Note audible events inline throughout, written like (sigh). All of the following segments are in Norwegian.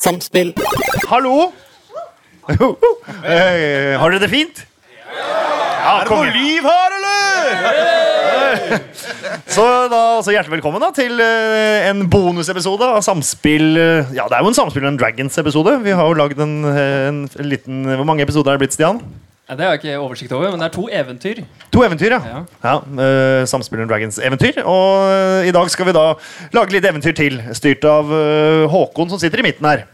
Samspill. Hallo! Hei, har dere det fint? Ja, er det noe liv her, eller? Så, da, så hjertelig velkommen da, til eh, en bonusepisode av Samspill. eh, Ja, det er jo en Samspill og en Dragons-episode. Vi har jo lagd en, eh, en liten Hvor mange episoder er det blitt, Stian? Ja, det har jeg ikke oversikt over, men det er to eventyr. To eventyr, ja. ja. Ja. eh, Samspill og Dragons-eventyr. Og eh, i dag skal vi da lage litt eventyr til, styrt av eh, Håkon, som sitter i midten her.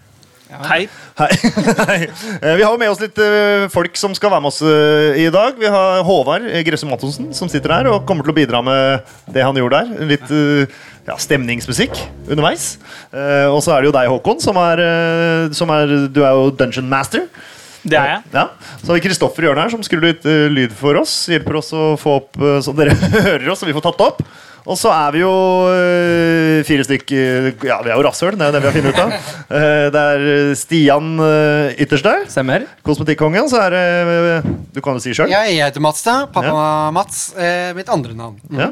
Hei. Hei. (laughs) Hei. Eh, Vi har jo med oss litt eh, folk som skal være med oss eh, i dag. Vi har Håvard eh, Grøsse Mattonsen som sitter her og kommer til å bidra med det han gjorde der. Litt eh, ja, stemningsmusikk underveis. Eh, Og så er det jo deg, Håkon, som er, eh, som er Du er jo dungeon master. Det er jeg. Ja. Så har vi Kristoffer i hjørnet her som skrur litt eh, lyd for oss. Hjelper oss å få opp eh, så dere (laughs) hører oss og vi får tatt det opp. Og så er vi jo eh, fire stykk eh, Ja, vi er jo rasshøl, det er jo det vi har funnet ut av. (laughs) Eh, det er eh, Stian eh, ytterst der. Stemmer. Kosmetikkongen. Så er det eh, Du kan jo si sjøl. Jeg heter Mats, da. Pappa Mats. Eh, mitt andre navn. Ja.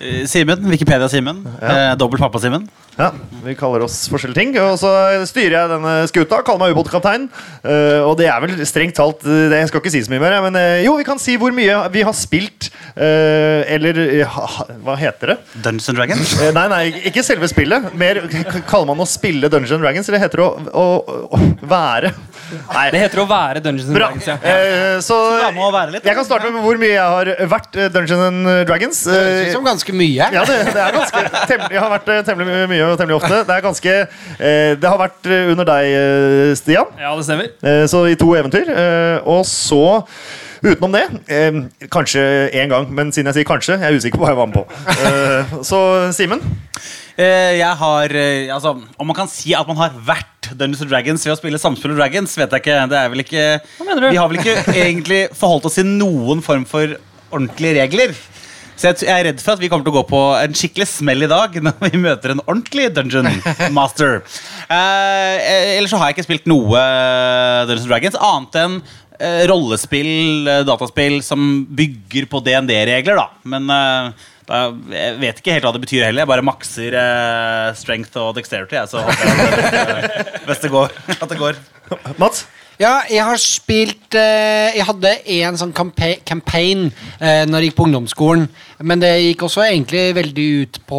Eh, Simen. Wikipedia-Simen. Eh, Dobbel pappa-Simen. Ja, vi kaller oss forskjellige ting. Og så styrer jeg denne skuta. Kaller meg ubåtkaptein. Eh, og det er vel strengt talt eh, det, Jeg skal ikke si så mye mer. jeg, Men eh, jo, vi kan si hvor mye vi har spilt. eh, eller eh, ha, ha- hva heter det? Dungeons and Dragons. Eh, nei, nei, ikke selve spillet. Mer k- kaller man å spille Dungeons and Dragons. Eller heter det å, å, å være Det Nei. heter å være Dungeons and Bra. Dragons. Ja. Eh, så Så det må være litt, da. jeg kan starte med hvor mye jeg har vært eh, Dungeons and Dragons. Det høres ut som ganske mye. Eh, Ja, det, det er ganske temmelig, Jeg har vært eh, temmelig mye og temmelig ofte. Det er ganske eh, Det har vært eh, under deg, eh, Stian. ja, det stemmer. Eh, Så i to eventyr. Eh, Og så Utenom det, eh, kanskje én gang, men siden jeg sier kanskje, jeg er usikker på hva jeg var med på. Eh, så Simen, Eh, jeg har eh, altså, Om man kan si at man har vært Dungeons and Dragons ved å spille Samspill og Dragons, vet jeg ikke. Det er vel ikke Hva mener du? Vi har vel ikke (laughs) egentlig forholdt oss til noen form for ordentlige regler. Så jeg, t- jeg er redd for at vi kommer til å gå på en skikkelig smell i dag (laughs) når vi møter en ordentlig dungeon master. Eh, eh, ellers så har jeg ikke spilt noe eh, Dungeons and Dragons annet enn eh, rollespill, eh, dataspill som bygger på DND-regler, da. Men eh, da, jeg vet ikke helt hva det betyr heller. Jeg bare makser eh, strength og dexterity. Jeg, så håper jeg at, (laughs) det- hvis det går, at det går. Mats. Ja, jeg har spilt eh, Jeg hadde en sånn kampa- campaign eh, når jeg gikk på ungdomsskolen. Men det gikk også egentlig veldig ut på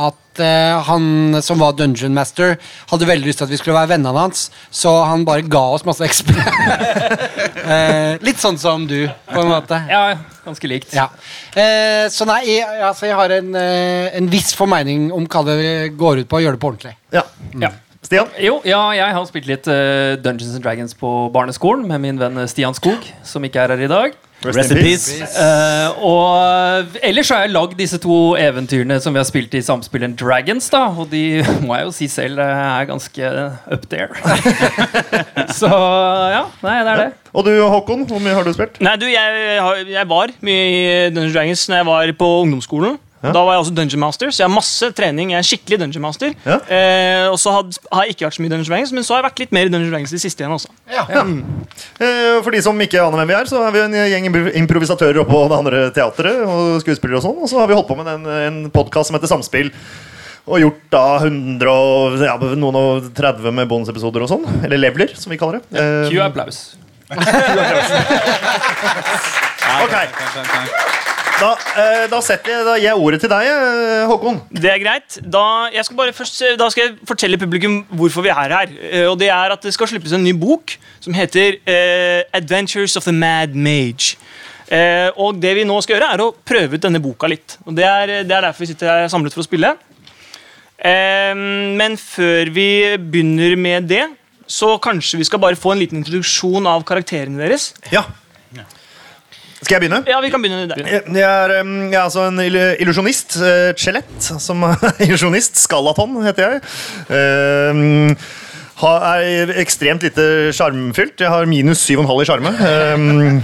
at eh, han som var dungeon master, hadde veldig lyst til at vi skulle være vennene hans, så han bare ga oss masse XP. (laughs) eh, litt sånn som du, på en måte. Ja, ganske likt. Ja. Eh, så nei, jeg, altså, jeg har en, eh, en viss formening om hva det går ut på å gjøre det på ordentlig. Ja. Ja. Stian. Jo, ja, jeg har spilt litt eh, Dungeons and Dragons på barneskolen med min venn eh, Stian Skog, som ikke er her i dag. Rest in peace. Eh, og eh, ellers så har jeg lagd disse to eventyrene som vi har spilt i samspillet Dragons, da. Og de (laughs) må jeg jo si selv eh, er ganske up there. (laughs) så ja. Nei, det er det. Og du, Håkon, hvor mye har du spilt? Nei, du, jeg, har- jeg var mye i Dungeons Dragons når jeg var på ungdomsskolen. Da var jeg også Dungeon Master, så jeg har masse trening. Jeg er skikkelig Dungeon Master. Ja. Eh, og så had- har jeg ikke vært så mye i Dungeons Dragons, men så har jeg vært litt mer i Dungeons Dragons de siste igjen også. Eh, For de som ikke aner hvem vi er, så er vi en gjeng impro- improvisatører oppå det andre teatret. Og skuespillere og sånn. Og så har vi holdt på med en, en podkast som heter Samspill. Og gjort da 100 og ja, noen og 30 med bonusepisoder og sånn. Eller leveler, som vi kaller det. Eh, Q applaus. ok. Da, eh, da setter jeg, da gir jeg ordet til deg, eh, Håkon. Det er greit. Da, jeg skal bare først, eh, da skal jeg fortelle publikum hvorfor vi er her. Eh, Og det er at det skal slippes en ny bok som heter eh, Adventures of the Mad Mage. Eh, og det vi nå skal gjøre, er å prøve ut denne boka litt. Og det er, det er derfor vi sitter her samlet for å spille. Eh, men før vi begynner med det, så kanskje vi skal bare få en liten introduksjon av karakterene deres. Ja. Skal jeg begynne? Ja, vi kan begynne der. Jeg jeg er, um, jeg er altså en illu- illusjonist. eh, Et skjelett som er (laughs) illusjonist. Skalaton heter jeg. Um, ha- er ekstremt lite sjarmfylt. Jeg har minus 7,5 i sjarme. Um,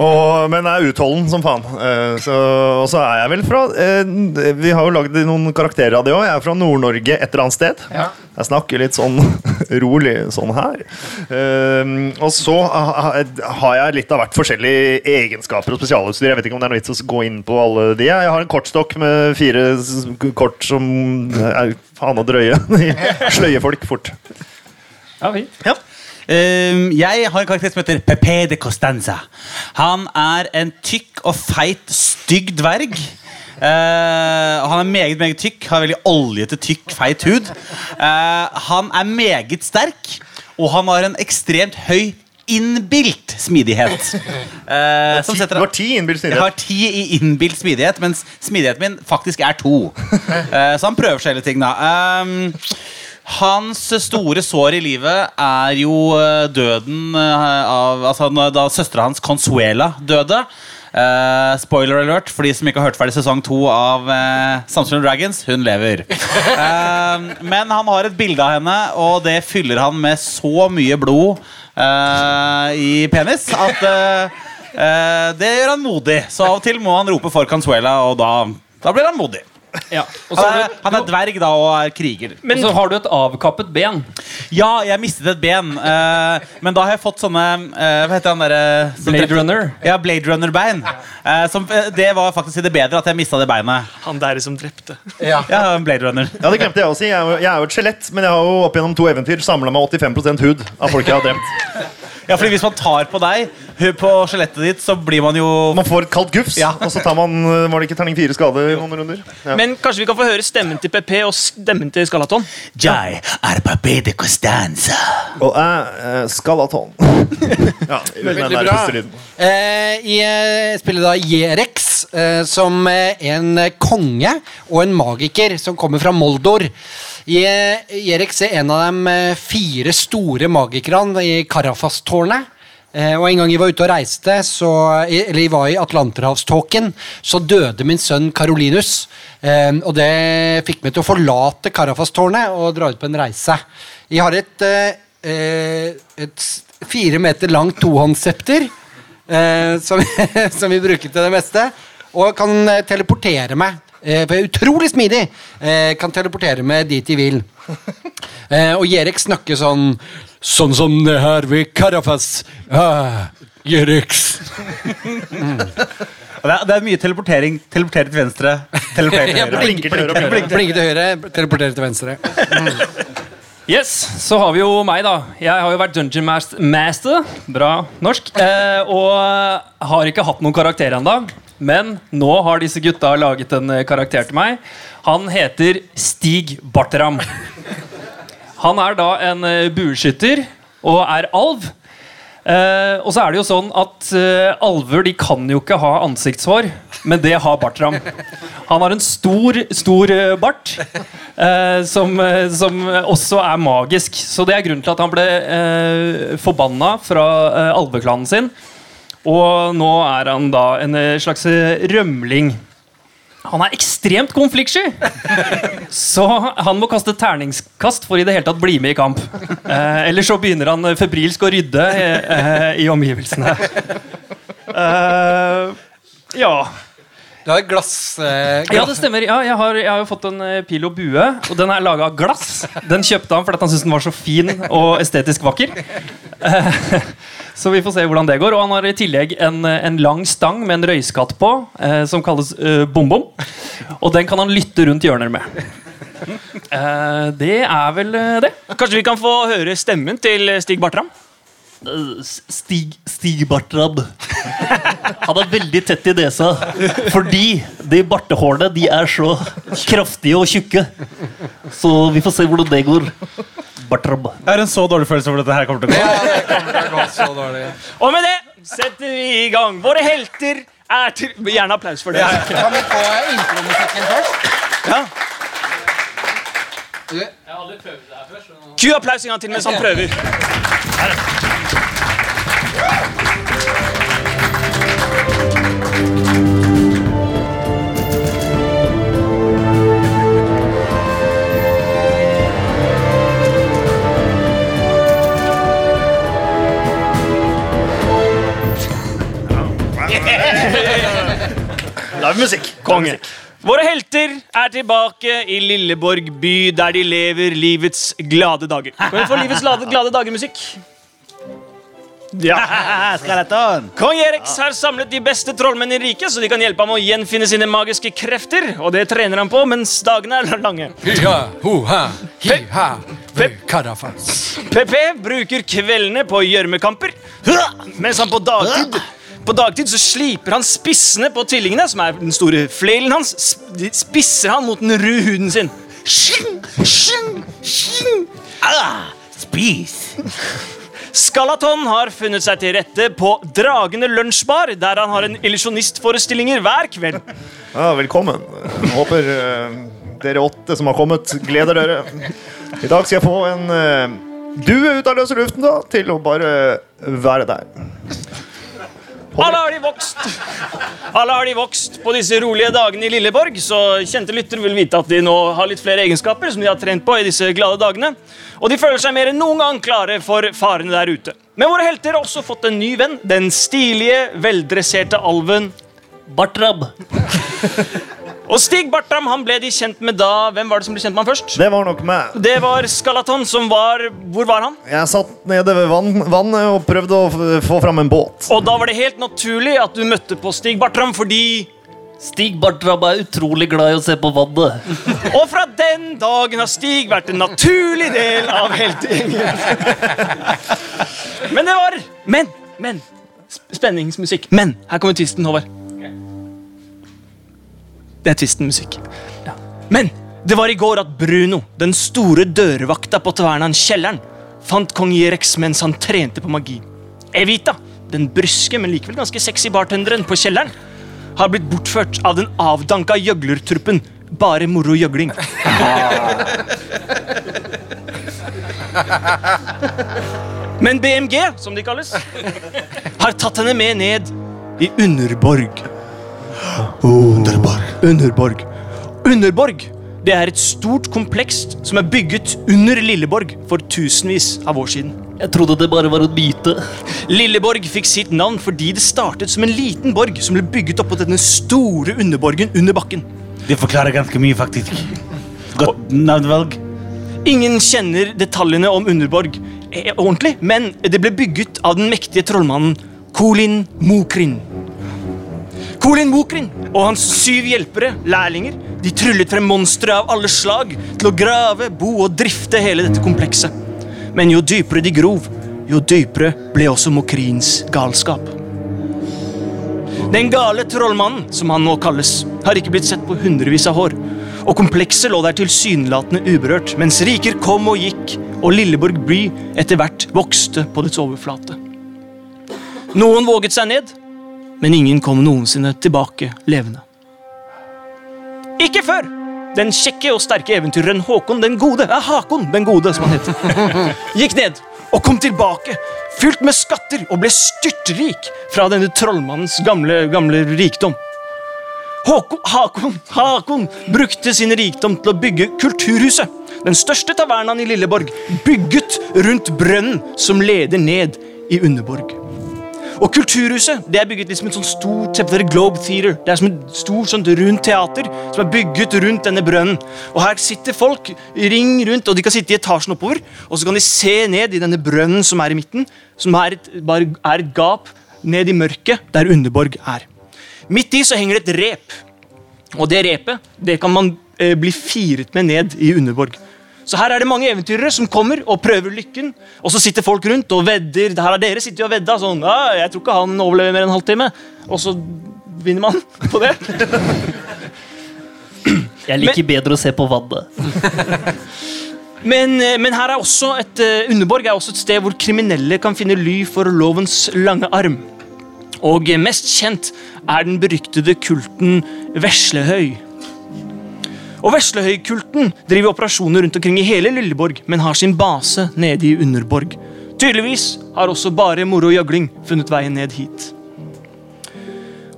og- men er utholden som faen. Eh, så, og så er jeg vel fra eh, Vi har jo lagd noen karakterer av det òg. Jeg er fra Nord-Norge et eller annet sted. Jeg snakker litt sånn (laughs) rolig sånn her. Um, og så ha- ha- har jeg litt av hvert forskjellige egenskaper og spesialutstyr. Jeg vet ikke om det er noe vits å gå inn på alle de. Jeg har en kortstokk med fire (laughs) s- kort som er faen og drøye. De Sløyer folk fort. Ja, fint. Ja. Ehm, jeg har en karakter som heter Pepe de Costanza. Han er en tykk og feit, stygg dverg. Eh, og han er meget meget tykk, har veldig oljete, tykk, feit hud. Eh, han er meget sterk, og han har en ekstremt høy innbilt smidighet. Eh, som Ti, setter du har ti innbilt jeg har smidighet. ti i innbilt smidighet, mens smidigheten min faktisk er to. Eh, så han prøver seg hele ting, da. Um, hans store sår i livet er jo eh, døden eh, av Altså når- da søstera hans Consuela døde. Eh, spoiler alert for de som ikke har hørt ferdig sesong to av uh, Samsung Dragons. Hun lever. Eh, men han har et bilde av henne, og det fyller han med så mye blod eh, i penis at eh, Eh, det gjør han modig, så av og til må han rope for Consuela, og da, da blir han modig. Ja. Og så Han har er, du, han er dverg da og er kriger. men, så har du et avkappet ben. Ja, jeg mistet et ben, eh, men da har jeg fått sånne eh, Hva heter han derre som Blade drepte- Runner. Ja, Blade Runner-bein. Eh, som- eh, det var faktisk i det bedre at jeg mista det beinet. Han der som drepte. Ja. Ja, Blade Runner Ja, det glemte jeg å si. Jeg er jo- jeg er jo et skjelett, men jeg har jo opp gjennom to eventyr samla meg 85 hud av folk jeg har drept. Ja, fordi hvis man tar på deg, hu- på skjelettet ditt, så blir man jo Man får et kaldt gufs, og så tar man øh, Var det ikke terning fire skade i noen runder? Ja. Men kanskje vi kan få høre stemmen til PP og stemmen til Skalaton? Jeg er Papé de Costanza. Og jeg eh, skal ha tolv. (laughs) Ja, uten den der bra. første lyden. Eh, I eh, spillet da Jerex, eh, som eh, en eh, konge og en magiker som kommer fra Moldor. I, eh, Jerex er en av de eh, fire store magikerne i Karafas-tårnet. Eh, og En gang jeg var ute og reiste, så, eller jeg var i Atlanterhavståken, så døde min sønn Karolinus. Eh, og det fikk meg til å forlate Karafas-tårnet og dra ut på en reise. Jeg har et, eh, eh, et s- fire meter langt tohåndssepter eh, som, (laughs) som vi bruker til det meste. Og kan eh, teleportere meg. Eh, for jeg er utrolig smidig! Eh, kan teleportere meg dit de vil. Eh, og Jerek snakker sånn Sånn som det her ved Karafas. Ah, Jerex. Og Det er, det er mye teleportering. Teleportere til venstre, teleportere til Ja, høyre. Blinker til høyre og blinker. Blinke til høyre, teleportere til venstre. Yes, Så har vi jo meg, da. Jeg har jo vært Dungeon mas- Master. Bra norsk. Eh, og har ikke hatt noen karakter ennå. Men nå har disse gutta laget en eh, karakter til meg. Han heter Stig Bartram. Han er da en eh, bueskytter og er alv. Eh, og så er det jo sånn at eh, alver de kan jo ikke ha ansiktshår, men det har Bartram. Han har en stor, stor eh, bart, eh, som, eh, som også er magisk. Så det er grunnen til at han ble eh, forbanna fra eh, alveklanen sin. Og nå er han da en eh, slags eh, rømling. Han er ekstremt konfliktsky! (laughs) Så han må kaste terningskast for i det hele tatt bli med i kamp. Eh, Eller så begynner han eh, febrilsk å rydde eh, i omgivelsene. Eh, ja. Du har et glass, eh, ja, glass. det stemmer. Ja, jeg, har, jeg har jo fått en eh, pil og bue, og den er laga av glass. Den kjøpte han fordi han syntes den var så fin og estetisk vakker. Eh, (laughs) så vi får se hvordan det går. Og han har i tillegg en, eh, en lang stang med en røyskatt på, eh, som kalles eh, bom-bom. Og den kan han lytte rundt hjørner med. Eh, det er vel eh, det. Kanskje vi kan få høre stemmen til Stig Bartram? Stig, Stig Bartrand. Han er veldig tett i nesa. Fordi de bartehårene de er så kraftige og tjukke. Så vi får se hvordan det går. Bartram. Jeg har en så dårlig følelse over at dette her kommer til å gå. Og med det setter vi i gang. Våre helter er til Gjerne applaus for det. Kan vi få intromusikken først? Ku applaus en gang til mens han prøver. Live musikk. Konge. Våre helter er tilbake i Lilleborg by, der de lever livets glade dager. Kan vi få livets glade, glade dager-musikk? Ja. Skeleton. Kong Erex har samlet de beste trollmenn i riket, så de kan hjelpe ham å gjenfinne sine magiske krefter. Og det trener han på mens dagene er lange. Ja, ho, ha, hi, ha. Pep. Karafas. PP bruker kveldene på gjørmekamper, mens han på dagtid på dagtid så sliper han spissene på tvillingene, som er den store flailen hans. sp- De spisser han mot den ru huden sin. Skyng, skyng, skyng. Ah, spis. Skalaton har funnet seg til rette på Dragene lunsjbar, der han har en illusjonistforestillinger hver kveld. Ja, velkommen. Jeg håper eh, dere åtte som har kommet, gleder dere. I dag skal jeg få en eh, due ut av løse luften da, til å bare være der. Alle har de vokst Alle har de vokst på disse rolige dagene i Lilleborg, så kjente lytter vil vite at de nå har litt flere egenskaper som de har trent på i disse glade dagene. Og de føler seg mer enn noen gang klare for farene der ute. Men våre helter har også fått en ny venn, den stilige, veldresserte alven. Bartrab. (laughs) Og Stig Bartram han ble de kjent med da Hvem var det som ble kjent med han først? Det var nok meg. Det var Skalaton, som var Hvor var han? Jeg satt nede ved vann, vannet og prøvde å f- få fram en båt. Og da var det helt naturlig at du møtte på Stig Bartram, fordi Stig Bartrab er utrolig glad i å se på vannet. (laughs) Og fra den dagen har Stig vært en naturlig del av (laughs) heltegjengen. Men det var Men, men. sp- Spenningsmusikk. Men. Her kommer tvisten, Håvard. Det er tvisten-musikk. Men det var i går at Bruno, den store dørvakta på Tavernaen-kjelleren, fant kong Jerex mens han trente på magi. Evita, den bryske, men likevel ganske sexy bartenderen på kjelleren, har blitt bortført av den avdanka gjøglertruppen Bare Moro Gjøgling. Men BMG, som de kalles, har tatt henne med ned i Underborg. Underborg. Underborg. Det er et stort kompleks som er bygget under Lilleborg for tusenvis av år siden. Jeg trodde det bare var en myte. Lilleborg fikk sitt navn fordi det startet som en liten borg som ble bygget oppå denne store underborgen under bakken. Det forklarer ganske mye, faktisk. Godt navnevalg. Ingen kjenner detaljene om Underborg eh, ordentlig, men det ble bygget av den mektige trollmannen Kolin Mokrin. Kolin Mokrin og hans syv hjelpere, lærlinger, de tryllet frem monstre av alle slag til å grave, bo og drifte hele dette komplekset. Men jo dypere de grov, jo dypere ble også Mokrins galskap. Den gale trollmannen, som han nå kalles, har ikke blitt sett på hundrevis av år. Og komplekset lå der tilsynelatende uberørt, mens riker kom og gikk, og Lilleborg by etter hvert vokste på dets overflate. Noen våget seg ned, men ingen kom noensinne tilbake levende. Ikke før den kjekke og sterke eventyreren Håkon den gode, eh, Hakon den gode, som han heter, gikk ned og kom tilbake, fylt med skatter og ble styrtrik fra denne trollmannens gamle, gamle rikdom. Håkon, Hakon, Hakon brukte sin rikdom til å bygge Kulturhuset, den største tavernaen i Lilleborg, bygget rundt brønnen som leder ned i Underborg. Og Kulturhuset det er bygget litt som et sånn stort se på dere, Globe Theater. Det er som et stort sånt rundt teater som er bygget rundt denne brønnen. Og Her sitter folk i ring rundt, og de kan sitte i etasjen oppover. Og så kan de se ned i denne brønnen som er i midten, som er et, bare er et gap ned i mørket der Underborg er. Midt i så henger det et rep. Og det repet det kan man eh, bli firet med ned i Underborg. Så her er det mange eventyrere som kommer og prøver lykken. Og så sitter folk rundt og vedder. Her er dere sitter jo og vedda sånn «Ah, 'Jeg tror ikke han overlever mer enn en halvtime.' Og så vinner man på det. Jeg liker bedre å se på vannet. Men, eh, men her er også et eh, Underborg er også et sted hvor kriminelle kan finne ly for lovens lange arm. Og eh, mest kjent er den beryktede kulten Veslehøy. Og Veslehøy-kulten driver operasjoner rundt omkring i hele Lilleborg, men har sin base nede i Underborg. Tydeligvis har også bare moro gjøgling funnet veien ned hit.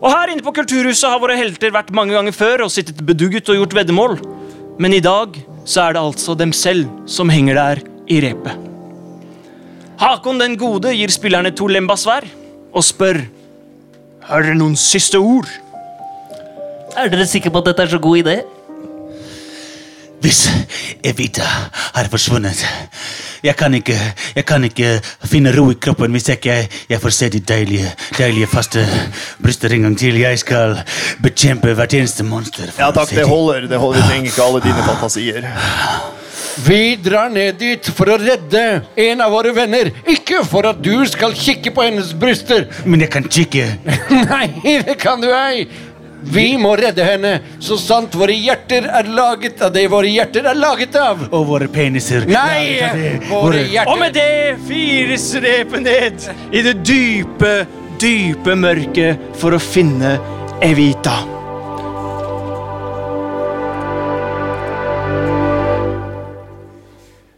Og her inne på Kulturhuset har våre helter vært mange ganger før og sittet bedugget og gjort veddemål. Men i dag så er det altså dem selv som henger der i repet. Hakon den gode gir spillerne to lembas hver og spør Har dere noen siste ord? Er dere sikre på at dette er så god idé? Hvis Evita har forsvunnet jeg kan, ikke, Eh, jeg kan ikke finne ro i kroppen hvis ikke jeg, jeg får se de deilige, deilige faste bryster en gang til. Jeg skal bekjempe hvert eneste monster. for Ja å takk, se det de- holder. Det holder. Vi trenger ikke alle dine fantasier. Vi drar ned dit for å redde en av våre venner. Ikke for at du skal kikke på hennes bryster. (laughs) Men jeg kan kikke. Nei, det kan du ei. Vi må redde henne, så sant våre hjerter er laget av det våre hjerter er laget av. Og våre peniser. Nei! Våre Og hjerter med det fire strepet ned i det dype, dype mørket for å finne Evita.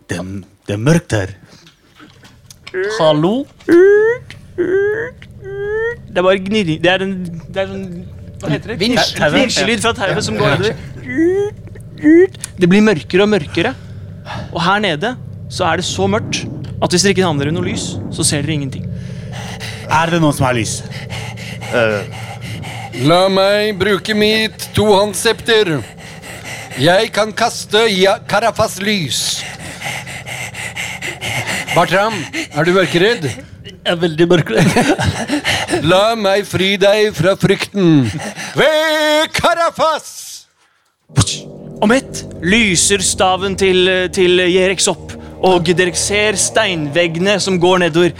Det, det er mørkt her. Hallo? Det er bare gnirring Det er en det er sånn, Hva heter det? Vinsj. Tau- Vinsjelyd fra tauet som går nedover. Det blir mørkere og mørkere. Og her nede så er det så mørkt at hvis dere ikke handler i noe lys, så ser dere ingenting. Er det noen som har lys? La meg bruke mitt tohåndssepter. Jeg kan kaste ja, Karafas lys. Bartram, er du mørkeredd? Jeg er veldig mørkredd. (laughs) La meg fri deg fra frykten. Ved Karafas! Om ett lyser staven til, til Jerex opp, og dere ser steinveggene som går nedover.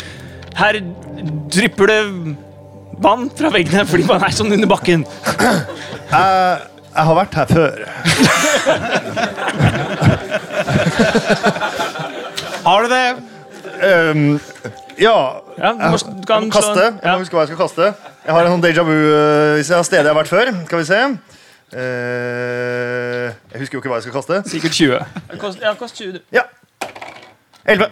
Her drypper det vann fra veggene fordi man er sånn under bakken. Jeg har vært her før. Har du det? Ehm, ja, Ja, du, må, du jeg kan må kaste. slå en- Jeg må huske hva jeg skal kaste. Jeg har en sånn déjà vu øh, hvis jeg har steder jeg har vært før. Skal vi se. Eh, jeg husker jo ikke hva jeg skal kaste. Sikkert 20. Ja, kost, ja, kost 20. du. Ja. 11.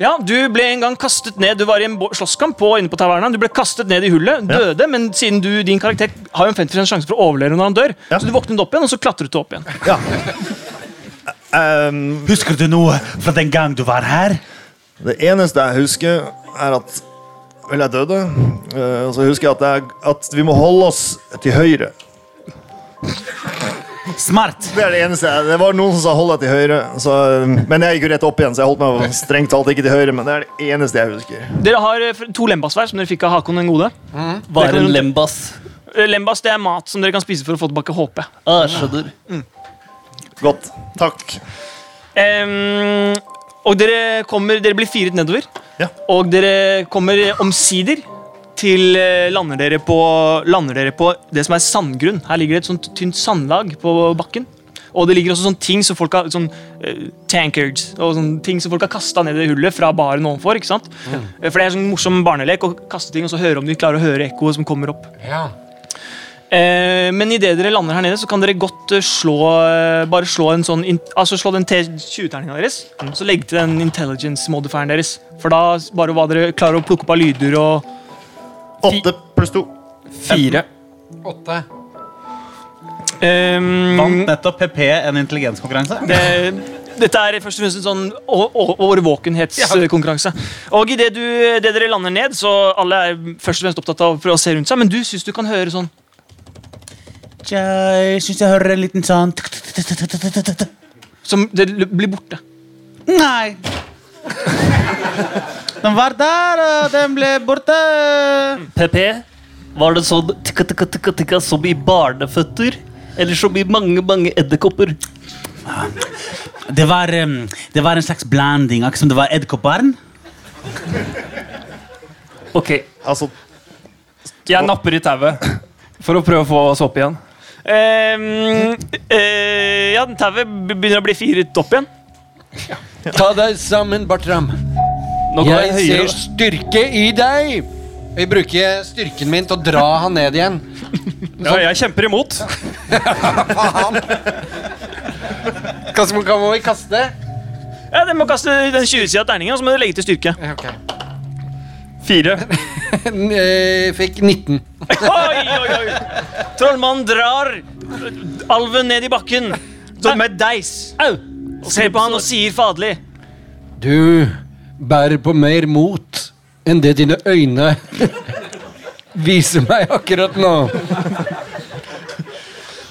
Ja, du ble en gang kastet ned. Du var i en bo- slåsskamp på, inne på taverna. Du ble kastet ned i hullet, døde, men siden du, din karakter har jo en 50 sjanse for å overleve når han dør, Ja. så du våknet opp igjen, og så klatret du opp igjen. Ja. Ehm, Husker du noe fra den gang du var her? Det eneste jeg husker, er at Vel, jeg døde. Eh, Og så husker jeg at, jeg at vi må holde oss til høyre. Smart. Det er det eneste jeg, det var noen som sa 'hold deg til høyre', så, eh, men jeg gikk jo rett opp igjen. Så jeg holdt meg strengt talt ikke til høyre, men det er det eneste jeg husker. Dere har eh, f- to lembas hver, som dere fikk av Hakon den gode. Hva er en lembas? Eh, Lembas det er mat som dere kan spise for å få tilbake HP. Ah, jeg skjønner. Godt. Takk. Ehm, og dere kommer Dere blir firet nedover. Ja. Og dere kommer omsider til eh, lander dere, på, lander dere på det som er sandgrunn. Her ligger det et sånt tynt sandlag på bakken. Og det ligger også sånne ting som folk har sånn, eh, tankards og sånne ting som folk har kasta ned i hullet fra baren ovenfor. ikke sant? Eh, For det er sånn morsom barnelek å kaste ting og så høre om de klarer å høre ekkoet som kommer opp. Ja. Eh, men idet dere lander her nede, så kan dere godt eh, slå eh, Bare slå en sånn in- Altså slå den T20-terninga deres. Så legg til den intelligence-modifieren deres. For da s- bare hva dere klarer å plukke opp av lyder og Åtte pluss to. Fire. Åtte. ehm, Vant nettopp PP en intelligenskonkurranse? det, Dette er først og fremst en sånn å- å- årvåkenhetskonkurranse. Og idet det dere lander ned, så alle er først og fremst opptatt av å prøve å se rundt seg, men du syns du kan høre sånn Tja, Jeg syns jeg hører en liten sånn Som det l- blir borte. Nei. Den var der, og den ble borte. PP, var det sånn tikka, tikka, tikka, tikka, som i barneføtter? Eller som i mange, mange edderkopper? Det var, em, det var en slags blanding, akkurat som det var edderkoppbarn. Ok, Altså Jeg napper i tauet for å prøve å få oss opp igjen. Ehm, eh, ja, tauet be- begynner å bli firet opp igjen. Ta deg sammen, Bartram. Nå går Jeg jeg ser høyere. styrke i deg. Jeg bruker styrken min til å dra han ned igjen. Ja, jeg kjemper imot. Hva som kan vi kaste? (laughs) Ja, Dere må kaste den 20-sida av terningen, og så må dere legge til styrke. Eh, ok. Fire. N- eh, Fikk 19. Oi, oi, oi. Trollmannen drar alven ned i bakken sånn med deis. au! Og ser på han og sier faderlig. Du bærer på mer mot enn det dine øyne (laughs) viser meg akkurat nå.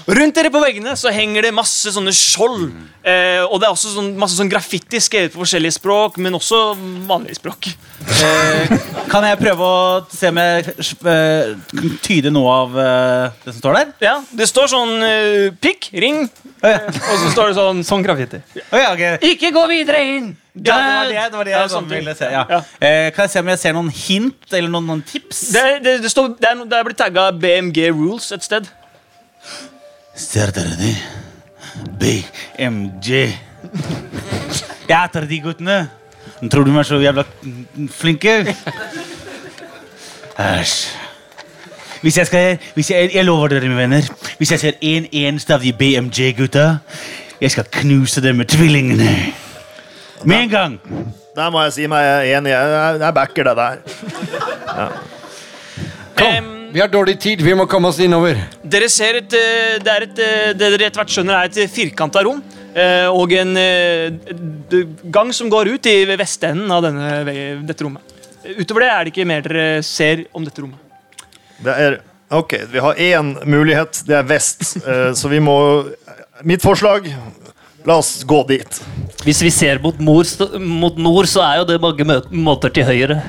Rundt dere på veggene så henger det masse sånne skjold. Eh, og det er også sånn, masse sånn graffiti skrevet på forskjellige språk, men også vanlige språk. Kan jeg prøve å se om jeg eh, tyder noe av eh, det som står der? Ja, Det står sånn eh, pikk, ring, Å ja. og så står det sånn Sånn graffiti. Å ja, ok. Ikke gå videre inn! Ja, det var det, det, var det Ja, jeg sånn ting. ville se. Ja. Ja. Eh, kan jeg se om jeg ser noen hint eller noen, noen tips? Det, det, det, står, det, er, no- det er blitt tagga BMG Rules et sted. Ser dere de? BMG. Jeg heter de guttene. Tror du de er så jævla flinke? Æsj. Hvis jeg skal hvis jeg, jeg lover dere, mine venner. Hvis jeg ser én eneste av de BMG-gutta, jeg skal knuse dem med tvillingene. Med en gang. Der må jeg si meg enig. Jeg, jeg backer det der. Kom. Vi har dårlig tid, vi må komme oss innover. Dere ser et, eh, det, er et eh, det dere etter hvert skjønner er et firkanta rom. eh, Og en eh, d- gang som går ut i vestenden av denne, ve- dette rommet. Utover det er det ikke mer dere ser om dette rommet. Det er, ok, vi har én mulighet. Det er vest. eh, Så vi må Mitt forslag La oss gå dit. Hvis vi ser mot, mor, st- mot nord, så er jo det mange mø- måter til høyre.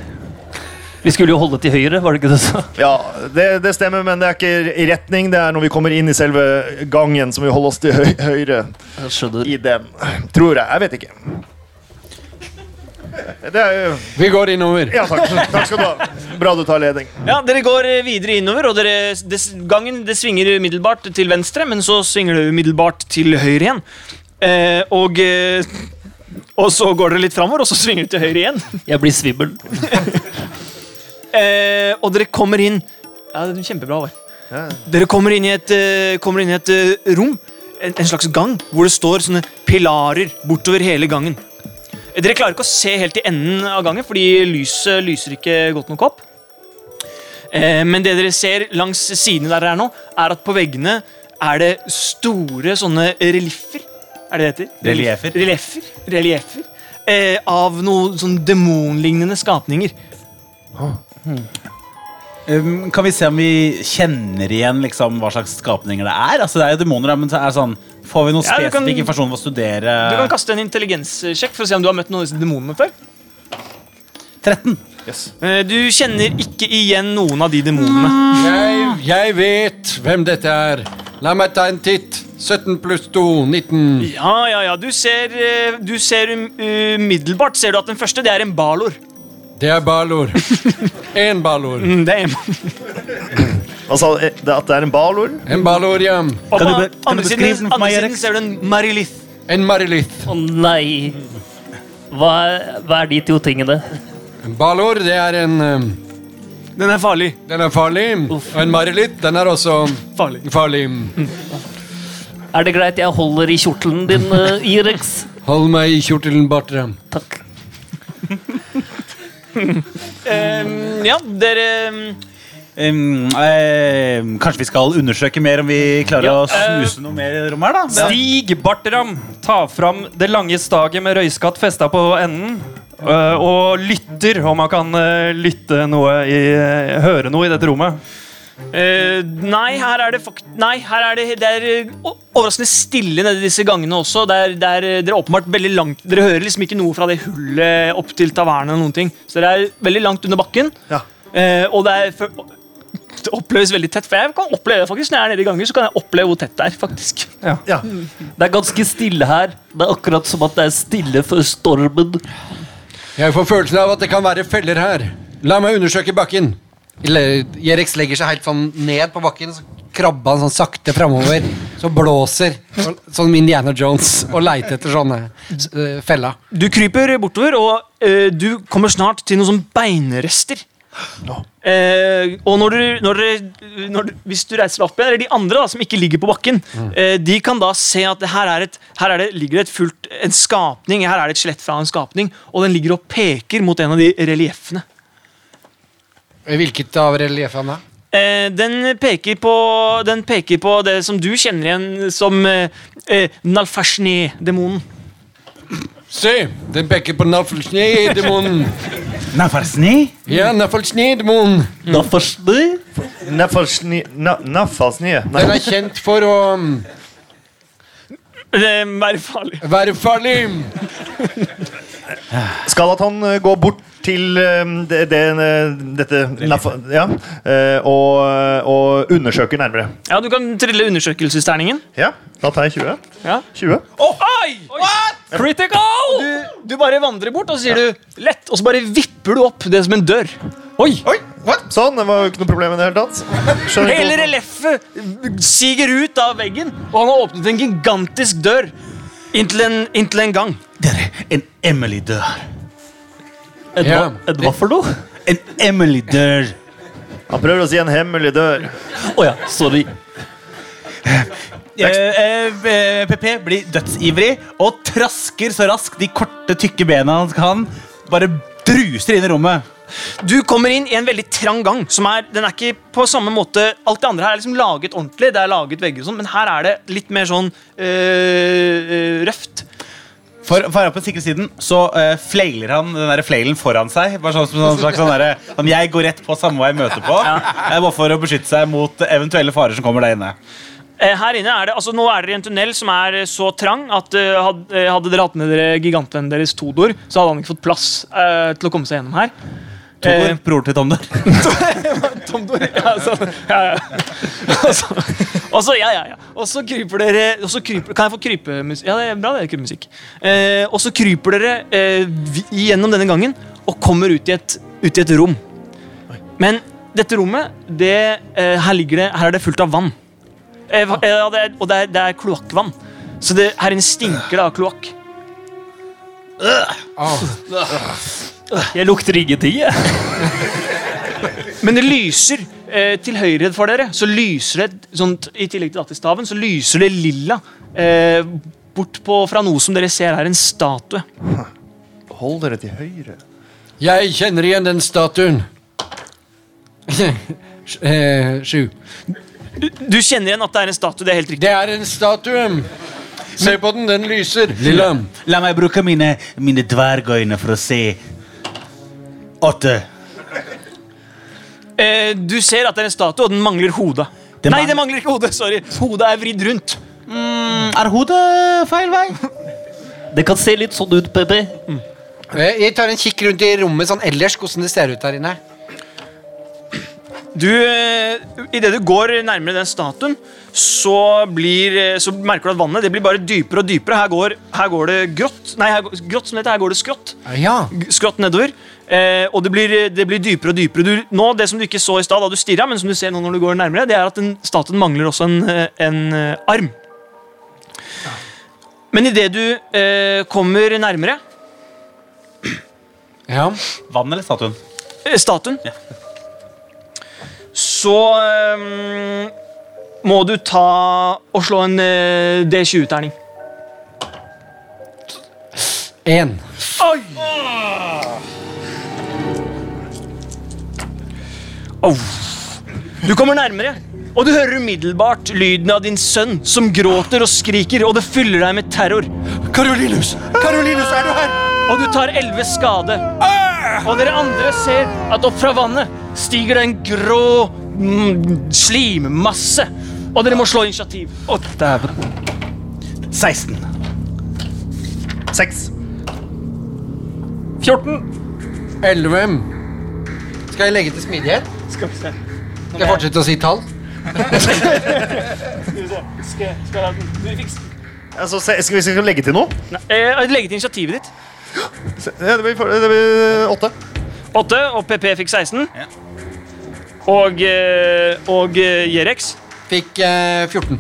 Vi skulle jo holde til høyre, var det ikke det du sa? Ja, det, det stemmer, men det er ikke i retning. Det er når vi kommer inn i selve gangen, som vi holder oss til høy høyre Jeg skjønner. i den. Tror jeg. Jeg vet ikke. Det er jo Vi går innover. Ja, takk. Takk skal du ha. Bra du tar leding. Ja, Dere går eh, videre innover, og dere, det, gangen det svinger umiddelbart til venstre, men så svinger det umiddelbart til høyre igjen. Eh, og, eh, og så går dere litt framover, og så svinger det til høyre igjen. Jeg blir svimmel. Eh, og dere kommer inn Ja, det er kjempebra, Håvard. Dere kommer inn i et, eh, kommer inn i et eh, rom, en, en slags gang, hvor det står sånne pilarer bortover hele gangen. Eh, Dere klarer ikke å se helt til enden av gangen, fordi lyset lyser ikke godt nok opp. Eh, men det dere ser langs sidene der dere er nå, er at på veggene er det store sånne reliffer. Er det det heter? Reliefer. Reliefer. reliefer eh, av noen sånn demonlignende skapninger. Um, kan vi se om vi kjenner igjen liksom, hva slags skapninger det er? Altså, det er jo demoner, da, men så er det sånn, Får vi noe Ja, du spesifikk kan- informasjon om å studere? Du kan kaste en intelligenssjekk for å se om du har møtt noen av disse demonene før. 13. Eh, Du kjenner ikke igjen noen av de demonene. Jeg, jeg vet hvem dette er. La meg ta en titt. 17 pluss 2, 19. Ja, ja, ja. Du ser, eh, du ser um- umiddelbart ser du at den første det er en balor. Det er balor. Én balor. Mm, Det er en. Altså, eh, det at det er en balor En balor, ja. Og Kan du på be- kan andre du beskrive den siden, for andre meg, siden Erik? ser du en marilith. En marilith. Å nei. Hva er, hva er de to tingene? En balor, det er en eh, Den er farlig. Den er farlig. Og en marilith, den er også Farlig. farlig. Er det greit jeg holder i kjortelen din, eh, Irex? Hold meg i kjortelen, Bartram. Takk. Eh, ja, dere mm, Um, eh, kanskje vi skal undersøke mer om vi klarer Ja, å snuse noe mer i det rommet her, da? Stig Bartram tar fram det lange staget med røyskatt festa på enden. øh, og lytter, om han kan øh, lytte noe i, eh, høre noe i dette rommet. eh, Nei, her er det fakt... Nei, her er det, det er eh, o- overraskende stille nede i disse gangene også. Det er, det er, eh, dere er åpenbart veldig langt Dere hører liksom ikke noe fra det hullet opp til tavernen. eller noen ting. Så dere er veldig langt under bakken. Ja. Eh, og det er for, det oppleves veldig tett. For jeg kan oppleve det faktisk Når jeg er nede i ganger, så kan jeg oppleve hvor tett det er. faktisk ja. Det er ganske stille her. Det er akkurat som at det er stille før stormen. Jeg får følelsen av at det kan være feller her. La meg undersøke bakken. Le- Jerex legger seg helt sånn ned på bakken, så krabber han sånn sakte framover. Så blåser, og- sånn Indiana Jones, og leiter etter sånne eh, fella. Du kryper bortover, og eh, du kommer snart til noen sånne beinrester. Eh, og når du, når dere- når du, hvis du reiser deg opp igjen, eller de andre da, som ikke ligger på bakken, eh, de kan da se at det her, er et, her er det, ligger det et fullt, en skapning, her er det et skjelett fra en skapning, og den ligger og peker mot en av de relieffene. Hvilket av relieffene? Eh, den, peker på, den peker på det som du kjenner igjen som eh, eh, Nalfashne-demonen. Se, den peker på Naflsni-demonen. Nafarsni? Ja, Naflsni-demonen. Da forstår jeg. Naffalsny... Na- Naffalsny. Nei. Den er kjent for å mm, Det er farlig. være farlig. Skal at han eh, går bort til eh, det, det, eh, dette Naffa- ja, eh, og, og undersøker nærmere. Ja, Du kan trille undersøkelsesterningen. Ja, da tar jeg 20. Ja. 20. Oi! Critical! Du, du bare vandrer bort, og så sier du 'lett', og så bare vipper du opp det som en dør. Oi! Sånn, det var jo ikke noe problem i det hele tatt. Skjønner ikke Hele hvorfor. relieffet siger ut av veggen, og han har åpnet en gigantisk dør inntil en, inntil en gang. Dere, en Emily dør. Et Ja. hva- et hva for noe? En Emily dør. Han prøver å si en hemmelig dør. Å ja, sorry. Eh, eh, eh, PP blir dødsivrig og trasker så raskt de korte, tykke bena han kan. Bare druser inn i rommet. Du kommer inn i en veldig trang gang. som er, Den er ikke på samme måte Alt det andre her er liksom laget ordentlig, det er laget vegger og sånn, men her er det litt mer sånn øh, røft. For, for å være på den sikre siden så eh, flailer han den der flailen foran seg. Bare sånn, som en slags sånn derre, sånn, Jeg går rett på samme hva jeg møter på. Eh, Bare for å beskytte seg mot eventuelle farer som kommer der inne. Eh, Her inne er det, altså Nå er dere i en tunnel som er eh, så trang at eh, had- eh, hadde dere hatt med dere gigantvennen deres Todor, så hadde han ikke fått plass eh, til å komme seg gjennom her. Todor, Eh. bror til Tomdor. Tomdor. (laughs) Ja, så, ja, ja. Og så- Og så ja, ja, ja. Og så kryper dere og så kryper, Kan jeg få krypemusikk? Ja, det er bra, det er krypemusikk. Eh, og så kryper dere eh, vi- gjennom denne gangen og kommer ut i et, ut i et rom. Men dette rommet, det, eh, her, ligger det, her er det fullt av vann. Eh, va- eh, og det er, og det er, det er kloakkvann. Så det, her inne stinker det av kloakk. Jeg lukter ingenting, jeg. Men det lyser eh, til høyre for dere. Så lyser det et sånt, I tillegg til datterstaven så lyser det lilla eh, bort på, fra noe som dere ser er en statue. Hold dere til høyre. Jeg kjenner igjen den statuen. (laughs) Sj- eh, Sju. Du kjenner igjen at det er en statue. det er helt riktig. Det er en statue. Se på den, den lyser. Lilla. La meg bruke mine, mine dvergøyne for å se. Åtte. Eh, du ser at det er en statue, og den mangler hodet. Det Nei, mang- det mangler ikke hodet. sorry. Hodet er vridd rundt. Er hodet feil vei? Det kan se litt sånn ut, PP. Eh, Jeg tar en kikk rundt i rommet sånn ellers, hvordan det ser ut der inne. Du, eh, Idet du går nærmere den statuen, så, blir, eh, så merker du at vannet det blir bare dypere og dypere. Her går, her går det grått. Nei, her, går- grått som det heter. Her går det skrått. Eh, Ja. skrått nedover. Eh, og det blir, det blir dypere og dypere. Du, nå, Det som du ikke så i stad, da du stirra, men som du ser nå når du går nærmere, det er at den, statuen mangler også en, eh, en eh, arm. Men idet du eh, kommer nærmere ja. Vann eller statuen? eh, statuen, så eh, må du ta og slå en eh, D20-terning. En. Oi! Au. Du kommer nærmere, og du hører umiddelbart lyden av din sønn som gråter og skriker, og det fyller deg med terror. Karolinus! Karolinus, er du her? Og du tar elleve skade. Og dere andre ser at opp fra vannet stiger det en grå mm, slimmasse. Og dere må slå initiativ. Å, dæven. 16. 6. 14. Elleve. Skal jeg legge til smidighet? Skal vi se. Skal jeg fortsette å si tall? Skal, skal jeg, du fikser. Altså, se, skal vi skal vi legge til noe? Nei, eh, legge til initiativet ditt. Se, ja, Det blir, for- det blir 8. 8, og PP fikk 16. Og, eh, og eh, Jerex. Fikk eh, 14.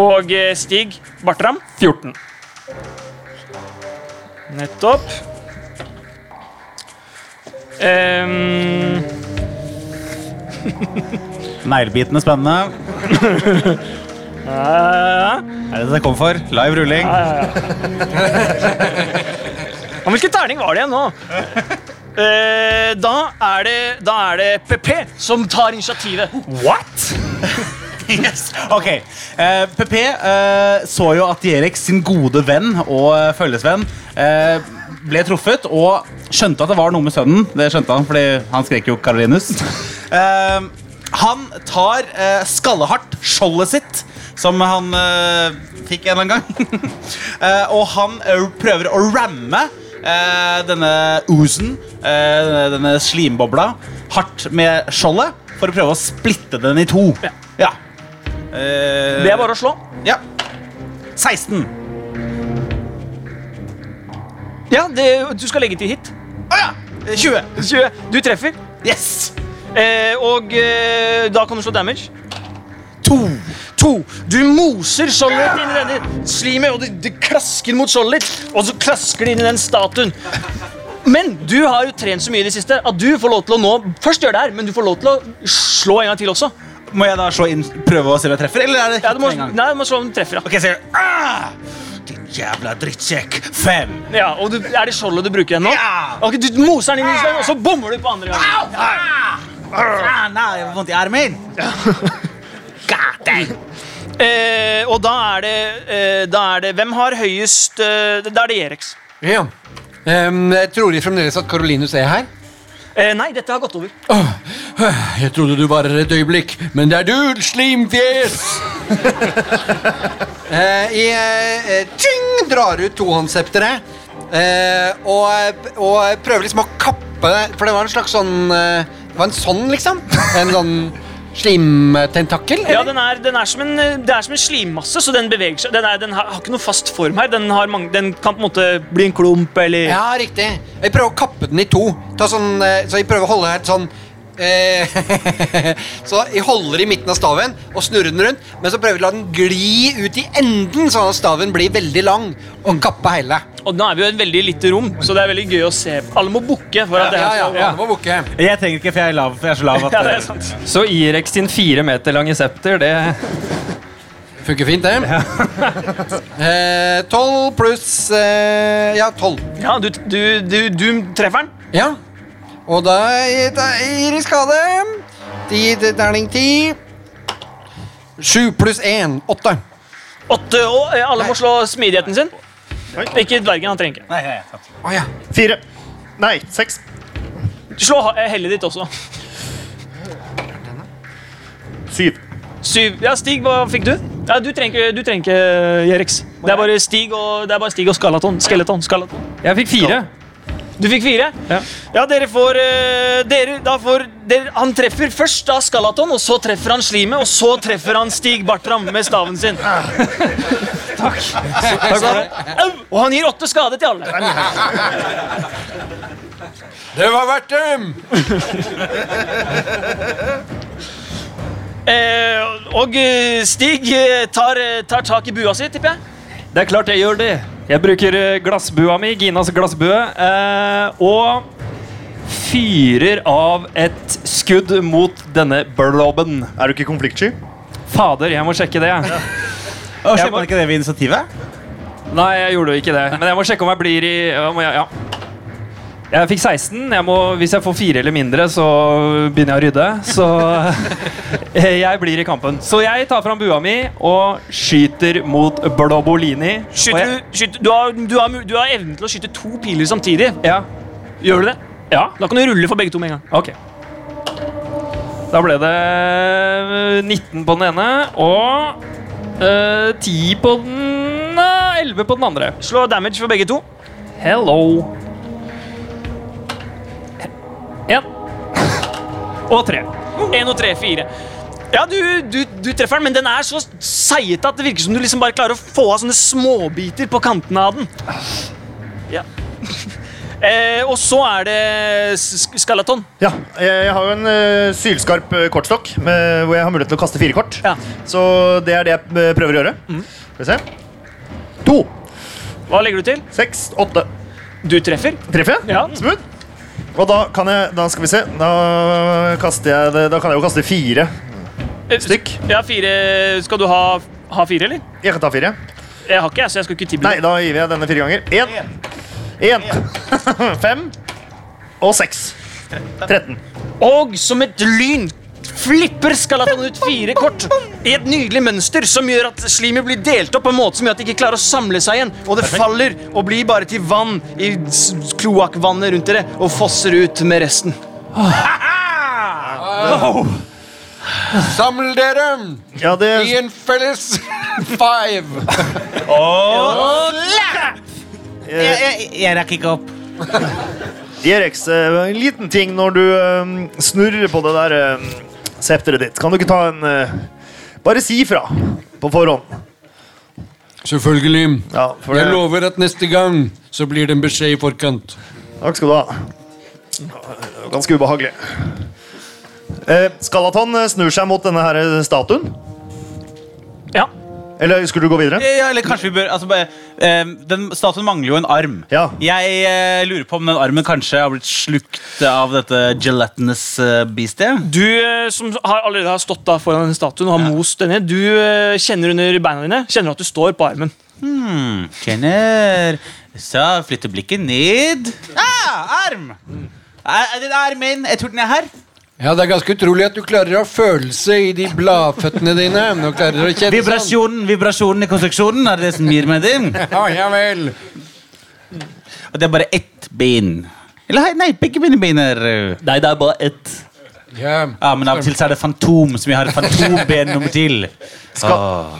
Og eh, Stig Bartram. 14. Nettopp. Ehm, Neglebitene spennende. eh, Er det det det kom for? Live rulling. men hvilken terning var det igjen (laughs) nå? Eh, da, er det, da er det PP som tar initiativet. What?! Yes. Ok. Eh, PP eh, så jo at Jerek sin gode venn og eh, følgesvenn eh, ble truffet og skjønte at det var noe med sønnen. Det skjønte han, fordi han skrek jo Karolinus. Eh, han tar eh, skallehardt skjoldet sitt, som han eh, fikk en eller annen gang. (laughs) Eh, og han eh, prøver å ramme eh, denne oozen, eh, denne, denne slimbobla, hardt med skjoldet for å prøve å splitte den i to. Ja. Eh, Det er bare å slå. Ja. 16. Ja, det, Du skal legge til hit. Å ja! 20. 20. Du treffer, Yes! eh, og eh, da kan du slå damage. To. To. Du moser skjoldet ditt inn i denne slimet, og det, det klasker mot skjoldet ditt. Og så klasker det inn i den statuen. Men du har jo trent så mye i det siste at du får lov til å nå Først gjør det her, men du får lov til å slå en gang til også. Må jeg da slå inn, prøve å se om jeg treffer, eller er det Ja, du må, hit med en gang? nei, du må slå om du treffer, ja. Ok, så gjør jeg ah! Din jævla drittsekk. Fem. ja og du, er det skjoldet du bruker igjen nå? Ja! Ok, Du moser den inn i stedet, og så bommer du på andre Au! gangen. Ah! Ah, nei, jeg har vondt i armen. God damn. Eh, og da er, det, eh, da er det Hvem har høyest eh, Da er det Jerex. Ja. Em, jeg tror jeg fremdeles at Karolinus er her? Eh, nei, dette har gått over. Jeg trodde du var her et øyeblikk, men det er du, slimfjes! (laughs) Eh, jeg eh, tjing, drar ut tohåndssepteret eh, og, og prøver liksom å kappe For det var en slags sånn eh, Det var en sånn, liksom? En sånn slimtentakkel? Ja, eller? den er, den er som en, eh, Det er som en slimmasse, så den beveger seg. Den, er, den har, har ikke noe fast form her. Den, har mange, den kan på en måte bli en klump eller Ja, riktig. Jeg prøver å kappe den i to. Ta sånn, eh, så jeg prøver å holde her sånn eh, (laughs) Så jeg holder i midten av staven og snurrer den rundt, men så prøver jeg å la den gli ut i enden, sånn at staven blir veldig lang, og kappe hele. Og nå er vi jo i et veldig lite rom, så det er veldig gøy å se. Alle må bukke for at det Ja, her ja, skal det må bukke. Jeg trenger ikke, for jeg er, lav, for jeg er så (laughs) lav at eh, Ja, det er sant. Så Irex sin fire meter lange septer, det Funker fint, det. (laughs) Eh, Tolv pluss eh, Ja, tolv. Ja, du, du, du, du treffer den. Ja. Og da er- da gir de skade. Ti, terning ti. Sju pluss én. Åtte. Åtte, og eh, alle må slå smidigheten sin. Ikke dvergen, han trenger ikke. Nei, nei, sant. Å ja. Fire. Nei, seks. Slå ha- eh, hellet ditt også. Syv. Syv. Ja, Stig, hva fikk du? Ja, Du trenger ikke, du trenger ikke Jerex. Det er bare Stig og, det er bare Stig og Skalaton. Skeleton. Skalaton. Jeg fikk fire. Du fikk fire? Ja. Ja, dere får, eh, dere, da får dere, Han treffer først da Skalaton, og så treffer han slimet, og så treffer han Stig Bartram med staven sin. Takk for det. Au! Og han gir åtte skade til alle. Det var verdt det! Eh, og eh, Stig eh, tar, eh, tar tak i bua si, tipper jeg. Det er klart jeg gjør det. Jeg bruker eh, glassbua mi, Ginas glassbue, eh, og fyrer av et skudd mot denne burloben. Er du ikke konfliktsky? Fader, jeg må sjekke det. jeg. Å, Jeg Skjer må- man ikke det ved initiativet? Nei, jeg gjorde jo ikke det. Men jeg må sjekke om jeg blir i om jeg, ja. Jeg fikk 16. Jeg må, hvis jeg får fire eller mindre, så begynner jeg å rydde. Så (laughs) eh, jeg blir i kampen. Så jeg tar fram bua mi og skyter mot Blobolini. Og Skyter, jeg, du, skyter, du, har, du, har, mu- du har evnen til å skyte to piler samtidig. Ja. Gjør du det? ja. Da kan du rulle for begge to med en gang. Ok. Da ble det eh, 19 på den ene og eh, 10 på den eh, 11 på den andre. Slå damage for begge to. Hello. Én. Og tre. Én og tre, fire. Ja, du, du, du treffer den, men den er så seigete at det virker som du liksom bare klarer å få av sånne småbiter på kantene av den. Ja. (laughs) Eh, og så er det s- sk- Skalaton. Ja, jeg jeg har jo en eh, sylskarp eh, kortstokk med, hvor jeg har mulighet til å kaste fire kort. Ja. Så det er det jeg eh, prøver å gjøre. Skal vi se. To, Hva legger du til? seks, åtte. Du treffer. Treffer jeg? Ja. Smooth. Og da kan jeg Da skal vi se. Da kaster jeg det Da kan jeg jo kaste fire. Eh, Stykk. Ja, fire. Skal du ha, ha fire, eller? Jeg kan ta fire. Jeg har ikke, jeg, så jeg skulle ikke tilby Nei, det. da gir jeg denne fire ganger. Én. Én. (laughs) Fem. Og seks. 13. Og som et lyn flipper Skalaton ut fire kort i et nydelig mønster som gjør at slimet blir delt opp på en måte som gjør at det ikke klarer å samle seg igjen. Og det faller og blir bare til vann i s- kloakkvannet rundt dere og fosser ut med resten. Saml dere Ja, i det, en felles (laughs) five. Jeg, jeg, jeg rekker ikke opp. det Rex, eh, en liten ting når du eh, snurrer på det der eh, septeret ditt. Kan du ikke ta en eh, Bare si fra på forhånd. Selvfølgelig. Ja, for Jeg det- lover at neste gang så blir det en beskjed i forkant. Takk skal du ha. Det var Ganske ubehagelig. Eh, Skalaton eh, snur seg mot denne her statuen. Ja. Eller skulle du gå videre? Ja, eller kanskje vi bør altså, bare, eh, Den Statuen mangler jo en arm. Ja. Jeg eh, lurer på om den armen kanskje har blitt slukt av dette gelatinous eh, beastet. Du eh, som har allerede har stått da foran denne statuen og har most denne, du eh, kjenner under beina dine Kjenner at du står på armen. Hmm, kjenner Så flytter blikket ned. Ah, arm! Er, er din arm min? Jeg tror den er her. Ja, Det er ganske utrolig at du klarer å ha følelse i de bladføttene dine. Og klarer å kjenne sånn. Vibrasjonen vibrasjonen i konstruksjonen er det som gir meg det. Ja, ja vel. Og det er bare ett ben. Eller hei, nei, begge mine bein er eh, Nei, det er bare ett. Ja. Ja, men av og til så er det fantom, som jeg har et fantomben nummer til. Åh.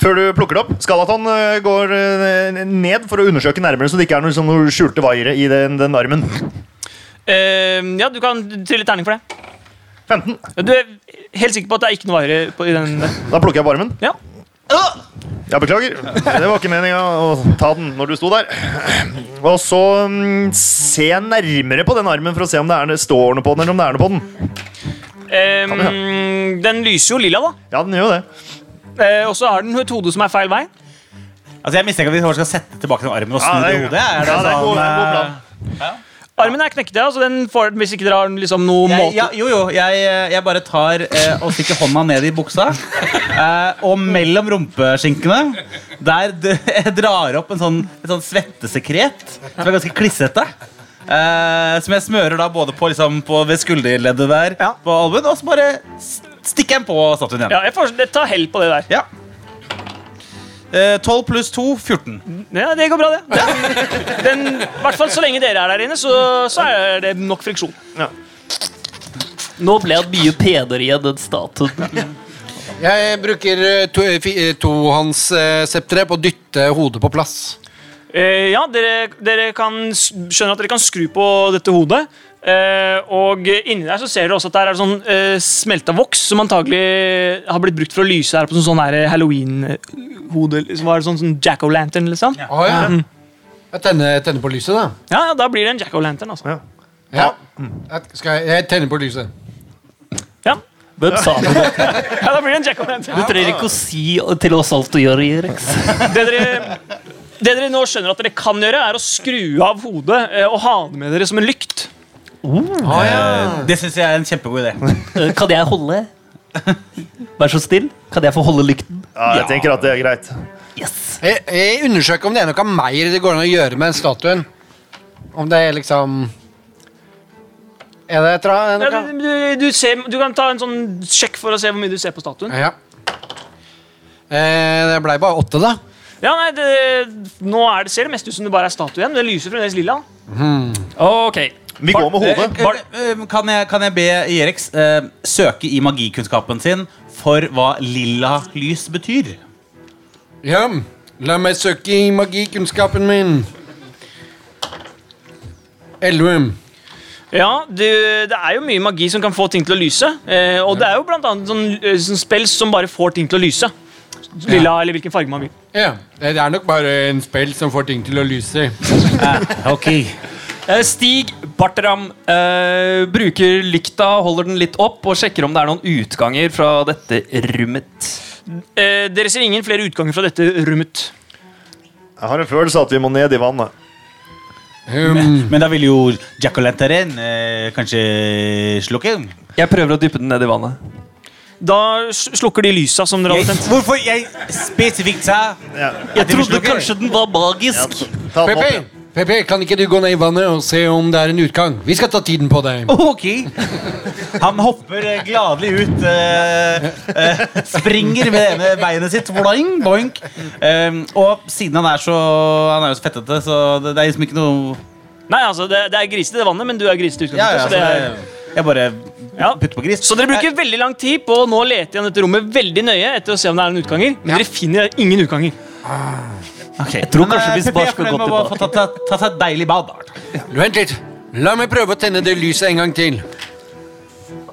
Før du plukker det opp, Skalaton eh, går eh, ned for å undersøke nærmere, så det ikke er noe, sånn noe skjulte vaiere i den, den armen. Eh, ja, du kan trille terning for det. 15. Du er helt sikker på at det er ikke noe vaiere på- i den Da plukker jeg på armen. Ja. Ja, beklager. Det var ikke meninga å ta den når du sto der. Og så mm, se nærmere på den armen for å se om det er, står noe på den, eller om det er noe på den. Eh, vi den lyser jo lilla, da. Ja, den gjør jo det. Eh, og så har den et hode som er feil vei. Altså, jeg mistenker at vi bare skal sette tilbake den armen og snu Ja, det det i er- hodet. Er det ja, det er en god- det er en god sånn, plan. eh, Armen er knekt, ja. Så den får, hvis ikke dere har liksom noe jeg, måte ja, jo, jo. Jeg, eh, jeg bare tar eh, og stikker hånda ned i buksa. Eh, og mellom rumpeskinkene der d jeg drar opp en sånn, en sånn svettesekret som er ganske klissete. Eh, som jeg smører da både på, liksom, på ved skulderleddet der Ja. på albuen, og så bare s- stikker jeg den på statuen igjen. Ja, jeg får, det tar hell på det der. Ja. Eh, 12 pluss 2 14. Ja, Det går bra, det. Ja. (laughs) Den, I hvert fall så lenge dere er der inne, så, så er det nok friksjon. Nå ble han mye penere igjen enn statuen. Jeg bruker eh, to- eh, fi- eh, tohåndssepteret på å dytte hodet på plass. Eh, ja, dere, dere kan s- skjønner at dere kan skru på dette hodet. Eh, og inni der så ser dere også at der er det sånn eh, smelta voks som antagelig har blitt brukt for å lyse her på sånn, sånn her halloween-hode. Liksom, Hva er det, sånn, sånn jack-o'-lantern, liksom? Ja. Å ja. Jeg tenner, tenner på lyset, da. ja, da blir det en jack-o'-lantern, altså. Ja. Jeg, skal jeg, jeg tenner på lyset. Ja. Hvem sa det? ja, da blir det en jack-o'-lantern. Du trenger ikke å si til oss alt du gjør, Rex. Det dere, det dere nå skjønner at dere kan gjøre, er å skru av hodet eh, og ha det med dere som en lykt. Eh, Det syns jeg er en kjempegod idé. Eh, Kan jeg holde? Vær så snill. Kan jeg få holde lykten? Ja, jeg tenker at det er greit. Yes. Jeg, jeg undersøker om det er noe mer det går an å gjøre med den statuen. Om det er liksom Er det et eller Ja, annet? du, du, du, ser, du kan ta en sånn sjekk for å se hvor mye du ser på statuen. Ja. Eh, det blei bare åtte, da. Ja, nei, det, Nå er det, ser det mest ut som det bare er statue igjen. men Det lyser fremdeles lilla. Ok. Vi går med hodet. Eh, eh, Kan jeg, kan jeg be Jerex eh, søke i magikunnskapen sin for hva lilla lys betyr? Ja. La meg søke i magikunnskapen min. Elleve. Ja, du, Det er jo mye magi som kan få ting til å lyse. Eh, og det er jo blant annet sånn, eh, sånn spells som bare får ting til å lyse. Lilla, eller hvilken farge man vil. Ja. Det er nok bare en spill som får ting til å lyse. Ok Eh, Stig Bartram eh, bruker lykta, holder den litt opp og sjekker om det er noen utganger fra dette rommet. Eh, dere ser ingen flere utganger fra dette rommet. Jeg har en følelse av at vi må ned i vannet. Um, Men da vil jo Jack O'Lanteren eh, kanskje slukke. Jeg prøver å dyppe den ned i vannet. Da s- slukker de lysa som dere Jeg, hadde tent. hvorfor jeg spesifikt sa Ja. Jeg trodde kanskje den var magisk. Ta den opp Pepe, igjen. Pepe, kan ikke du gå ned i vannet og se om det er en utgang? Vi skal ta tiden på deg. Ok Han hopper eh, gladelig ut. eh, eh, springer med det ene beinet sitt. Boing, boing. Eh, og siden han er så Han er jo så fettete, så det, det er liksom ikke noe Nei, altså, det, det er grisete det vannet, men du er grisete i utgangspunktet. Ja, ja, så det er, så Jeg bare Ja. putter på gris. Så dere bruker veldig lang tid på å nå lete igjen dette rommet veldig nøye etter å se om det er noen utganger. Men Ja. dere finner ingen utganger. Jeg tror kanskje eh, vi bare skal gå Få tatt seg tatt seg et deilig bad. da. Vent litt. La meg prøve å tenne det lyset en gang til.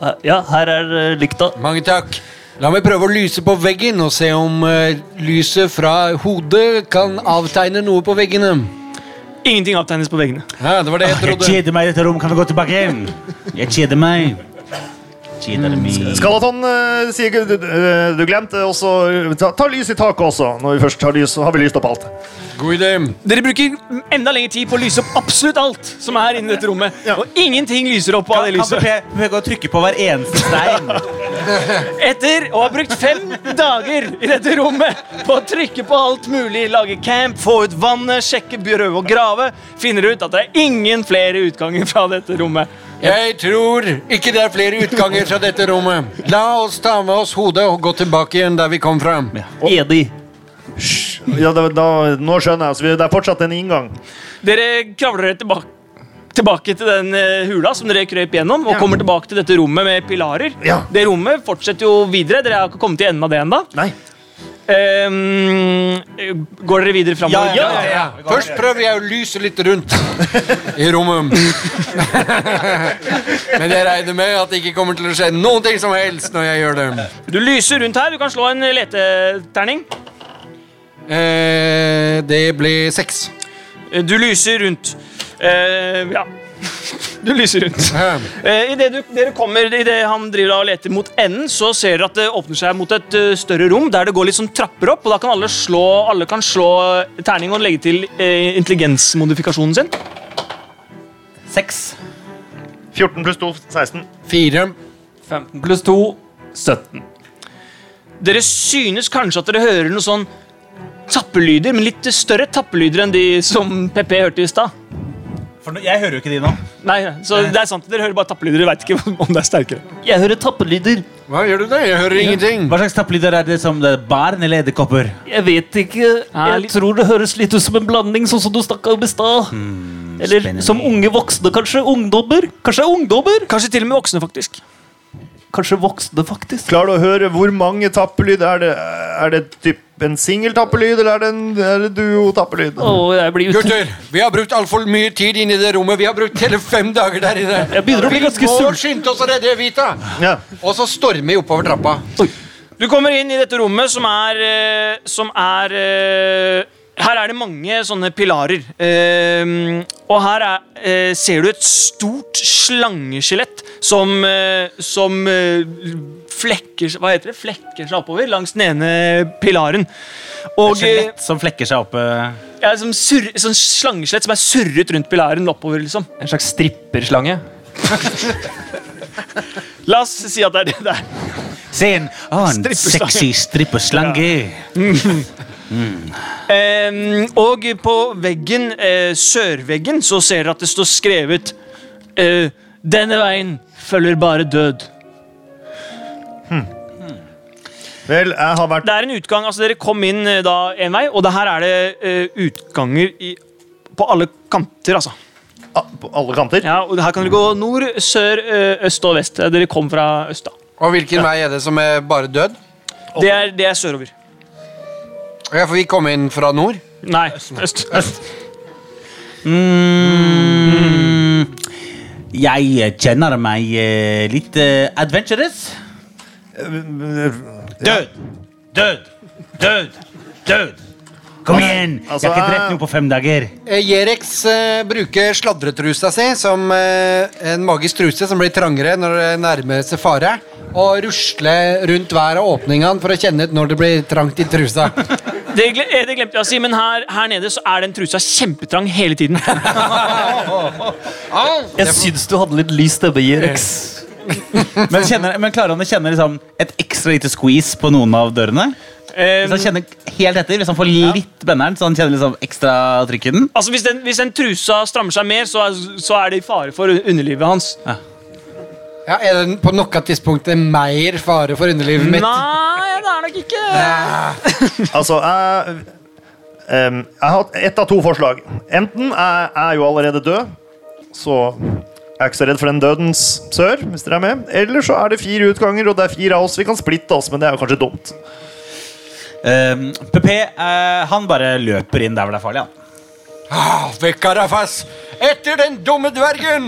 Eh, Ja, her er eh, lykta. Mange takk. La meg prøve å lyse på veggen og se om eh, lyset fra hodet kan avtegne noe på veggene. Ingenting avtegnes på veggene. Ja, det var det jeg Jeg (laughs) trodde. kjeder meg i dette rom. Kan vi gå tilbake inn? Jeg kjeder meg. Kjeder meg. Skalaton eh, sier du, du, du glemte også eh, ta, ta lys i taket også. Når vi først har lys, så har vi lyst opp alt. God idé. Dere bruker enda lengre tid på å lyse opp absolutt alt som er inni dette rommet. Og ingenting lyser opp av det Kan lyset. du prøve å trykke på hver eneste stein? Etter å ha brukt fem dager i dette rommet på å trykke på alt mulig, lage camp, få ut vannet, sjekke, prøve å grave, finner dere ut at det er ingen flere utganger fra dette rommet. Jeg tror ikke det er flere utganger fra dette rommet. La oss ta med oss hodet og gå tilbake igjen der vi kom fra. Edi. Ja, da, da, nå skjønner jeg. Så vi, det er fortsatt en inngang. Dere kravler dere tilbake. Tilbake til den eh, hula som dere krøp gjennom, og kommer tilbake til dette rommet med pilarer. Ja. Det rommet fortsetter jo videre. Dere har ikke kommet til enden av det ennå. Nei. Ehm, går dere videre framover? Ja, ja, Først prøver jeg å lyse litt rundt i rommet. (laughs) Men jeg regner med at det ikke kommer til å skje noen ting som helst når jeg gjør det. Du lyser rundt her. Du kan slå en leteterning. Eh, det ble seks. Eh, Du lyser rundt. Eh, ja. (laughs) Du lyser rundt. Eh, Uh, Idet dere kommer, i det han driver og leter mot enden, så ser dere at det åpner seg mot et eh, større rom der det går litt sånn trapper opp. og Da kan alle slå, alle kan slå terning og legge til eh, intelligensmodifikasjonen sin. Seks. 14 pluss 2, 16. Fire. 15 pluss 2 17. Dere synes kanskje at dere hører noe sånn tappelyder, men litt større tappelyder enn de som PP hørte i stad. For nå- jeg hører jo ikke de nå. Nei, så det er sant, Dere hører bare tappelyder. Dere veit ikke om det er sterkere. Jeg hører tappelyder. Hva gjør du da? Jeg hører ingenting. Hva slags tappelyder er det? som det er Barn eller edderkopper? Jeg vet ikke. Nei, Jeg litt- tror det høres litt ut som en blanding, sånn som du stakk av i stad. Eller spennende. som unge voksne, kanskje. Ungdommer. Kanskje det er ungdommer? Kanskje til og med voksne, faktisk. Kanskje voksne, faktisk. Klarer du å høre hvor mange tappelyd? Er det, er det typ en singel tappelyd, eller er det en er det duo tappelyd? Å, jeg blir ut... Gutter, vi har brukt altfor mye tid inne i det rommet. Vi har brukt hele fem dager der inne. Jeg begynner å bli ganske Vi må sulten. skynde oss å redde Evita. Ja. Og så stormer vi oppover trappa. Du kommer inn i dette rommet som er, eh, som er eh, Her er det mange sånne pilarer. Eh, og her er, eh, ser du et stort slangeskjelett som, eh, som eh, flekker seg- Hva heter det? Flekker seg oppover langs den ene pilaren. Og eh, Skjelett som flekker seg opp. eh. ja, som surr- sånn slangeskjelett som er surret rundt pilaren oppover, liksom. En slags stripperslange. La oss si at det er det der. Se en annen Strippeslange. sexy strippeslange. Ehm, og på veggen, eh, sørveggen, så ser dere at det står skrevet eh, Denne veien følger bare død. Vel, jeg har vært Det er en utgang, altså Dere kom inn eh, da en vei, og det her er det eh, utganger i, på alle kanter. altså. ah, på alle kanter. Ja, og Her kan dere gå nord, sør, eh, øst og vest. Eh, Dere kom fra øst. da. Og hvilken vei er det som er bare død? Det er, det er sørover. Ja, for vi kom inn fra nord. Nei, øst. øst. Jeg kjenner meg eh, litt eh, adventurous. Død! Død! Død! Død! Kom igjen! altså, jeg har ikke jeg- drept noe på fem dager. Eh, Jerex eh, bruker sladretrusa si som eh, en magisk truse som blir trangere når det nærmer seg fare. Og rusle rundt hver av åpningene for å kjenne ut når det blir trangt i trusa. Det, gle- eh, det glemte jeg å si, men her, her nede så er den trusa kjempetrang hele (laughs) tiden. Jeg syns du hadde litt lys stemme, Jerex. Eh, Men, kjenner, men klarer han å kjenne liksom, et ekstra lite squeeze på noen av dørene? Hvis han kjenner helt etter, hvis han får litt benneren, så han kjenner liksom ekstra trykk i den? Altså hvis den, hvis den trusa strammer seg mer, så er, så er det i fare for underlivet hans. Ja, er det på noe tidspunkt mer fare for underlivet mitt? Nei, det er nok ikke Altså, jeg em, Jeg har hatt ett av to forslag. Enten er jeg er jo allerede død, så Jeg er ikke så redd for den dødens sør, hvis dere er med. Eller så er det fire utganger, og det er fire av oss. Vi kan splitte oss, men det er jo kanskje dumt. Um, PP eh, han bare løper inn der hvor det er farlig. Han. Ah, vekk, Arafas! Etter den dumme dvergen!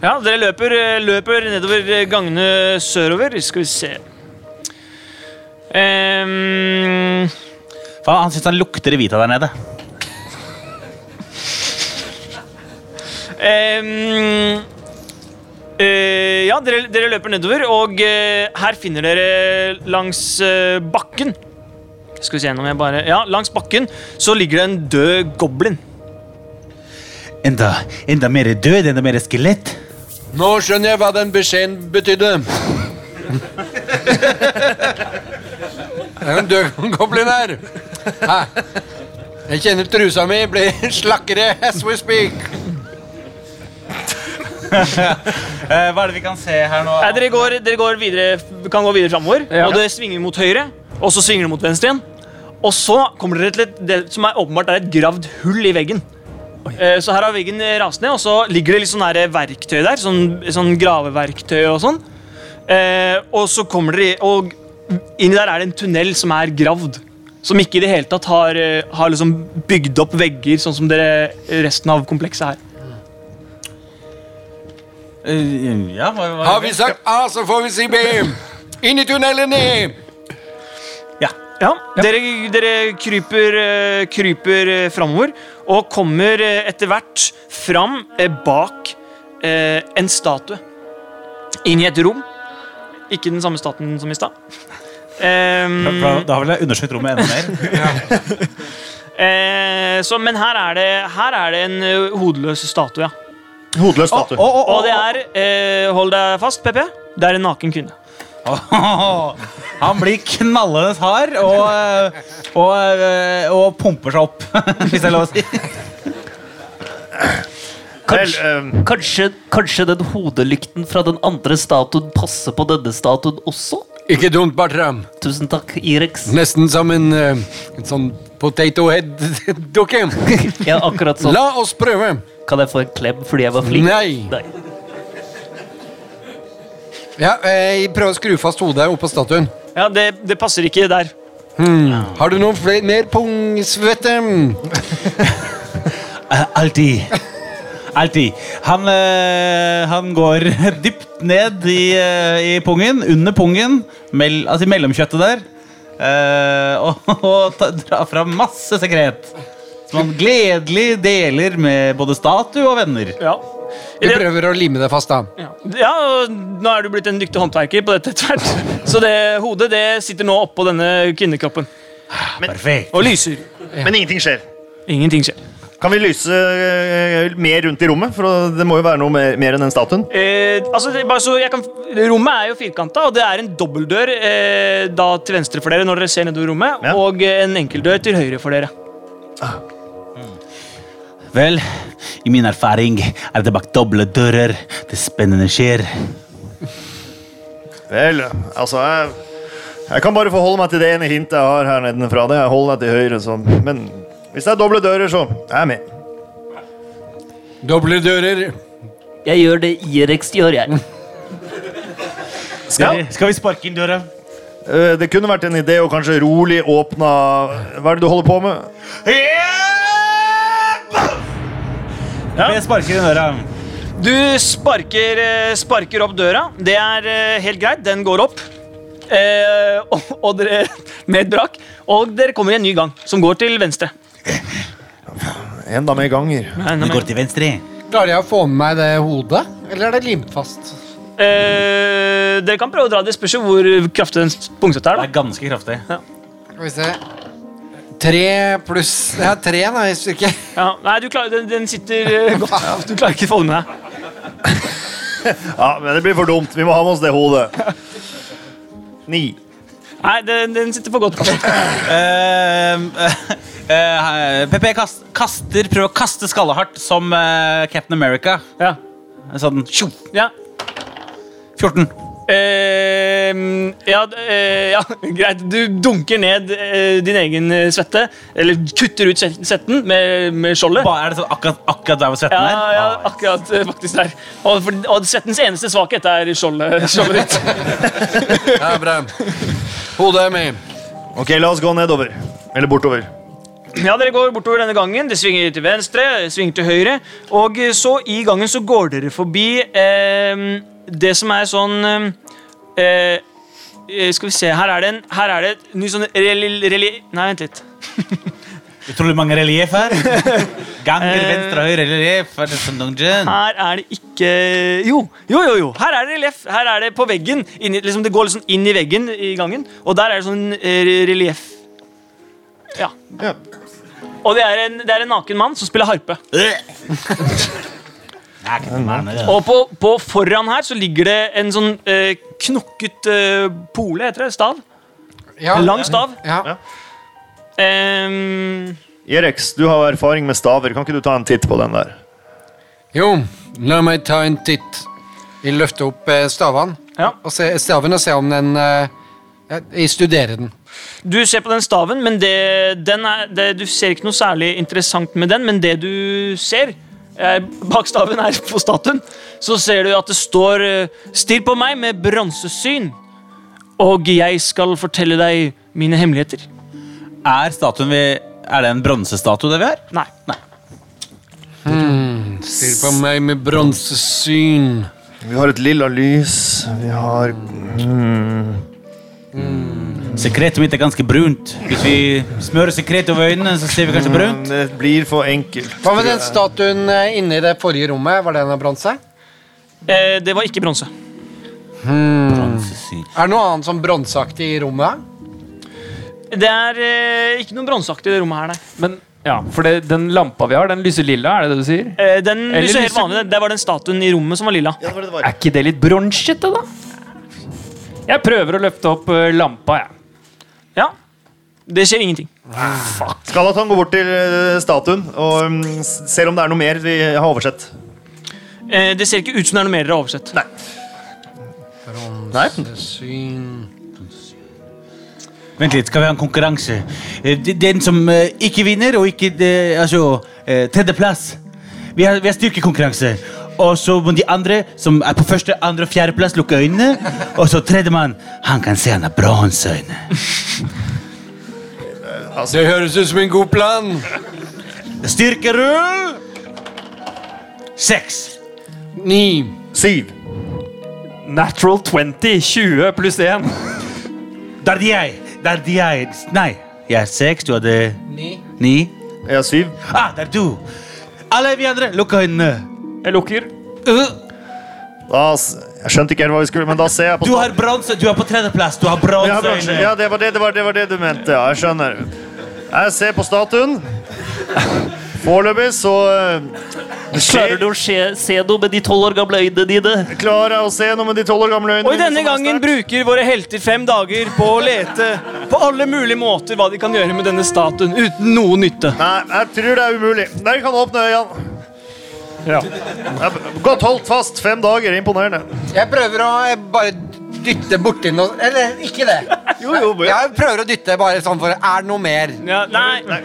Ja, dere løper, eh, løper nedover eh, gangene sørover. Skal vi se Ehm, Faen, han syns han lukter Evita der nede. ehm, eh, Ja, dere, dere løper nedover, og eh, her finner dere langs eh, bakken Skal vi se gjennom jeg bare Ja, langs bakken så ligger det en død goblin. Enda, enda mer død, enda mer skelett. Nå skjønner jeg hva den beskjeden betydde. Det er jo en død goblin her. Hæ? Jeg kjenner trusa mi blir slakkere as we speak. Eh, hva er det vi kan se her nå? Nei, dere går, dere går videre, kan gå videre framover, Ja. og det svinger mot høyre. Og så svinger det mot venstre igjen. Og så kommer dere til et, det som er åpenbart er et gravd hull i veggen. Eh, Så her har veggen eh, rast ned, og så ligger det litt sånn her verktøy der. Sånn, sånn graveverktøy og sånn. Eh, og så kommer dere i- Og inni der er det en tunnel som er gravd. Som ikke i det hele tatt har, eh, har liksom bygd opp vegger, sånn som dere resten av komplekset her. Eh, ja, hva, hva, (laughs) Har vi sagt A, så får vi si B. Inn i tunnelen, ned! Ja, Dere, dere kryper, eh, kryper eh, framover og kommer eh, etter hvert fram eh, bak eh, en statue. Inn i et rom. Ikke den samme staten som i stad. (laughs) Ehm, Da, da vil jeg undersøkt rommet enda mer. eh, så, men her er det, her er det en eh, hodeløs statue, ja. Hodeløs statue. (laughs) Å, å, å, Og det er eh, Hold deg fast, PP. Det er en naken kvinne. Åh, Han blir knallende hard og, eh, og, eh, og pumper seg opp, (laughs) hvis det er lov å si. Kanskje, Vel, eh, kanskje, kanskje den hodelykten fra den andre statuen passer på denne statuen også? Ikke dumt, Bartram. Tusen takk, Irex. Nesten som en, eh, en sånn potato (laughs) head-dukke. Ja, akkurat sånn. La oss prøve. Kan jeg få en klem fordi jeg var flink? Nei. Ja, eh, jeg prøver å skru fast hodet oppå statuen. Ja, Det, det passer ikke der. Har du noe fle- mer pungsvette? Eh, Alltid. Alltid. Han, eh, han går (laughs) dypt ned i, eh, i pungen, under pungen, mell, altså i mellomkjøttet der, eh, (laughs) og, og ta, drar fra masse sekret. Som han gledelig deler med både statue og venner. Ja. I Vi det- prøver å lime det fast, da. Ja. ja, og nå er du blitt en dyktig håndverker på dette tvert. Så det hodet det sitter nå oppå denne kvinnekroppen Perfekt. og lyser. Men ingenting skjer. Ingenting skjer. Kan vi lyse eh, mer rundt i rommet? For å- det må jo være noe mer, mer enn den statuen. Eh, altså, det, er bare så jeg kan, rommet er jo firkanta, og det er en dobbeltdør eh, da til venstre for dere når dere ser nedover rommet, Ja. og eh, en enkeltdør til høyre for dere. Vel, i min erfaring er det bak doble dører det spennende skjer. Vel, altså jeg, jeg kan bare forholde meg til det ene hintet jeg har her nedenfra. Det er hold deg til høyre, sånn. Men hvis det er doble dører, så er jeg med. Doble dører. Jeg gjør det Irex gjør, jeg. Skal, skal vi sparke inn døra? Eh, Det kunne vært en idé å kanskje rolig åpne Hva er det du holder på med? Ja. Vi sparker inn døra. Du sparker, eh, sparker opp døra. Det er eh, helt greit. Den går opp. Eh, (laughs) og, og dere, med et brak. Og dere kommer i en ny gang, som går til venstre. Enda mer ganger. Vi går til venstre. Klarer jeg å få med meg det hodet, eller er det limt fast? Eh, dere kan prøve å dra det. Spørs jo hvor kraftig den pungsete Det er. er ganske kraftig. Skal vi se. Tre pluss Jeg har tre da, i styrke. da ja, Nei, du klarer, den, den sitter eh, godt. Du klarer ikke å få den med deg. Ja, men det blir for dumt. Vi må ha med oss det hodet. Ni. Nei, den, den sitter for godt. Eh, (laughs) PP eh, kast, kaster, prøver å kaste skallet hardt som eh, Captain America. Ja. Sånn tjo, ja. 14. Eh, Eh, ja, d- eh, ja, (laughs) greit. Du dunker ned eh, din egen eh, svette. Eller kutter ut svet- svetten med, med skjoldet. Hva er det sånn akkurat, akkurat der hvor svetten Ja, er? ja, Ah, akkurat eh, faktisk der. Og, for, og svettens eneste svakhet er skjoldet, skjoldet ditt. Ja, bra. Hodet er med. Ok, la oss gå nedover. Eller bortover. Ja, dere går bortover denne gangen. Det svinger til venstre, det svinger til høyre. Og eh, så i gangen så går dere forbi eh, det som er sånn eh, eh, Skal vi se, her er det en Her er det et ny sånn reli... reli nei, vent litt. Utrolig mange relieff (laughs) her. Ganger, Eh. venstre, høyre, relieff. Er det sånn dungeon? Her er det ikke Jo, jo, jo. jo. Her er det relieff. Her er det på veggen. Inni, liksom, det går liksom inn i veggen i gangen, og der er det sånn eh, re- relieff. Ja. Ja. Og det er, en, det er en naken mann som spiller harpe. Nei, ikke sånn, nei, nei. Og på, på foran her så ligger det en sånn eh, knokket eh, pole, heter det? Stav? Ja. En lang stav. Ja. Ehm, Erex, du har erfaring med staver. Kan ikke du ta en titt på den der? Jo, la meg ta en titt. Jeg løfter opp eh, stavene Ja. og se, staven og se om den eh, Jeg jeg studerer den. du ser på den staven, men det, den er, det, du ser ikke noe særlig interessant med den. Men det du ser eh, bak staven her på statuen, så ser du at det står eh, 'Stirr på meg med bronsesyn', og jeg skal fortelle deg mine hemmeligheter. Er statuen vi Er det en bronsestatue, det vi har? Nei. Stirrer på meg med bronsesyn. Vi har et lilla lys. Vi har Sekretet mitt er ganske brunt. Hvis vi smører sekret over øynene, så ser vi kanskje brunt. Det blir for enkelt. Hva med den statuen eh, inne i det forrige rommet? Var den av bronse? Eh, det var ikke bronse. Bronsesyn. Er det noe annet sånn bronseaktig i rommet? Det er eh, ikke noe bronseaktig i det rommet her, nei. Men ja, for det, den lampa vi har, den lyser lilla, er det det du sier? Eh, Den Eller lyser helt lyser- vanlig. Det var den statuen i rommet som var lilla. Ja, det var det det Er var. ikke det litt bronsete, da? Jeg prøver å løfte opp eh, lampa, jeg. Ja. Det skjer ingenting. Skalatan går bort til eh, statuen og mm, s- ser om det er noe mer vi har oversett. Eh, Det ser ikke ut som det er noe mer dere har oversett. Bronsesyn Vent litt, skal vi ha en konkurranse? Eh, de- Den som eh, ikke vinner, og ikke eh, Altså, eh, tredjeplass. Vi har, vi har styrkekonkurranse. Og så må de andre, som er på første, andre og fjerdeplass, lukke øynene. Og så tredjemann. Han kan se han har bronseøyne. Det høres ut som en god plan. Styrkerull seks. Ni. Siv. Natural 20. 20 pluss 1. Der de er. Der de er. Nei. Jeg er seks, du hadde ni. Jeg er syv. Ah, der er du. Alle vi andre, lukk øynene. Jeg lukker. Da, s- jeg skjønte ikke helt hva vi skulle, men da ser jeg på Du har bronse. Du er på tredjeplass. Du har Ja, bransje. bronseøyne. ja det, var det, det, var, det var det du mente. Ja, jeg skjønner. Jeg ser på statuen. Foreløpig så eh, Klarer du å se, se noe med de tolv år gamle øynene dine? Klarer jeg å se noe med de tolv år gamle øynene? Og i mine denne som er gangen sterkt? bruker våre helter fem dager på å lete på alle mulige måter hva de kan gjøre med denne statuen uten noe nytte. Nei, jeg tror det er umulig. Dere kan åpne øynene. Jeg- Godt holdt fast. Fem dager. Imponerende. Jeg prøver å eh, bare dytte borti noe Eller ikke det. Jo, jo, men- Jeg prøver å dytte bare sånn for Er det noe mer? Ja, nei, nei.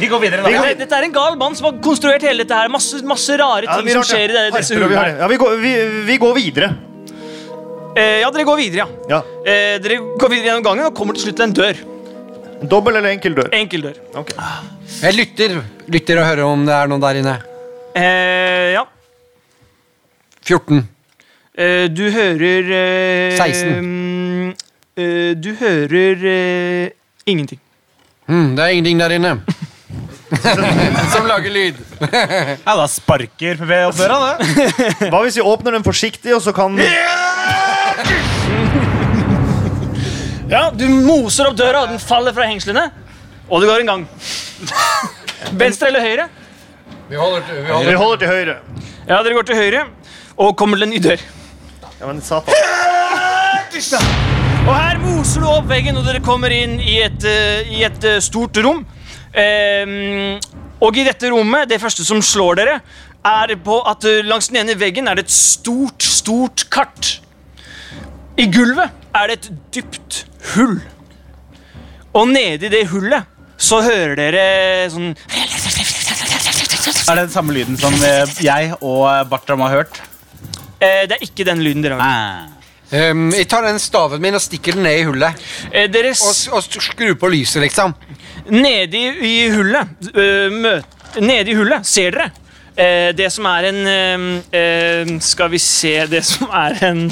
Vi går videre nå. Dette, dette er en gal mann som har konstruert hele dette her. Masse, masse rare Ja, det ting blir som rart, ja. skjer i det- disse Harper, og vi har hullene. det. Ja, vi, går, vi, vi går videre. Eh, Ja, dere går videre, ja. Ja. Eh, Dere går videre gjennom gangen og kommer til slutt til en dør. Dobbel eller enkel dør? Enkel dør. Ok. Jeg lytter. Lytter og hører om det er noe der inne. Eh, Ja. 14. Eh, Du hører eh, 16. mm, eh, Du hører eh, ingenting. Hmm, det er ingenting der inne. (laughs) Som lager lyd. Ja, da sparker PV opp døra, da. Hva hvis vi åpner den forsiktig, og så kan Ja, Du moser opp døra, og den faller fra hengslene. Og du går en gang. (laughs) Venstre eller høyre? Vi holder til, vi Vi holder til høyre. Ja, Dere går til høyre og kommer til en ny dør. Ja, men satan. Og her moser du opp veggen, og dere kommer inn i et, eh, i et eh, stort rom. Ehm, og i dette rommet, det første som slår dere, er på at eh, langs den ene veggen er det et stort, stort kart. I gulvet er det et dypt hull. Og nede i det hullet så hører dere sånn Er det den samme lyden som eh, jeg og Bartram har hørt? eh, Det er ikke den lyden dere har. Um, jeg tar den staven min og stikker den ned i hullet. Eh, dere Og, s- s- og s- skrur på lyset, liksom. Nede i, i hullet øh, mø- Nede i hullet ser dere eh, det som er en eh, eh, Skal vi se Det som er en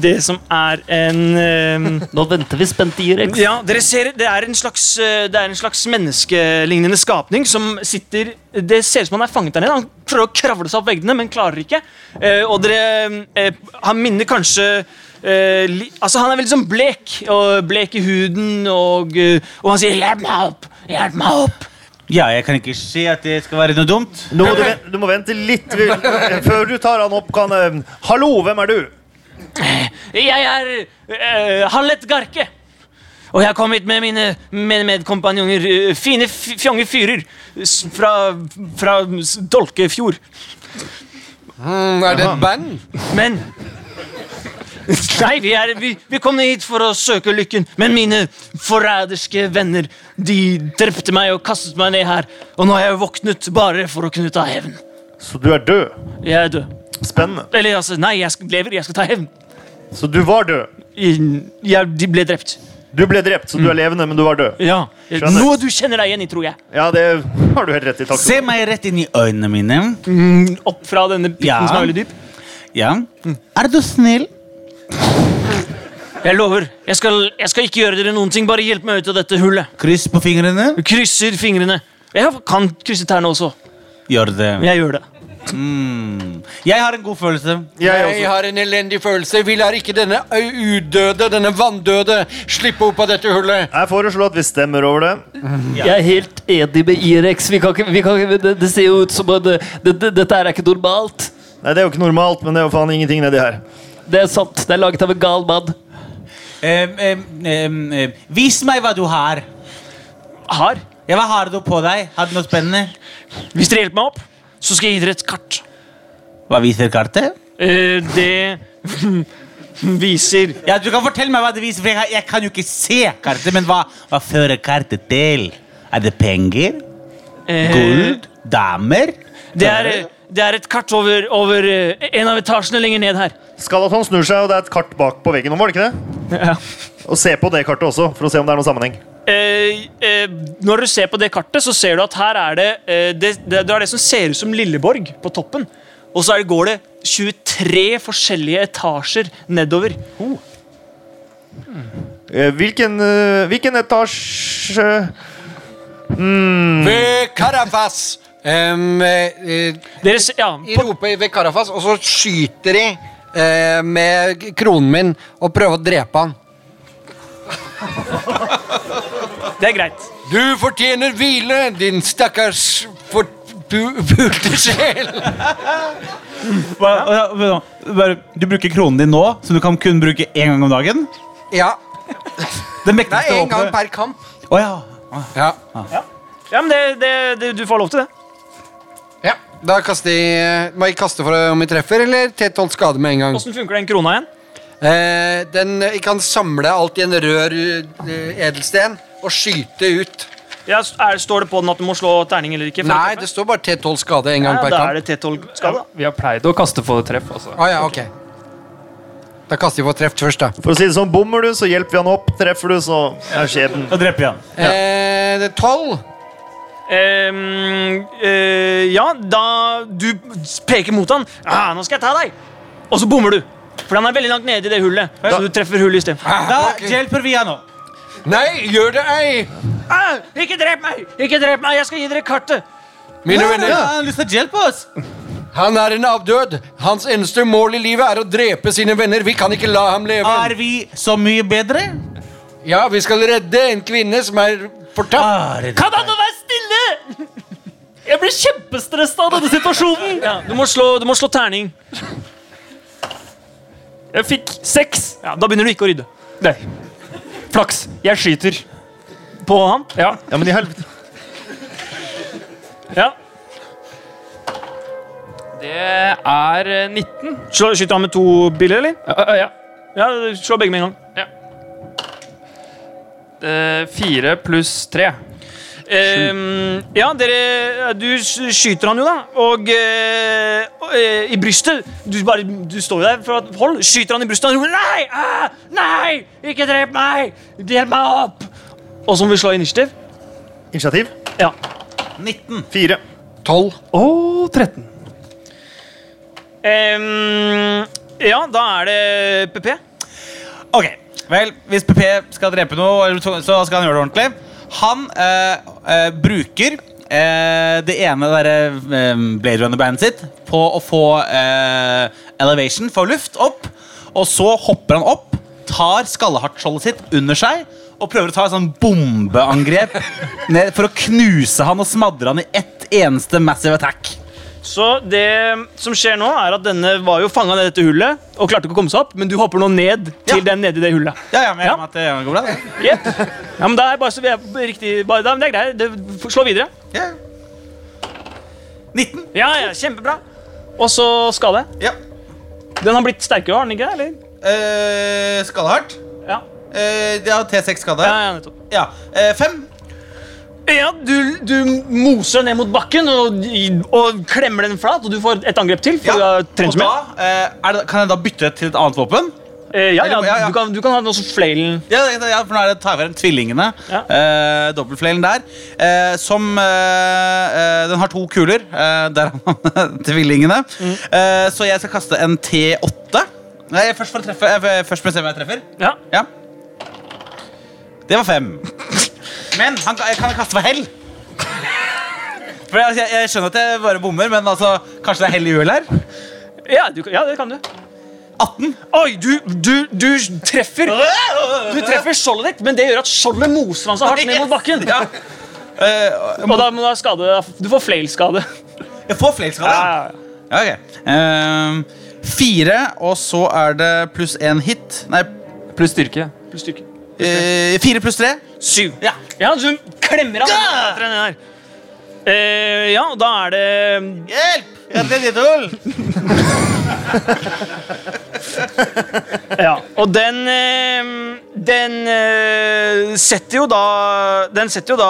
Det som er en eh, Nå venter vi spent i Rex. Ja, dere ser det er, en slags, eh, det er en slags menneskelignende skapning som sitter Det ser ut som han er fanget der nede. Han prøver å kravle seg opp veggene, men klarer ikke. Eh, og dere eh, Han minner kanskje eh, li, Altså, han er veldig sånn blek. Og blek i huden, og, eh, og han sier 'hjelp meg opp'. Hjelp meg opp! Ja, jeg kan ikke si at det skal være noe dumt. Nå må du, ven- du må vente litt vi- før du tar han opp. Kan, eh, Hallo, hvem er du? Jeg er eh, Hallet Garke. Og jeg har kommet med mine med medkompanjonger, eh, fine f- fjonge fyrer, s- fra, fra s- Dolkefjord. Mm, er det et band? Men (laughs) Nei, vi, er, vi, vi kom hit for å søke lykken, men mine forræderske venner de drepte meg og kastet meg ned her, og nå har jeg våknet bare for å kunne ta hevn. Så du er død. Jeg er død. Spennende. Eller altså, nei, jeg skal, lever, jeg skal ta hevn. Så du var død. Jeg, jeg, de ble drept. Du ble drept, så du er levende, men du var død. Ja. Skjønner. Noe du kjenner deg igjen i, tror jeg. Ja, det har du helt rett i. Takk. Se meg rett inn i øynene mine. Opp fra denne pitten Ja. som er veldig dyp. Ja. Er du snill? Jeg lover. Jeg skal, jeg skal ikke gjøre dere noen ting. Bare hjelp meg ut av dette hullet. Kryss på fingrene. Krysser fingrene. Jeg kan krysse tærne også. Gjør det. Jeg gjør det. Mm. Jeg har en god følelse. Jeg Jeg også. har en elendig følelse. Vi lar ikke denne ø, udøde, denne vanndøde, slippe opp av dette hullet. Jeg foreslår at vi stemmer over det. Jeg er helt enig med Irex. Vi kan ikke, vi kan ikke, det, det ser jo ut som at det, det, det, dette her er ikke normalt. Nei, Det er jo ikke normalt, men det er jo faen ingenting nedi her. Det er sant. Det er laget av en gal mann. Em, em, em, em. Vis meg hva du har. Har. Ja, hva har du på deg? Har du noe spennende? Hvis dere hjelper meg opp, så skal jeg gi dere et kart. Hva viser kartet? Eh, det (laughs) viser Ja, Du kan fortelle meg hva det viser, for jeg, har- jeg kan jo ikke se kartet. Men hva, hva fører kartet til? Er det penger? eh, Gull? Damer? Det er, det er et kart over, over eh, en av etasjene lenger ned her. Skalaton snur seg, og det er et kart bak på veggen. Om, var det ikke det? Ja. Og se på det kartet også, for å se om det er noen sammenheng. Eh, eh, når du ser på det kartet, så ser du at her er det, eh, det, det Det er det som ser ut som Lilleborg på toppen. Og så er det, går det 23 forskjellige etasjer nedover. Eh, Hvilken, eh, hvilken etasje Ved Karafas! Um, eh, eh, Dere ser, ja, jeg roper ved Karafas, og så skyter de eh, med kronen min og prøver å drepe han. det er greit. Du fortjener hvile, din stakkars forpulte sjel. Hva- hva- hva- bare- Du bruker kronen din nå, som du kan kun bruke én gang om dagen? Ja. Det mektigste Det er én gang våpenet- per kamp. Å ja. Ja. Ja, men det, det, det, Du får lov til det. ja. Da kaster jeg Må jeg kaste for om jeg treffer, eller T12 skade med en gang? Åssen funker den krona igjen? Eh, den, jeg kan samle alt i en rør eh, edelsten og skyte ut. Ja, s- er, står det på den at du må slå terning eller ikke? for å Nei, treffe? det står bare T12 skade en gang ja, per Da er kamp. det T12 skade. Vi har pleid å kaste for treff, altså. Å ja, ok. Da kaster vi på treff først, da. For å si det sånn, bommer du, så hjelper vi han opp. Treffer du, så er skjebnen. Da dreper vi han. Eh, det er 12. Ehm, eh, ja, da du peker mot han ah, 'Nå skal jeg ta deg!' Og så bommer du. For han er veldig langt nede i det hullet. Så du treffer hullet istedenfor. Da hjelper vi han nå. Nei, gjør det ei! Ah, 'Ikke drep meg! Ikke drep meg! Jeg skal gi dere kartet!' Mine Ja, venner, Han har lyst til å hjelpe oss. han er en avdød. Hans eneste mål i livet er å drepe sine venner. Vi kan ikke la ham leve. Er vi så mye bedre? Ja, vi skal redde en kvinne som er fortapt. Er Kan han nå være stille?! Jeg blir kjempestressa av denne situasjonen! Ja, du, må slå, du må slå terning. Jeg fikk seks. Ja, Da begynner du ikke å rydde. Nei. Flaks. Jeg skyter. På han? Ja. Ja, men i helvete. Ja. Det er eh, 19. Slå, skyter han med to biler, eller? eh, Ja, ja, ja. Ja, Slå begge med en gang. Eh, fire pluss tre. Ehm, ja, dere Du s- skyter han jo, da. Og eh, og, eh, i brystet. Du, bare, du står jo der fra et hold. Skyter han i brystet. Han roper 'nei! Ah, nei! Ikke drep meg! Hjelp meg opp!' Og så må vi slå initiativ. Initiativ. Ja. 19. Fire. 12. Og 13. Ehm, ja, da er det PP. Ok, vel, hvis PP skal drepe noe, eller så så skal han gjøre det ordentlig. Han eh, eh, bruker eh, det ene derre eh, Blade Runner-bandet sitt på å få eh, elevation, få luft opp, og så hopper han opp, tar skallehartskjoldet sitt under seg, og prøver å ta et sånn bombeangrep (laughs) ned for å knuse han og smadre han i ett eneste massive attack. Så det som skjer nå, er at denne var jo fanga ned i dette hullet og klarte ikke å komme seg opp, men du hopper nå ned til Ja. den nede i det hullet. Ja, ja, men jeg Ja. regner med at det går bra. det. Jepp. Ja, men det er bare så vi er på riktig bare, da, men Det er greit. Det- Slå videre. Ja. 19. Ja, ja, kjempebra. Og så skade. Ja. Den har blitt sterkere, har den ikke? Eller? Eh, skallehardt. Ja. Eh, ja, T6 skade. Ja, Ja, ja, nettopp. Eh, fem. Ja, du, du moser ned mot bakken og, og klemmer den flat, og du får et angrep til. For Ja. du har trent Og så da, mye. eh, er det, kan jeg da bytte til et annet våpen? Eh, ja, Eller- ja, ja, ja. du kan, du kan ha den også flailen. Ja, ja, ja for nå er det tar jeg frem tvillingene. Ja. Eh, Dobbeltflailen der. Eh, som eh, eh, Den har to kuler. Eh, der har man (laughs) tvillingene. Mm. Eh, så jeg skal kaste en T8. Nei, jeg først for å treffe. Jeg, først må jeg se om jeg treffer. Ja. Ja. Det var fem. (laughs) Men han kan, jeg kan kaste for hell. (laughs) For jeg, jeg, jeg skjønner at jeg bare bommer, men altså, kanskje det er hell i uhell her? Ja, du, kan- ja, det kan du. 18. Oi, du, du, du treffer Du treffer skjoldet ditt, men det gjør at skjoldet moser han så hardt ned mot bakken. Ja. Eh, Og da må du ha skade. Du får flail-skade. jeg får flere skader. Ja, Ja, ok. Ehm, fire, og så er det pluss én hit. Nei, Pluss styrke. Pluss styrke. eh, fire pluss tre. Syv. Ja. Ja, du klemmer av etter den her. Eh, ja, og da er det Hjelp! Jeg har tredjetull! Ja, og den eh, Den eh, setter jo da Den setter jo da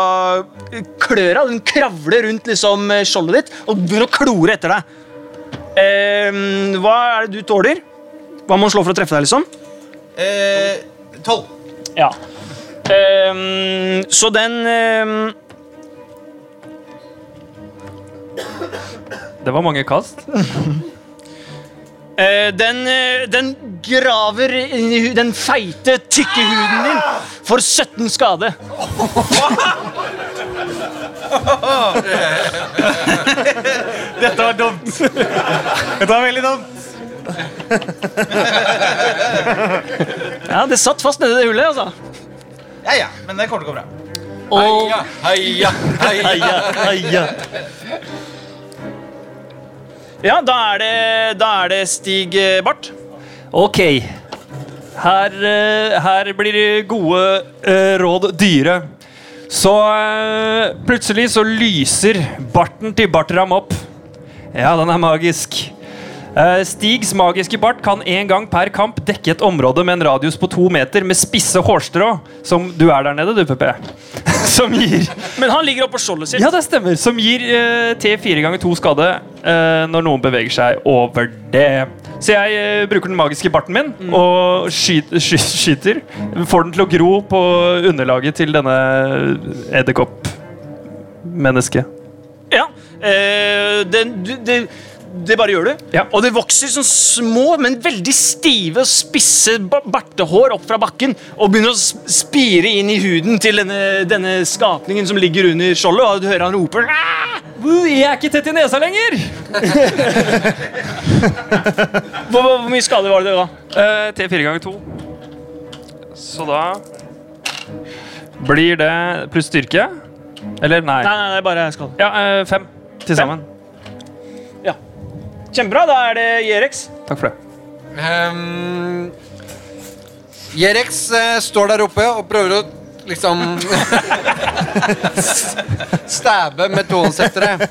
kløra. Den kravler rundt liksom eh, skjoldet ditt og begynner å klore etter deg. Eh, hva er det du tåler? Hva må man slå for å treffe deg, liksom? Eh, Tolv. Ja. Ehm, så den ehm, Det var mange kast. Eh, den, eh, den graver inn i hu- den feite, tykke huden din for 17 skade. (laughs) Dette var dumt. Dette var veldig dumt. Ja, Det satt fast nedi det hullet. altså. Ja, ja, men det kommer til å gå bra. Og Heia, heia, heia. Heia, heia. ja, da er det, da er det Stig eh, Barth. Ok. Her, eh, her blir det gode eh, råd dyre. Så eh, plutselig så lyser barten til Bartram opp. Ja, den er magisk. Eh, Stigs magiske bart kan en gang per kamp dekke et område med en radius på to meter med spisse hårstrå, som du er der nede, du, PP. (laughs) Som gir Men han ligger oppå skjoldet sitt. Ja, det stemmer. Som gir eh, T4 ganger 2 skade eh, når noen beveger seg over det. Så jeg eh, bruker den magiske barten min og skyt, (laughs) sky, skyter. Får den til å gro på underlaget til denne edderkoppmennesket. Ja, eh, den- du- det, det bare gjør du. Ja. Og det vokser sånn små, men veldig stive og spisse ba- bartehår opp fra bakken og begynner å s- spire inn i huden til denne, denne skapningen som ligger under skjoldet. Og du hører han roper «Ah!» Uh, Jeg er ikke tett i nesa lenger! hvor, hvor, hvor mye skade var det da? Eh, T4 ganger 2. Så da blir det pluss styrke. Eller nei. Nei, nei, nei, bare skade. Ja, eh, fem til sammen. Kjempebra. Da er det Jerex. Takk for det. Ehm, Jerex eh, står der oppe og prøver å liksom (laughs) Stæbe med tonesettere.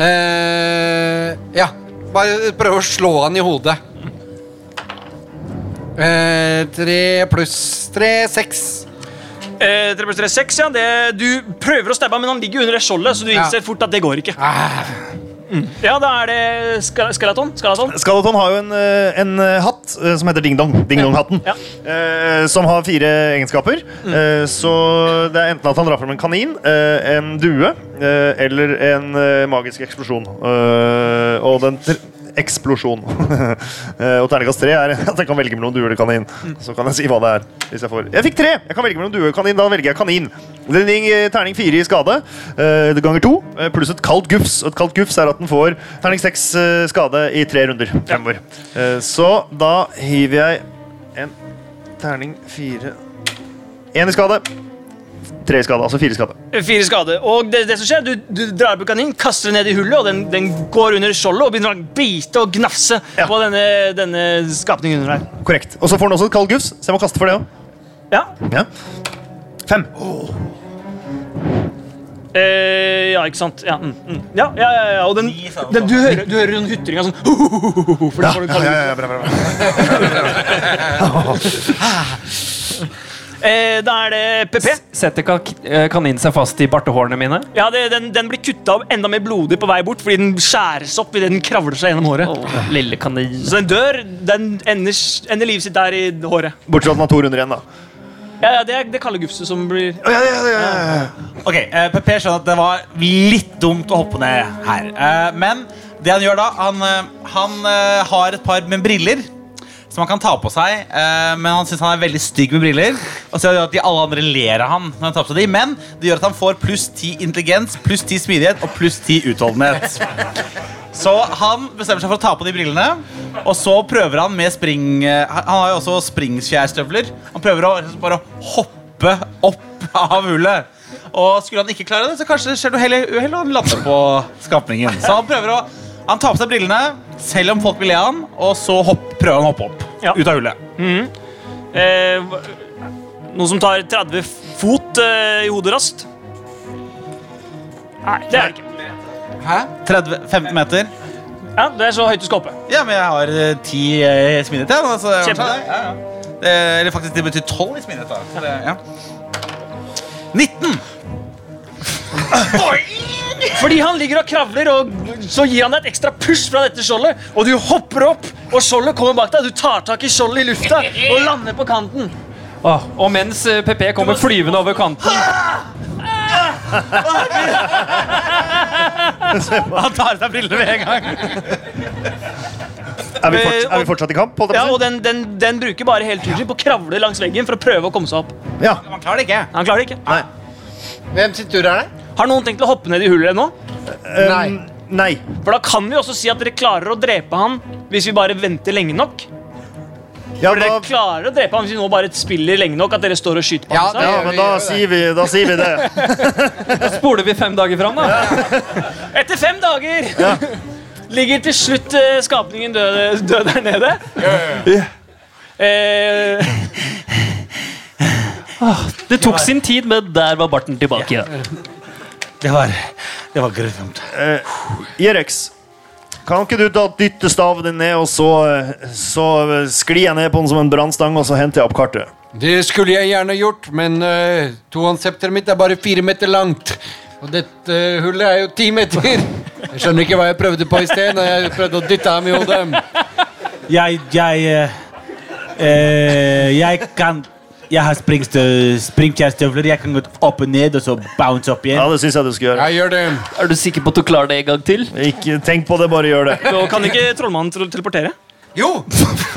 Eh, ja. Bare prøve å slå han i hodet. Eh, Tre pluss tre, seks. Eh, 3 pluss 3 er 6, ja. Det, du prøver å stabbe ham, men han ligger jo under det skjoldet, så du innser fort at det går ikke. Mm. Ja, da er det skal skalaton. skalaton. Skalaton har jo en, eh, en eh, hatt eh, som heter Ding Dong. Ding Dong-hatten. Ja. Eh, som har fire egenskaper. Eh, så det er enten at han drar fram en kanin, eh, en due eh, eller en eh, magisk eksplosjon. Eh, og den tr Eksplosjon. (laughs) Eh, og terningkast tre er (laughs) at jeg kan velge mellom due eller kanin. Så kan jeg si hva det er. Hvis jeg får Jeg fikk tre! Jeg kan velge mellom due og kanin. Da velger jeg kanin. Den gir, eh, Terning fire i skade eh, det ganger to, eh, pluss et kaldt gufs. Og et kaldt gufs er at den får terning seks eh, skade i tre runder fremover. Eh, Så da hiver jeg en terning fire Én i skade. Tre i skade, altså fire i skade. Fire skade. Og det, det som skjer, du, du drar på kaninen, kaster den ned i hullet, og den, den går under skjoldet og begynner å bite og gnafse Ja. på denne, denne skapningen under her. Korrekt. Og så får den også et kaldt gufs, så jeg må kaste for det òg. Ja. Ja. Fem. Eh, ja, ikke sant. Ja, mm, mm. ja, ja, ja, ja. Og den, den, du, hører, du hører den hytringa sånn for da får Ja, du kaldt ja, ja, bra, bra, bra. gufs. Eh, Da er det PP. Setter kak- eh, kaninen seg fast i bartehårene mine? Ja, det, den, den blir kutta av enda mer blodig på vei bort fordi den skjæres opp idet den kravler seg gjennom håret. Åh, lille kanin. Så den dør. Den ender, s- ender livet sitt der i håret. Bortsett fra at den har to runder igjen, da. Ja, ja, Det er det kalde gufset som blir Å, Ja, ja, ja, ja. Ok, eh, PP skjønner at det var litt dumt å hoppe ned her. Eh, men det han gjør da Han, eh, han eh, har et par med briller som han kan ta på seg. eh, men han syns han er veldig stygg med briller. Og så gjør det at de alle andre ler av han når han tar på seg de Men det gjør at han får pluss 10 intelligens, pluss 10 smidighet og pluss 10 utholdenhet. Så han bestemmer seg for å ta på de brillene, og så prøver han med spring... eh, Han han har jo også springskjærstøvler. Han prøver å liksom bare hoppe opp av hullet. Og skulle han ikke klare det, så kanskje skjer det heller uhell, og han lander på skapningen. Så han prøver å... Han tar på seg brillene, selv om folk vil le av han, og så hopp, prøver han å hoppe opp. Ja. Ut av hullet. eh, hva- Noen som tar 30 fot eh, i hodet raskt? Nei, det er det ikke. 30, 15 meter. Ja, Det er så høyt du skal hoppe. Ja, men jeg har eh, 10 eh, smidighet, ja. Altså, jeg har Kjempebra. det, Ja, ja. Det, eller faktisk, det betyr 12 i smidighet, da. Så det, ja. 19! Fordi han ligger og kravler, og så gir han deg et ekstra push fra dette skjoldet. Og du hopper opp, og skjoldet kommer bak deg. Du tar tak i skjoldet i lufta og lander på kanten. Åh, og mens eh, PP kommer flyvende over kanten Han tar av seg brillene med en gang. Er, vi fortsatt, er vi fortsatt i kamp? holdt jeg Ja, på å og den, den, den bruker bare hele turen sin på å kravle langs veggen for å prøve å komme seg opp. si? ja. Han klarer det ikke. Han klarer det ikke. Hvem sin tur er det? Har noen tenkt å hoppe ned i hullet nå? Nei. Ehm, Nei. For da kan vi også si at dere klarer å drepe han hvis vi bare venter lenge nok. Ja, For dere da, klarer å drepe han hvis vi nå bare spiller lenge nok at dere står og skyter på Ja, ham. det- ja, men da sier vi, da sier vi det. spoler vi fem dager fram, da. Etter fem dager (laughs) ligger til slutt eh, skapningen død, død der nede. Eh, Det tok sin tid, men der var barten tilbake. Det var, det var grusomt. Jerex, kan ikke du da dytte staven din ned, og så, så sklir jeg ned på den som en brannstang, og så henter jeg opp kartet? Det skulle jeg gjerne gjort, men uh, tohåndssepteret mitt er bare fire meter langt. Og dette eh, hullet er jo ti meter. Jeg skjønner ikke hva jeg prøvde på i sted. når Jeg prøvde å dytte ham i hodet. Jeg Jeg eh, eh, Jeg kan Jeg har springstø- springkjærstøvler. Jeg kan gå opp og ned og så bounce opp Ja, igjen. det syns jeg du skal gjøre. Jeg gjør det. Er du sikker på at du klarer det en gang til? Ikke tenk på det, bare gjør det. og kan ikke trollmannen tro- teleportere? Jo!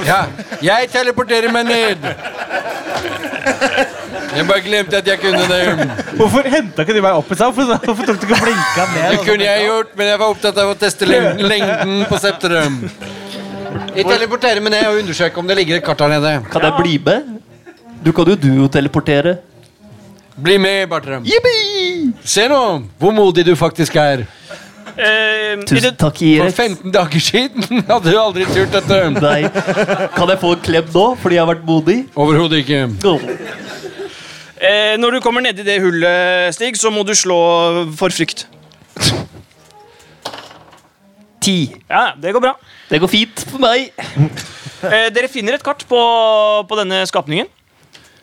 Ja, jeg teleporterer meg ned. Jeg bare glemte at jeg kunne det. Hvorfor henta ikke du meg opp i stad? Hvorfor, hvorfor tok du ikke blinka ned? Det kunne jeg gjort, men jeg var opptatt av å teste lengden, lengden på septeret. Jeg teleporterer meg ned og undersøker om det ligger et kart der nede. Kan jeg bli med? Du kan jo duoteleportere. Bli med, Bartram. Se nå hvor modig du faktisk er. Eh, i Tusen det, takk, For Jerex. 15 dager siden hadde du aldri turt dette. Nei. Kan jeg få en klem nå, fordi jeg har vært modig? Overhodet ikke. Åh. eh, når du kommer nedi det hullet, Stig, så må du slå for frykt. Ti. Ja, det går bra. Det går fint for meg. Eh, dere finner et kart på, på denne skapningen.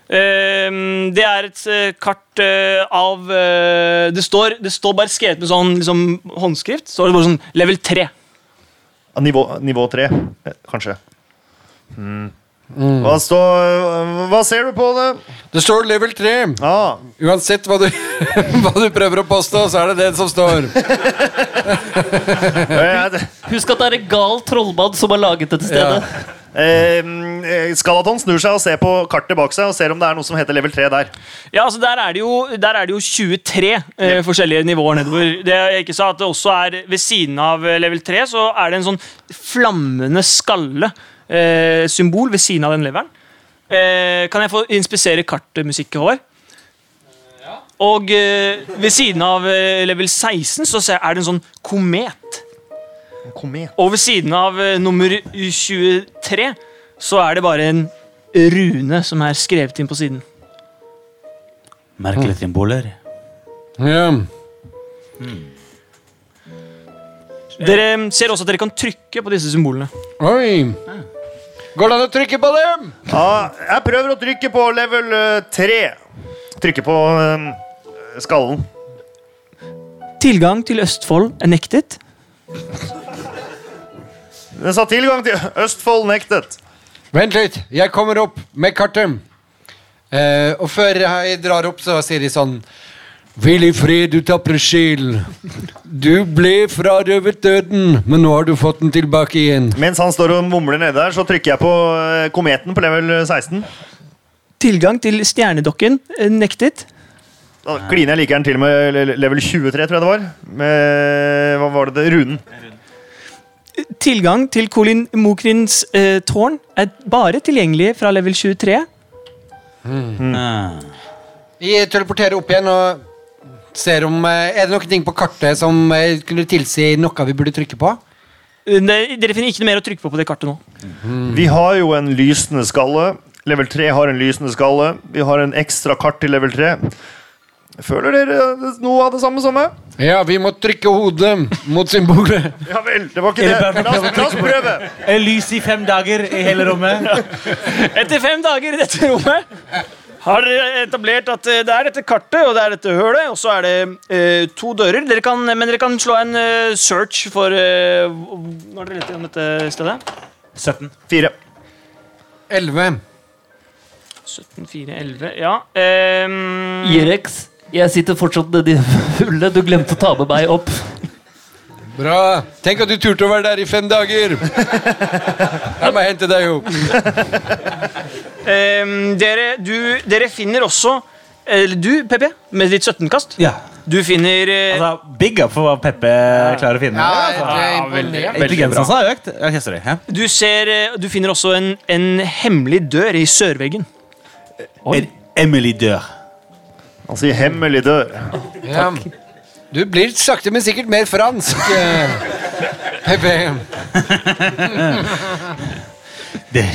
Eh, det er et eh, kart eh, av eh, det, står, det står bare skrevet med sånn liksom, håndskrift. Så er det bare sånn level 3. Nivå, nivå tre, eh, kanskje. Hmm. Hva, står, eh, hva ser du på det? Det står level 3. Ah, Uansett hva du, (laughs) hva du prøver å påstå, så er det det som står. eh, Husk at det er en gal trollmann som har laget dette stedet. eh, eh, Skalaton snur seg og ser på kartet bak seg og ser om det er noe som heter level 3 der. Ja, altså Der er det jo, der er det jo 23 eh, forskjellige nivåer nedover. Det jeg ikke sa at det også er Ved siden av eh, level 3 så er det en sånn flammende skalle-symbol ved siden av den leveren. Eh, kan jeg få inspisere kartmusikk, Håvard? Og eh, ved siden av eh, level 16 så ser- er det en sånn komet. Komet. Og ved siden av eh, nummer 23 så er det bare en rune som er skrevet inn på siden. Merkelige symboler. Ja. Dere ser også at dere kan trykke på disse symbolene. Oi. Går det an å trykke på dem? Ja, jeg prøver å trykke på level 3. Trykke på eh, skallen. Tilgang til Østfold er nektet. Den sa tilgang til Østfold nektet. Vent litt, jeg kommer opp med kartet. Eh, og før jeg drar opp, så sier de sånn Hvil i fred, du tapre sjel. Du ble frarøvet døden, men nå har du fått den tilbake igjen. Mens han står og mumler nede der, så trykker jeg på eh, kometen på level 16. Tilgang til stjernedokken er nektet. Da kliner jeg like gjerne til med le- level 23, tror jeg det var. Med, hva var det det? Runen. Tilgang til Colin Mokrins eh, tårn er bare tilgjengelig fra level 23. Ah. Jeg teleporterer opp igjen og ser om eh, Er det noen ting på kartet som eh, kunne tilsi noe vi burde trykke på? Eh, nei, Dere finner ikke noe mer å trykke på på det kartet nå. Vi har jo en lysende skalle. Level 3 har en lysende skalle. Vi har en ekstra kart til level 3. Føler dere noe av det samme som meg? Ja, vi må trykke hodet mot symbolet. Ja vel, det var ikke det. La oss, la oss prøve. Eh, Lys i fem dager i hele rommet. Etter fem dager i dette rommet har dere etablert at eh, det er dette kartet og det er dette hølet, og så er det eh, to dører. Dere kan, men dere kan slå en eh, search for eh, hv- Når dere leter gjennom dette stedet. 17. Fire. 11. 17, 4, 11, ja. ehm, Irex, jeg sitter fortsatt nedi (laughs) hullet. Du glemte å ta med meg opp. Bra. Tenk at du turte å være der i fem dager. Jeg må hente deg opp. ehm, dere, du, dere finner også eller du, PP, med ditt 17-kast. Ja. Du finner eh, Altså, big up for hva Peppe klarer å finne. Intelligensen hans har økt. Ja, sorry. Ja. du, ser, eh, du finner også en, en hemmelig dør i sørveggen. En Emily dør. Han sier hemmelig dør. Ja. Du blir sakte, men sikkert mer fransk. eh, Pepe. Det,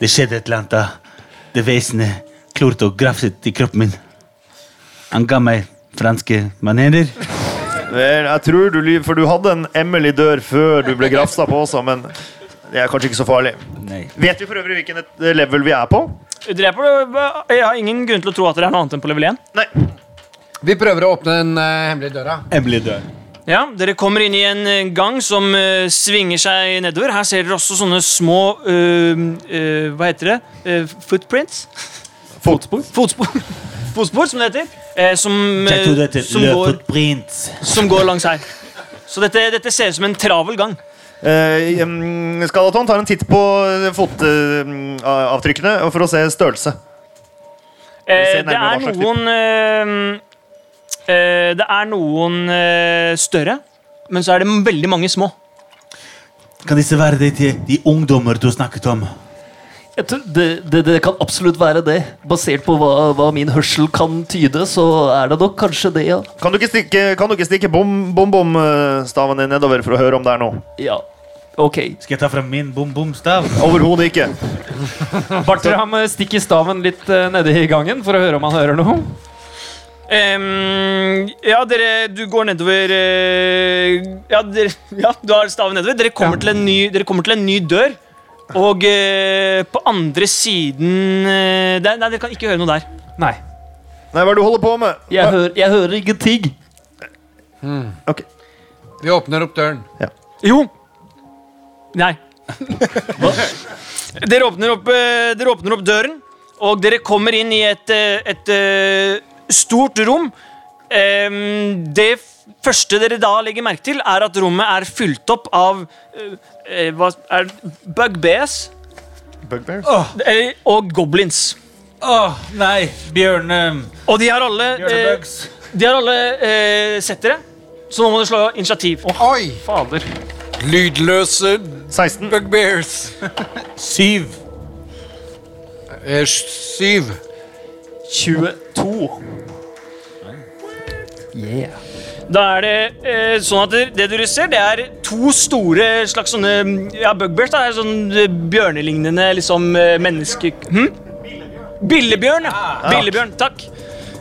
det skjedde et eller annet da det vesenet klorte og grafset i kroppen min. Han ga meg franske manerer. Vel, jeg tror du lyver, for du hadde en Emily dør før du ble grafsa på også, men det er kanskje ikke så farlig. Nei. Vet vi for øvrig hvilken et- level vi er på? Dere er på, eh, jeg har ingen grunn til å tro at dere er noe annet enn på level 1. Nei. Vi prøver å åpne den eh, hemmelige døra. Emily dør. Ja, Dere kommer inn i en eh, gang som eh, svinger seg nedover. Her ser dere også sånne små eh, eh, Hva heter det? Eh, footprints? Fotspor. Fotspor, (laughs) Fotspor som det heter. Eh, som, Jeg tror det eh, heter som, går, Løputprins. som går langs her. Så dette, dette ser ut som en travel gang. Eh, em, Skalaton tar en titt på fotavtrykkene for å se størrelse. Eh, ser det nærmere er hva slags noen eh, eh, Det er noen eh, større, men så er det veldig mange små. Kan disse være de, de, de ungdommer du snakket om? Jeg tror det, det, det kan absolutt være det. Basert på hva, hva min hørsel kan tyde, så er det nok kanskje det, ja. Kan du ikke stikke, kan du ikke stikke bom, bom, bom eh, staven din nedover for å høre om det er noe? ja. Ok. Skal jeg ta fram min bom-bom-stav? Overhodet ikke. Bartram eh, stikker staven litt eh, nedi i gangen for å høre om han hører noe. Ehm, ja, dere Du går nedover (laughs) eh, ja, dere, ja, du har staven nedover. Dere kommer, til en ny, dere kommer til en ny dør. Og eh, på andre siden eh, der, Nei, dere kan ikke høre noe der. Nei. Nei, hva er det du holder på med? Jeg, hører- jeg hører ingenting. Ok. Vi åpner opp døren. Jo. Nei. dere, åpner opp, eh, dere åpner opp døren, og dere kommer inn i et, eh, et eh, stort rom. Em, Det f- første dere da legger merke til, er at rommet er fylt opp av eh, eh, hva er det? bugbears Bugbears? eh, og goblins. Åh, nei. Bjørne... Og de har alle, eh, Bjørnebugs. de har alle eh, sett dere, så nå må dere slå initiativ. Oi! Fader. Lydløse 16. bugbears. Syv. Eh, syv. 22. Da er det eh, sånn at det- det dere ser, det er to store slags sånne Ja, bugbears. da, er Sånn eh, bjørnelignende liksom eh, menneske... Hm? Billebjørn, Ah, ja. Billebjørn, takk.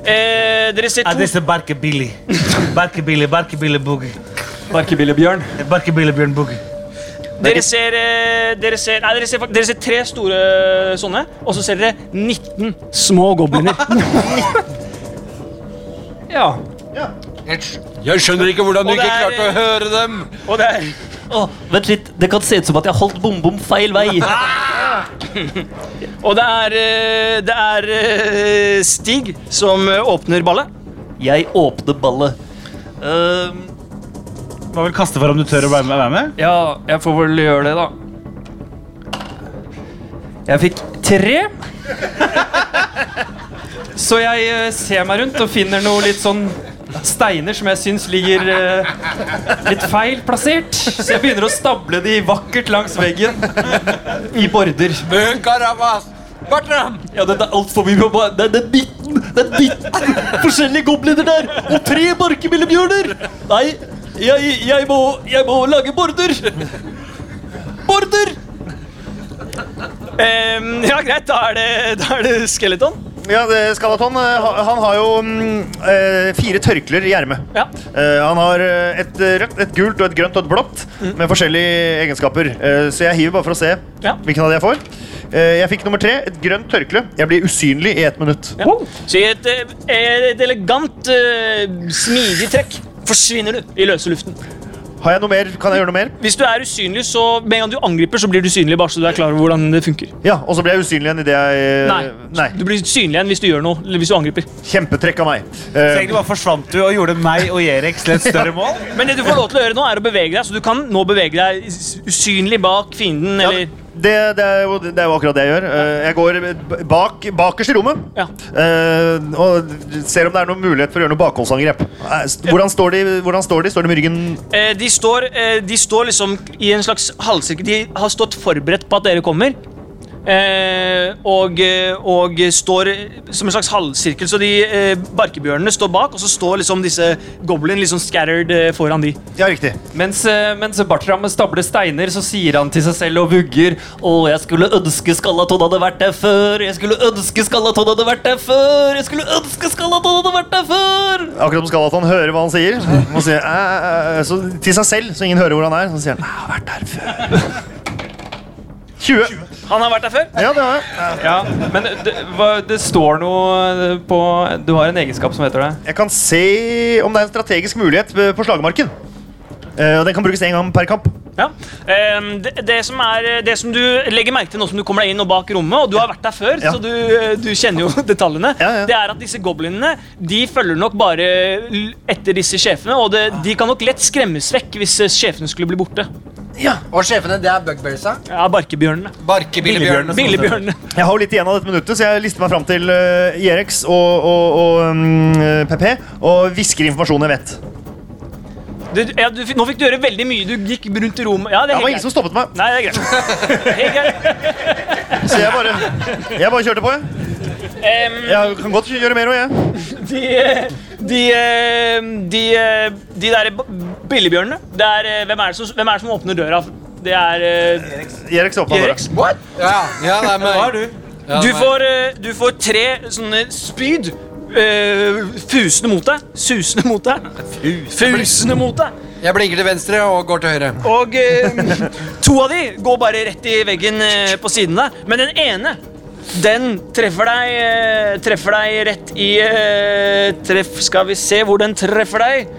Eh, dere ser Er to disse Barkebilly? Barkebilly, Barkebilly Boogie. Barkebillebjørn. Barkebilly Bjørn Boogie. Dere ser, eh, dere, ser, nei, dere, ser, fak- dere ser tre store eh, sånne, og så ser dere 19 små (laughs) gobliner. Ja. Jeg skjønner ikke hvordan du Og det ikke er- klarte å høre dem. Og det er Å, vent litt, det kan se ut som at jeg har holdt bom-bom feil vei. (laughs) Og det er, eh, det er eh, Stig som eh, åpner ballet. Jeg åpner ballet. Ehm, Må vel kaste for om du tør å være med. Være med. ja, jeg får vel gjøre det, da. Jeg fikk tre. Så jeg eh, ser meg rundt og finner noe litt sånn steiner som jeg syns ligger eh, litt feil plassert. Så jeg begynner å stable de vakkert langs veggen i border. Eh, Karabas! Bartram! ja, det er altfor mye på meg. Det er- det er 19, det er 19 forskjellige gobliner der! Og tre barkebillebjørner! Nei, jeg, jeg, må, jeg må lage border. Border! Eh, ja, greit, da er det, da er det Skeleton. Ja, det- Skalaton eh, ha- han har jo mm, eh, fire tørklær i ermet. Ja. Eh, han har eh, et eh, rødt, et gult, og et grønt og et blått med forskjellige egenskaper. Eh, så jeg hiver bare for å se Mm. Ja. hvilken av de jeg får. Eh, jeg fikk nummer tre, et grønt tørkle. Jeg blir usynlig i ett minutt. Ja. Så i et, eh, et elegant, eh, smidig trekk forsvinner du i løse luften. Har jeg noe mer? Kan jeg gjøre noe mer? Hvis du er usynlig, så med en gang du angriper, så blir du synlig. bare så du er klar over hvordan det funker. Ja, Og så blir jeg usynlig igjen idet jeg eh, Nei. Du blir synlig igjen hvis du gjør noe, eller hvis du angriper. Kjempetrekk av meg. Så Eh, egentlig bare forsvant du og gjorde meg og Jerek til et større mål. Men det du får lov til å gjøre nå, er å bevege deg, så du kan nå bevege deg s- usynlig bak fienden, ja, eller det, det, er jo, det er jo akkurat det jeg gjør. Eh, Jeg går b- bak, bakerst i rommet Ja. eh, og ser om det er noen mulighet for å gjøre noe bakholdsangrep. Eh, st- Hvordan står de? Hvordan står de? Står de med ryggen Eh, de, står, eh, de står liksom i en slags halvsirkel. De har stått forberedt på at dere kommer. Eh, og, eh, og står som en slags halvsirkel. Så de eh, barkebjørnene står bak, og så står liksom disse goblin liksom scattered eh, foran de. Ja, riktig. Mens, eh, mens Bartram stabler steiner, så sier han til seg selv og vugger Å, jeg skulle ønske Skalaton hadde vært der før! Jeg skulle ønske Skalaton hadde vært der før! Jeg skulle ønske Skalaton hadde vært der før! Akkurat som Skalaton hører hva han sier. Må si, eh, eh, eh, så, til seg selv, så ingen hører hvor han er. Så sier han 'Jeg har vært der før'. (laughs) 20. Han har vært der før. Ja, det har jeg. Ja, men det, hva, det står noe eh, på Du har en egenskap som heter det. Jeg kan se om det er en strategisk mulighet eh, på slagmarken. Eh, Og den kan brukes én gang per kamp. Ja. Eh, det, det, som er, det som du legger merke til nå som du kommer deg inn og bak rommet, og du har vært der før, Ja. så du, eh, du kjenner jo (laughs) detaljene, Ja, ja. det er at disse goblinene de følger nok bare l- etter disse sjefene, og det, de kan nok lett skremmes vekk hvis eh, sjefene skulle bli borte. Og sjefene, det er bugbearsa? Ja, barkebjørnene. Barkebillebjørn. Billebjørnene. Jeg har jo litt igjen av dette minuttet, så jeg lister meg fram til uh, Jerex og, og, og mm, eh, PP og hvisker informasjonen jeg vet. Du, ja, du, fikk- nå fikk du gjøre veldig mye. Du gikk rundt i rommet. Ja, det Det er var helt ingen som greit. stoppet meg, Nei, det er greit. (laughs) Helt greit. så jeg bare, jeg bare kjørte på. Jeg. Em, jeg kan godt gjøre mer òg, jeg. de, eh, de, eh, de, eh, de der b- billebjørnene det er, eh, hvem, er det som, hvem er det som åpner døra? Det er eh, Jerex åpna døra. Jerex. Ja, ja, nei, men... Hva har du? Ja, Du nei. får, eh, du får tre sånne spyd eh, fusende mot deg. Susende mot deg. Fusende mot deg. Jeg blinker til venstre og går til høyre. Og eh, to av de går bare rett i veggen eh, på siden der. Men den ene, den treffer deg eh, Treffer deg rett i eh, Treff Skal vi se hvor den treffer deg.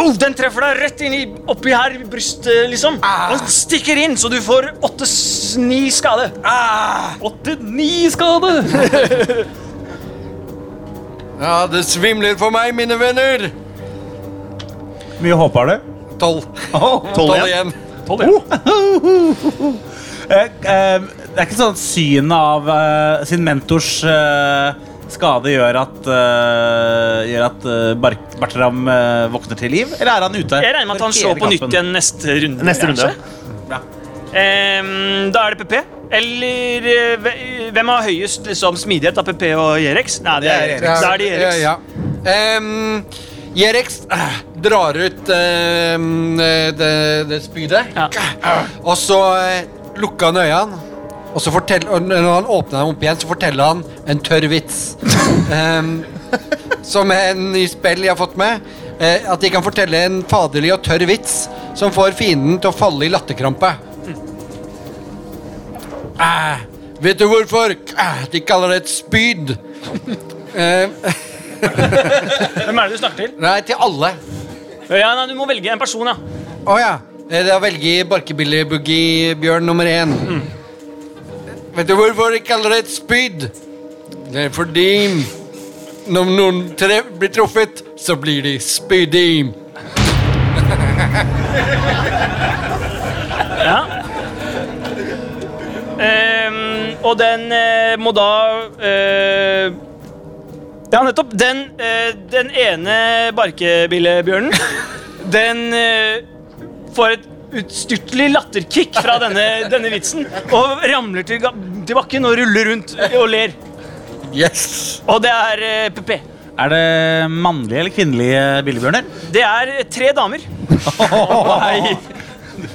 Oh, den treffer deg rett inn i, oppi her i brystet, liksom. Og den stikker inn, så du får åtte-ni skade. Åtte-ni skade! Ja, det svimler for meg, mine venner. Mye håp har du? Tolv. Tolv Tolv igjen. igjen. Eh, eh, Det er ikke sånn at synet av eh, sin mentors eh, skade gjør at, eh, gjør at eh, Bar Bartram eh, våkner til liv? Eller er han ute? Jeg regner med at han for slår hele på nytt kampen? igjen neste runde. Neste runde. Ehm, da er det PP. Eller eh, hve- hvem har høyest liksom, smidighet av PP og Jerex? Nei, det er, Ja, da er det Jerex. Eh, Ja, ja. Ehm, Jerex eh, drar ut ehm, eh, det, det spydet. Ja. Og så eh, lukker han øynene. Og så fortell, og når han åpner dem opp igjen, så forteller han en tørr vits. Ehm, som er en ny spill jeg har fått med. Eh, at de kan fortelle en faderlig og tørr vits som får fienden til å falle i latterkrampe. Eh, vet du hvorfor? Eh, de kaller det et spyd. Eh, Hvem er det du snakker til? nei, til alle. Ja, nei, du må velge en person, ja. Å ja. Eh, Da velger jeg Barkebille-boogie-bjørn nummer én. Vet du hvorfor de kaller det et spyd? Det er fordi når noen tre blir truffet, så blir de spydig. Ehm, og den eh, må da eh, Ja, nettopp. Den, eh, den ene barkebillebjørnen, den eh, får et utstyrtelig latterkick fra denne, denne vitsen og ramler til, ga- til bakken og ruller rundt og ler. Yes. Og det er eh, PP. Er det mannlige eller kvinnelige (laughs) billebjørner? Det er tre damer.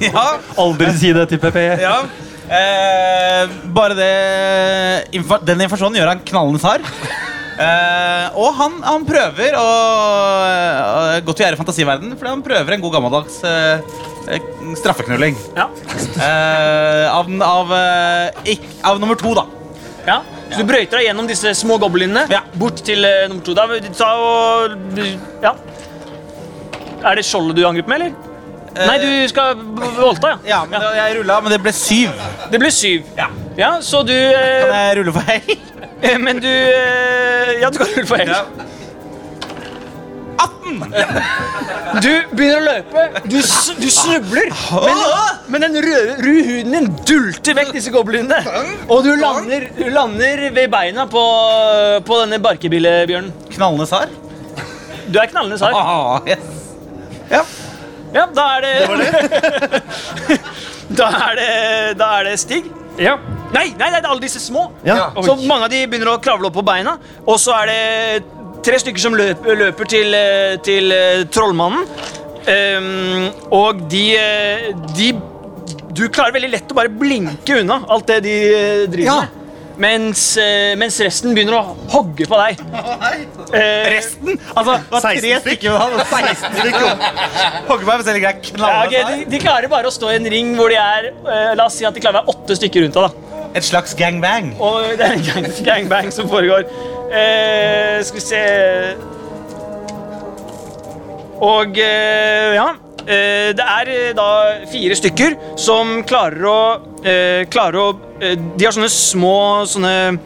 Ja, Aldri si det til E. PP. ja. Eh, bare det info Den informasjonen gjør han knallende hard. Eh, og han, han prøver å uh, Godt å gjøre i fantasiverden, fordi han prøver en god gammeldags eh, eh, straffeknulling. Ja. Eh, av, den- av, eh, ikk- av nummer to, da. Ja. Så du brøyter deg gjennom disse små goblinene Ja. bort til eh, nummer to. Da, ta og, ja. Er det skjoldet du angriper med, eller? Eh, Nei, du skal b- voldta, ja. Ja, men det, Jeg rulla, men det ble syv. Det ble syv. Ja. Ja, så du Kan eh, jeg rulle feil? Men du eh, Ja, du kan rulle for helt. 18! Du begynner å løpe. Du, s- du snubler. Men, men den røde, røde huden din dulter vekk disse goblinene. Og du lander, du lander ved beina på, på denne barkebillebjørnen. (laughs) Knallende sar. Du er knallende sær. Ah, yes. Ja. Ja, da er det, (laughs) da, er det da er det Stig. Ja. Nei, nei, det er alle disse små. Ja. Så mange av de begynner å kravle opp på beina. Og så er det tre stykker som løper, løper til, eh, til eh, trollmannen. Ehm, og de, eh, de Du klarer veldig lett å bare blinke unna alt det de eh, driver Ja. med. Mens, eh, mens resten begynner å hogge på deg. Eh, Resten? Altså, det 16 var tre stykk. stykker. men han- 16 stykker. Hogger meg, men selv ikke jeg ja, knallende ok, de, de klarer bare å stå i en ring hvor de er eh, La oss si at de klarer å være åtte stykker rundt deg. da sar. Et slags gangbang. Og det er en gang, gangbang som foregår. Eh, skal vi se Og eh, ja. Eh, det er eh, da fire stykker som klarer å eh, Klarer å eh, De har sånne små sånne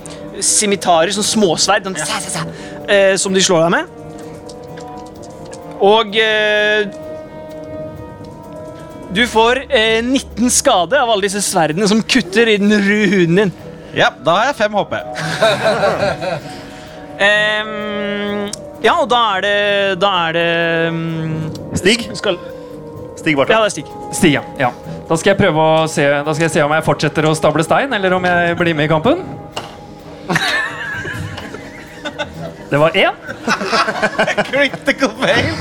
simitarer, sånne småsverd, sånn, sa, sa, sa, eh, som de slår deg med. Og eh, du får eh, 19 skade av alle disse sverdene som kutter i den røde huden din. Ja, da har jeg fem HP. (laughs) Ehm, ja, og da er det Da er det mm, Stig. skal, Stig Ja, Bartha. det er Stig. Stian. Ja. Da skal jeg prøve å se Da skal jeg se om jeg fortsetter å stable stein, eller om jeg blir med i kampen. Det var én, Critical fail.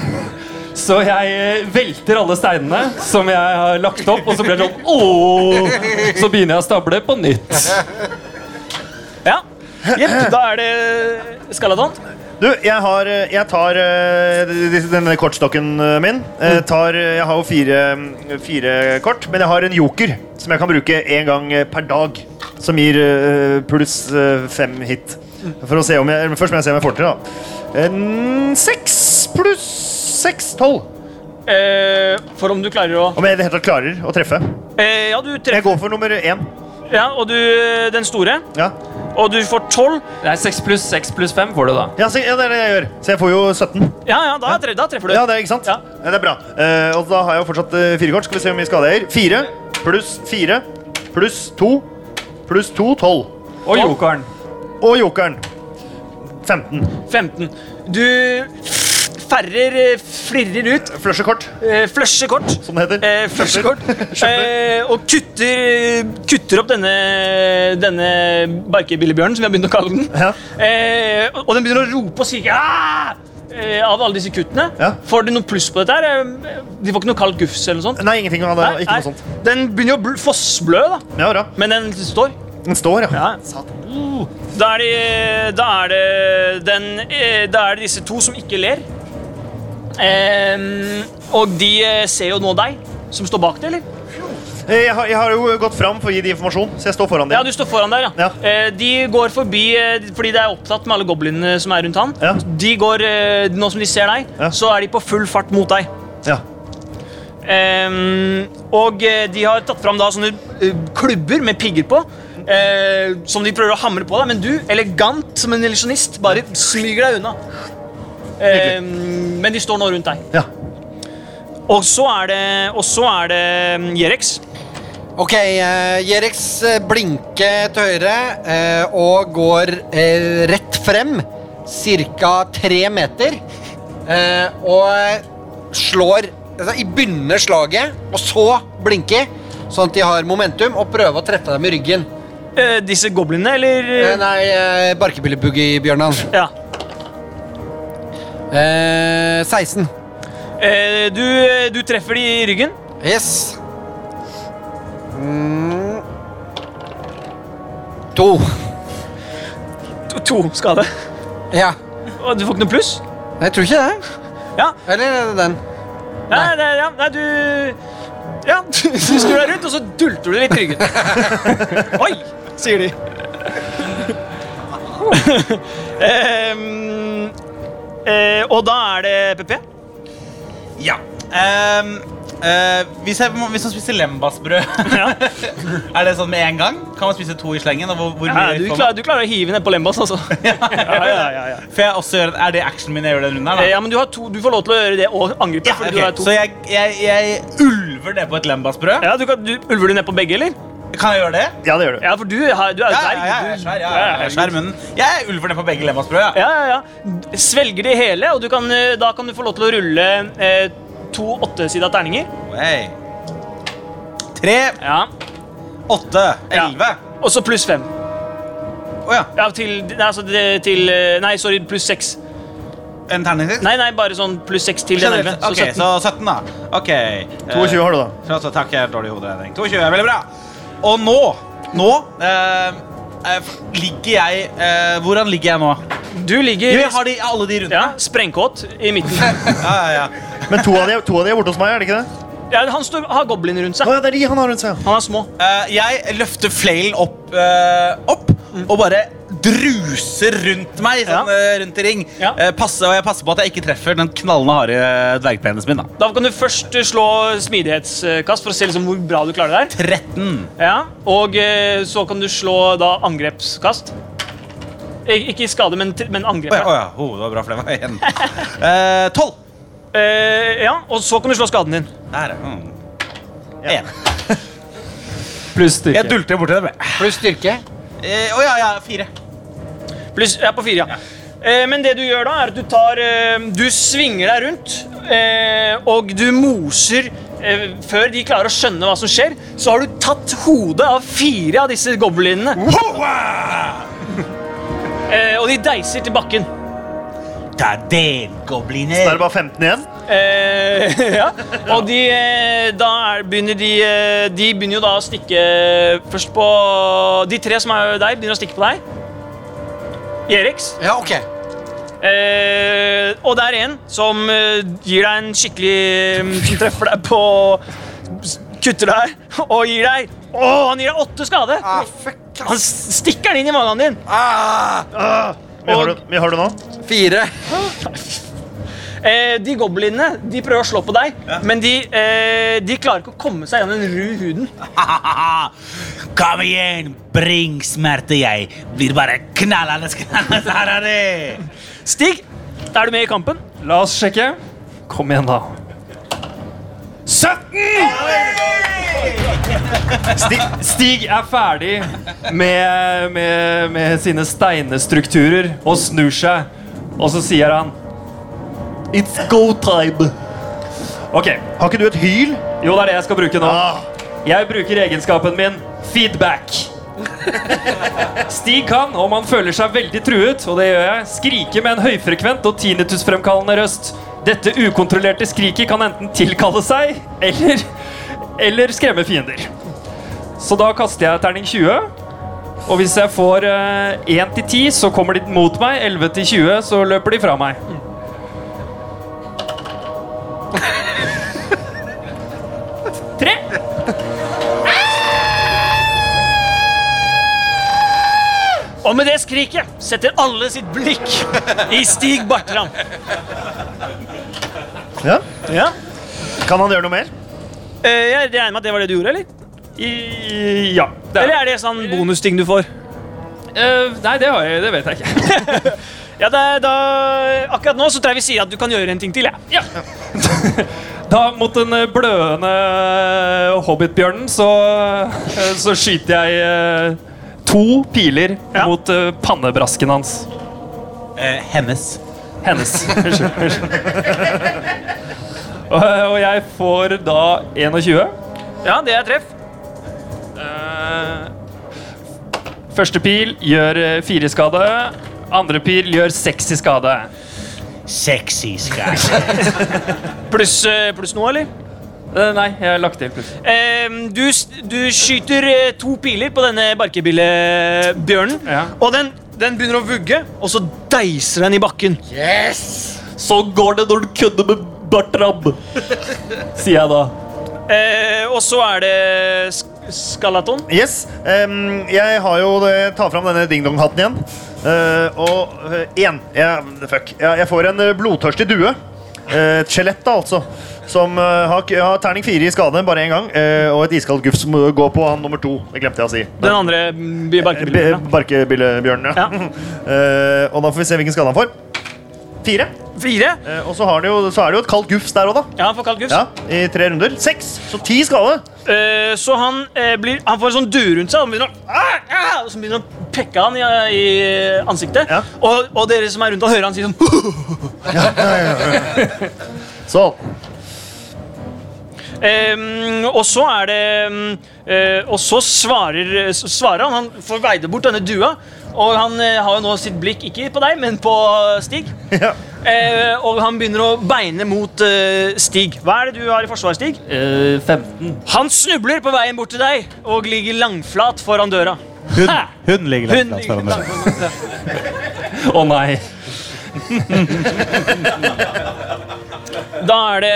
så jeg eh, velter alle steinene som jeg har lagt opp, og så blir det sånn åh! Så begynner jeg å stable på nytt. Ja. Jepp, da er det Skaladant. Du, jeg har eh, Jeg tar eh, disse- denne kortstokken eh, min. Eh, Tar, eh, jeg har jo fire, mm, fire kort, men jeg har en joker som jeg kan bruke én gang eh, per dag. Som gir eh, pluss eh, fem hit. For å se om jeg, eller først må jeg se om jeg får til, da. En Seks pluss seks, tolv. Eh, for om du klarer å Om jeg i det hele tatt klarer å treffe. eh, Ja, du Jeg treffer. går for nummer én. Ja, og du Den store. Ja, Og du får 12. Det er 6 pluss 6 pluss 5 får du da. ja, så, ja det er det jeg gjør. Så jeg får jo 17. Ja, ja, da, tre- da treffer du. Ja, det er ikke sant? Ja. Ja, det er bra. Eh, og da har jeg jo fortsatt eh, fire kort. Skal vi se hvor mye skade jeg gir. Fire pluss fire pluss to pluss to, tolv. Og jokeren. Og jokeren. 15. 15. Du ferrer eh, Flirrer ut. Flushekort, Eh, flusher kort. som det heter. Eh, Flushekort. Skjønner. Eh, og kutter, kutter opp denne, denne barkebillebjørnen, som vi har begynt å kalle den. Ja. Eh, og og den begynner å rope og skrike «Ah!» eh, av alle disse kuttene. Ja. Får du noe pluss på dette? her? Eh, De får ikke noe kaldt gufs eller noe sånt? Nei, ingenting av det. Nei, Ikke nei. noe sånt. Den begynner å bl- fossblø, da. Ja, bra. Men den står. Den står, ja. Ja. Uh, Da er det Da er det den eh, Da er det disse to som ikke ler. Ehm, og de eh, ser jo nå deg, som står bak det, eller? Eh, Jeg har, jeg har jo gått fram for å gi de informasjon, så jeg står foran dem. Ja, du står foran der, ja. Ja. Eh, de går forbi eh, fordi de er opptatt med alle goblinene som er rundt han. Ja. De går, eh, Nå som de ser deg, Ja. så er de på full fart mot deg. Ja. Ehm, og eh, de har tatt fram da sånne eh, klubber med pigger på. eh, som de prøver å hamre på deg, men du, elegant som en illusjonist, bare smyger deg unna. Ehm, men de står nå rundt deg. Ja. Og så er det, og så er det mm, Jerex. Ok, eh, Jerex eh, blinker til høyre eh, og går eh, rett frem, cirka tre meter, eh, og slår altså, i begynner slaget, og så blinker, sånn at de har momentum, og prøver å treffe dem i ryggen. Eh, disse goblinene, eller Eh, Nei, eh, barkebillebuggy-bjørnen. Ja. Eh, 16. Eh, du, du treffer de i ryggen. Yes. Mm. To. To, to skade. Ja. Og du får ikke noe pluss. Jeg tror ikke det. Ja. Eller er det den? Nei, nei, ja, nei, du Ja, du snur deg rundt, og så dulter du litt i ryggen. (laughs) Oi, sier de. Ehm, eh, og da er det PP. Ja. Ehm, eh, hvis, jeg, må- hvis man spiser lembasbrød, (laughs) er det sånn med en gang? Kan man spise to i slengen? Og hvor, hvor mye Ja, du, får man? (laughs) klarer, du klarer å hive ned på lembas, altså. (laughs) Ja, ja, ja, ja. For jeg også gjør, er det actionen min jeg gjør den runden her? (laughs) Eh, Da? ja men du, har to, du får lov til å gjøre det og angripe. Ja, fordi ok. du har to. Så jeg, jeg, jeg ulver det på et lembasbrød? Ja, du kan, du, ulver du ned på begge, eller? Kan jeg gjøre det? ja, det gjør du. Ja, for du, har- du er jo Ja, dverg. ja, ja, jeg er du- svær, ja, ja, jeg er svær i munnen. Jeg ulver det på begge lembasbrød. Ja. Ja, ja, ja. Svelger de hele, og du kan, eh, da kan du få lov til å rulle eh, to åttesida terninger. Hey. Tre, Ja. åtte, Ja. elleve. Og så pluss fem. Å ja. Ja, til, nei, altså, det- til eh, Nei, sorry, pluss seks. En terning til? Nei, nei, bare sånn pluss seks til den elleve. Ok, så 17, da. Ok. eh, 22 har du, da. Så, så takk, jeg er dårlig i hoderegning. 22 er veldig bra. Og nå, nå eh, eh, ligger jeg eh, Hvordan ligger jeg nå? Du ligger Jo, jeg har de, alle de rundt ja, meg. sprengkåt i midten. (laughs) Ja, ja, Men to av de, to av de er borte hos meg, er det ikke det? Ja, han står, har goblin rundt Å seg. ja, det er de han har rundt seg, ja. Han er små. Eh, jeg løfter flailen opp, eh, opp og bare druser rundt meg sånn, Ja. eh, rundt i ring. Ja. Eh, passer, og jeg passer på at jeg ikke treffer den knallende harde dvergpenisen min. da Da kan du først eh, slå smidighetskast for å se liksom hvor bra du klarer det her. 13. Ja, og eh, så kan du slå da angrepskast. Ik ikke skade, men, t- men angrep. Å ja. ja, oh, det var bra, for det var én. Eh, 12. Eh, ja, og så kan du slå skaden din. Der, ja. Mm. En. Pluss Jeg styrke. dulter borti dem. Pluss styrke. Å eh, å ja, ja, fire. Pluss, ja, på fire, ja. Eh, men det du gjør da, er at du tar eh, Du svinger deg rundt, eh, og du moser eh, Før de klarer å skjønne hva som skjer, så har du tatt hodet av fire av disse goblinene. (laughs) Eh, og de deiser til bakken. Det er Da er det delgobliner. bare 15 igjen. Eh, (laughs) ja. Og de eh, Da er, begynner de eh, De begynner jo da å stikke først på De tre som er der, begynner å stikke på deg. Eriks. Ja, ok. Eh, Eh, og det er en som eh, gir deg en skikkelig Som (laughs) treffer deg på Kutter deg (laughs) og gir deg Å, han gir deg åtte skade! han s- stikker den inn i magen din. Mye har, du, mye har du nå? Fire. Eh, de goblinene de prøver å slå på deg, men de, eh, de klarer ikke å komme seg gjennom den ru huden. Kom igjen, bring smerte, jeg blir bare knallende, knallende her er det. (laughs) Stig, er du med i kampen? La oss sjekke. Kom igjen, da. Stig, Stig er ferdig med, med, med sine steinestrukturer og snur seg. Og så sier han It's go time! OK, har ikke du et hyl? jo, det er det jeg skal bruke nå. Ah, Jeg bruker egenskapen min feedback. Stig kan, om han føler seg veldig truet, og det gjør jeg, skrike med en høyfrekvent og tinnitusfremkallende røst. Dette ukontrollerte skriket kan enten tilkalle seg eller, eller skremme fiender. Så da kaster jeg terning 20. Og hvis jeg får eh, 1 til 10, så kommer de mot meg. 11 til 20, så løper de fra meg. Tre. Og med det skriket setter alle sitt blikk i Stig Bartram. ja. Ja. Kan han gjøre noe mer? Eh, jeg regner med at det var det du gjorde, eller? I, ja. det er- Eller er det sånn bonusting du får? Eh, nei, det, har jeg, det vet jeg ikke. Ja, det er da, Akkurat nå så tror jeg vi sier at du kan gjøre en ting til. Ja. Da, mot den eh, blødende eh, hobbitbjørnen, så, eh, så skyter jeg eh, to piler Ja. mot eh, pannebrasken hans. Eh, hennes. Hennes. Unnskyld. unnskyld. og, eh, og jeg får da 21. ja, det er treff. Eh, første pil gjør eh, fire i skade. Andre pil gjør seks i skade. Sexy skade. Pluss eh, pluss noe, eller? Eh, nei, jeg har lagt til plutselig. Ehm, du, s- du skyter eh, to piler på denne barkebillebjørnen. Ja. Og den, den begynner å vugge, og så deiser den i bakken. Sånn går det når du kødder med Bartram! Sier jeg da. Eh, og så er det sk skalaton. Yes. em, jeg har jo det, tar fram denne ding-dong-hatten igjen. Eh, og én Fuck. Ja, jeg får en eh, blodtørstig due. Eh, Et skjelett, da, altså. Som eh, har, k- har terning fire i skade bare én gang. eh, og et iskaldt gufs som går på han nummer to. Det glemte jeg å si. Den andre mm, barkebillebjørnen. B- Barkebillebjørnen, ja. (laughs) Eh, og da får vi se hvilken skade han får. Fire. Fire. Eh, og så, har det jo, så er det jo et kaldt gufs der òg, da. Ja, han får kald gufs. Ja, I tre runder. Seks! Så ti skade. Eh, så han, eh, blir, han får en sånn due rundt seg og begynner å, ah, ah, og så begynner han å pekke han i, i ansiktet. Ja. Og, og dere som er rundt og hører han si sånn Sånn. Ehm, og så er det mm, eh, Og så svarer, så svarer han. Han får veide bort denne dua. Og han eh, har jo nå sitt blikk ikke på deg, men på (laughs) Stig. Ja. Eh, og han begynner å beine mot eh, Stig. Hva er det du har i forsvar, Stig? 15. Han snubler på veien bort til deg og ligger langflat foran døra. Hun, hun ligger Hun langt ligger foran meg. langflat. Å nei. Da er det,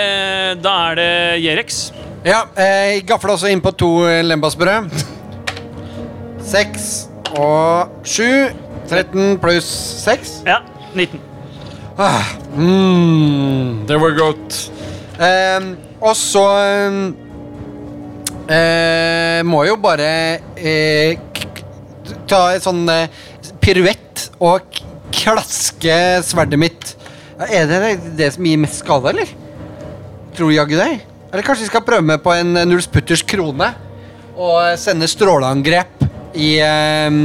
da er det Jerex. Ja, eh, jeg gafler også inn på to eh, lembasbrød. Seks og sju. 13 pluss 6. Ja, 19. Mm, det var godt. Eh, og så ehm, eh, må jeg jo bare eh, k- k- ta en sånn eh, piruett og k- klaske sverdet mitt. Er det det- det som gir mest skade, eller? Tror jaggu det. Eller kanskje vi skal prøve med på en eh, null sputters krone og eh, sende stråleangrep i eh,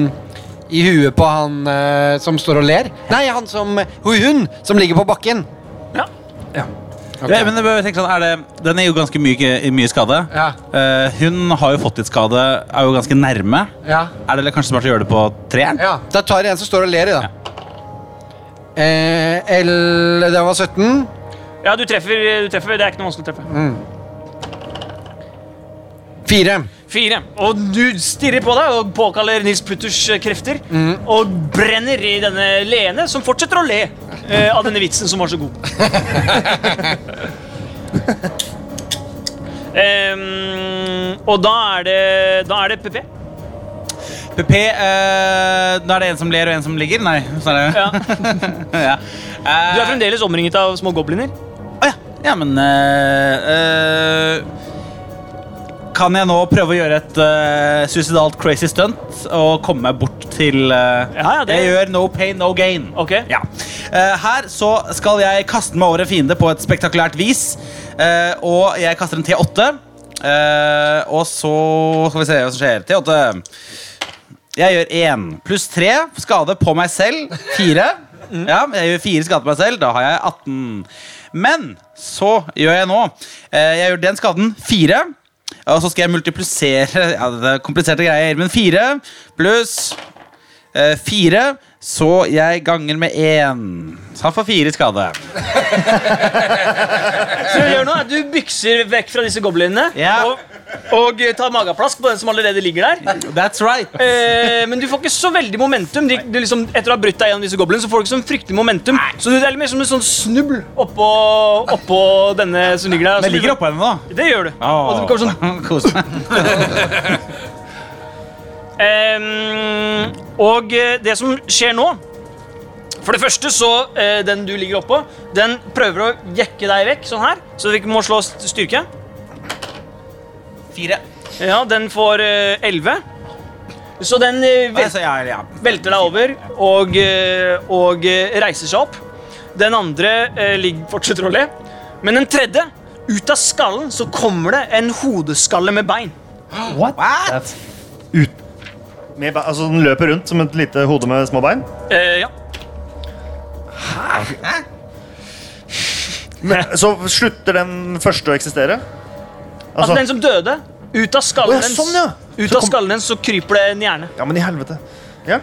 i huet på han eh, som står og ler. Nei, han som Hun, hun som ligger på bakken. Ja. Ok. Ja, men jeg bare tenker sånn, er det, den er jo ganske mye, mye skade. Ja. Eh, hun har jo fått litt skade, er jo ganske nærme. Ja. Er det kanskje smart å gjøre det på treeren? Ja, Da tar jeg en som står og ler i, da. Eh, L Det var 17. ja, Mm. du treffer. du treffer. Det er ikke noe vanskelig å treffe. Fire. Fire. Og du stirrer på deg og påkaller Nils Putters eh, krefter. Mm. Og brenner i denne Lene, som fortsetter å le eh, av denne vitsen som var (laughs) så god. Ehm, og da er det Da er det PP. PP eh, Da er det en som ler og en som ligger? Nei. Så er det. Ja. (laughs) ja. Du er fremdeles omringet av små gobliner. Å ja. ja, men eh, eh, Kan jeg nå prøve å gjøre et eh, suicidalt crazy stunt og komme meg bort til eh, Ja, ja, det- Jeg gjør no pain, no gain. Ok? Ja. Eh, her så skal jeg kaste meg over en fiende på et spektakulært vis. Eh, og jeg kaster en T8. Eh, og så skal vi se hva som skjer. T8. Jeg gjør én pluss tre skade på meg selv. Fire. Ja, jeg gjør fire skader på meg selv. Da har jeg 18. Men så gjør jeg nå eh, Jeg gjør den skaden fire. Og så skal jeg multiplisere ja, det er kompliserte greier. Men fire pluss eh, fire. Så jeg ganger med én. Så han får fire skade. Så det du gjør nå er at Du bykser vekk fra disse goblinene Ja. og, og eh, tar mageplask på den som allerede ligger der. That's right. Eh, men du får ikke så veldig momentum. De, du liksom, etter å ha brutt deg gjennom disse goblinene, så får du ikke sånn fryktelig momentum. Så det er litt mer som en sånn snubbel oppå, oppå denne som ligger der. Men jeg Så du- ligger oppå henne nå. Det gjør du. Og Åh. det kommer sånn Kos meg. Ehm, og eh, det som skjer nå For det første så eh, Den du ligger oppå, den prøver å jekke deg vekk, sånn her. Så vi må slå st- styrke. Fire. Ja, den får eh, 11. Så den Nei, eh, vel, så jeg, ja. velter deg over og, eh, og eh, reiser seg opp. Den andre eh, ligger, fortsetter å le. Men den tredje, ut av skallen, så kommer det en hodeskalle med bein. What? Med, be- altså, den løper rundt som et lite hode med små bein. Eh, ja. Så slutter den første å eksistere. Altså, Altså, den som døde, ut av Å, skallen ja, dens sånn, ja. Ut Så av kom- skallen dens så kryper det en hjerne. ja, men i helvete. Ja.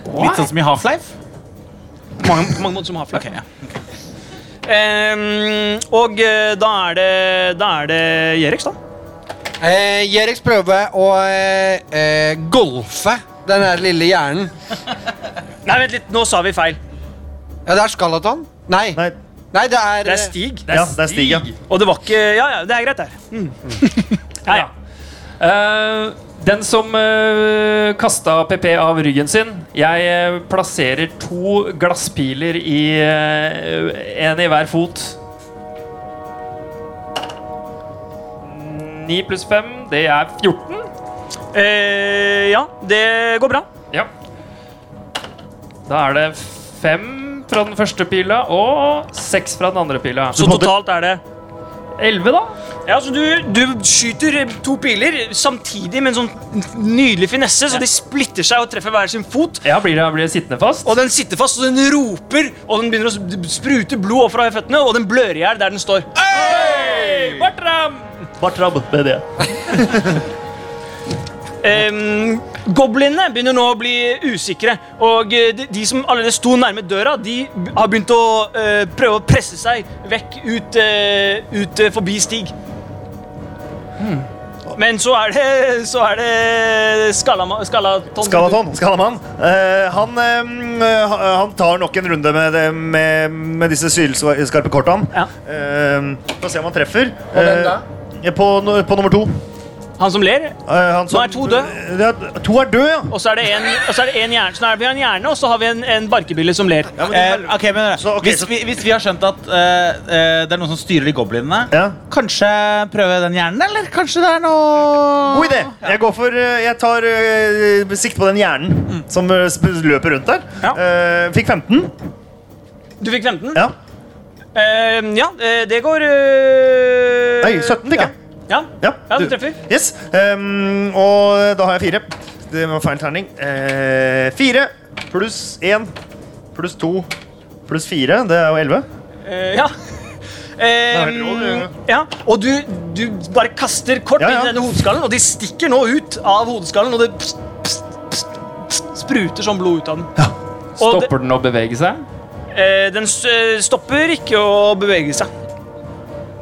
Litt sånn som i Half-Life? På mange, på mange måter som Half-Life. Ehm, og eh, da er det Da er det Jerex, da. Eh, Jerex prøver å eh, eh, golfe den der lille hjernen. Nei, vent litt, nå sa vi feil. Ja, det er skalaton. Nei. Nei, Nei, det er, Det er Stig. ja, det er Stig, ja. Og det var ikke Ja, ja, det er greit, det. Ja, ja. Eh, den som uh, kasta PP av ryggen sin Jeg eh, plasserer to glasspiler i eh, En i hver fot. Ni pluss fem, det er 14. Eh, ja, det går bra. Ja. Da er det fem fra den første pila og seks fra den andre pila. Så totalt er det Elleve, da? Ja, så du, du skyter eh, to piler samtidig med en sånn nydelig finesse, så de splitter seg og treffer hver sin fot. Ja, blir det, blir det sittende fast? Og den sitter fast, og den roper, og den begynner å s- sprute blod opp fra føttene, og den blør i hjel der den står. Bartram! Bartrab med det. Ehm, goblinene begynner nå å bli usikre, og eh, de, de som allerede sto nærme døra, de b- har begynt å eh, prøve å presse seg vekk ut, eh, ut eh, forbi Stig. Men så er det, så er det skallama- Skallaton. Skalaton, Skalamann. Eh, han, eh, ha- han tar nok en runde med, det, med, med disse sylskarpe kortene. Ja. Eh, Få se om han treffer. På hvem da? Eh, på, no- på nummer to. Han som ler, Eh, han som- Nå er to død. Ja, to er død, ja. og så er det en, og så er det en hjerne. Så nå er det- vi har en hjerne, og så har vi en, en barkebille som ler. ja men, Eh, ok, men Så, ok, hvis, så- vi, hvis vi har skjønt at eh, eh, det er noen som styrer de goblinene, Ja. kanskje prøve den hjernen, eller? Kanskje det er noe God idé! Jeg går for eh, Jeg tar eh, sikt på den hjernen som eh, sp- løper rundt der. Ja. Eh, fikk 15. Du fikk 15? Ja. Eh, ja, eh, det går eh, Nei, 17 fikk jeg. Ja. Ja, Ja, du treffer. Yes. Ehm, og da har jeg fire. Det var feil terning. Eh, fire pluss én pluss to pluss fire, det er jo elleve. Eh, ja. er helt rå, det, ja. Og du, du bare kaster kort Ja, ja. inn i denne hodeskallen, og de stikker nå ut av hodeskallen, og det pst, pst, pst, pst, spruter sånn blod ut av den. Og det, Stopper den å bevege seg? eh, den s- eh, stopper ikke å bevege seg.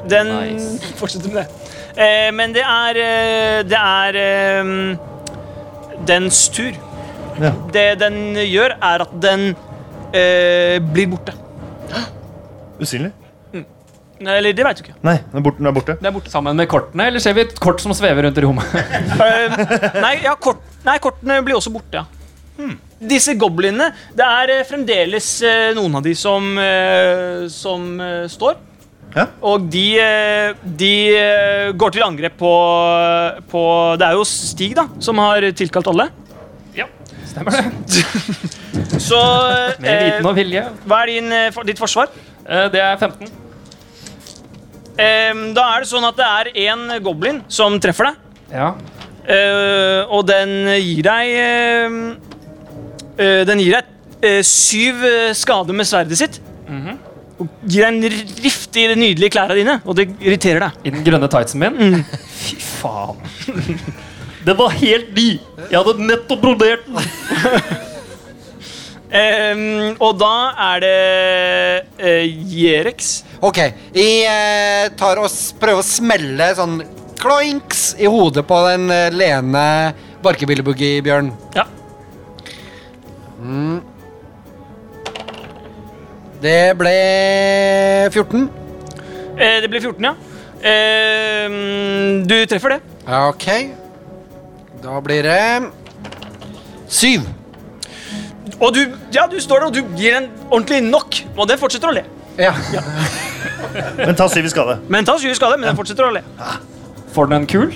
Den Nice. fortsetter med det. Eh, men det er eh, Det er eh, dens tur. Ja. Det den gjør, er at den eh, blir borte. Usynlig? Eller det veit du ikke. Nei, den er borte. Den er borte. Det er borte sammen med kortene, eller ser vi et kort som svever rundt i rommet? (laughs) Eh, nei, ja, kort, nei, kortene blir også borte, ja. Disse goblinene Det er eh, fremdeles eh, noen av de som, eh, som eh, står. Ja. Og de, eh, de eh, går til angrep på, på Det er jo Stig da, som har tilkalt alle. Stemmer det? (laughs) (laughs) Så Med eh, viten og vilje. hva er din, eh, for, ditt forsvar? Eh, Det er 15. Eh, da er det sånn at det er én goblin som treffer deg. Ja. Eh, og den gir deg eh, eh, Den gir deg eh, syv eh, skader med sverdet sitt. Og gir deg en r- rift i de nydelige klærne dine, og det irriterer deg. I den grønne tightsen min. Fy (laughs) faen. Den Mm. var helt ny! Jeg hadde nettopp brodert den. Eh, og da er det uh, Jerex. Ok, jeg eh, tar og s- prøver å smelle sånn kloinks i hodet på den eh, lene barkebilleboogie-bjørn. Ja. Det ble 14. Eh, det blir 14, ja. Eh, du treffer det. Ja, ok. Da blir det 7. Og du, ja, du står der, og du gir den ordentlig nok, og den fortsetter å le. Ja. Men ta syv i skade. Men ta syv skader, men den fortsetter å le. Får den en kul?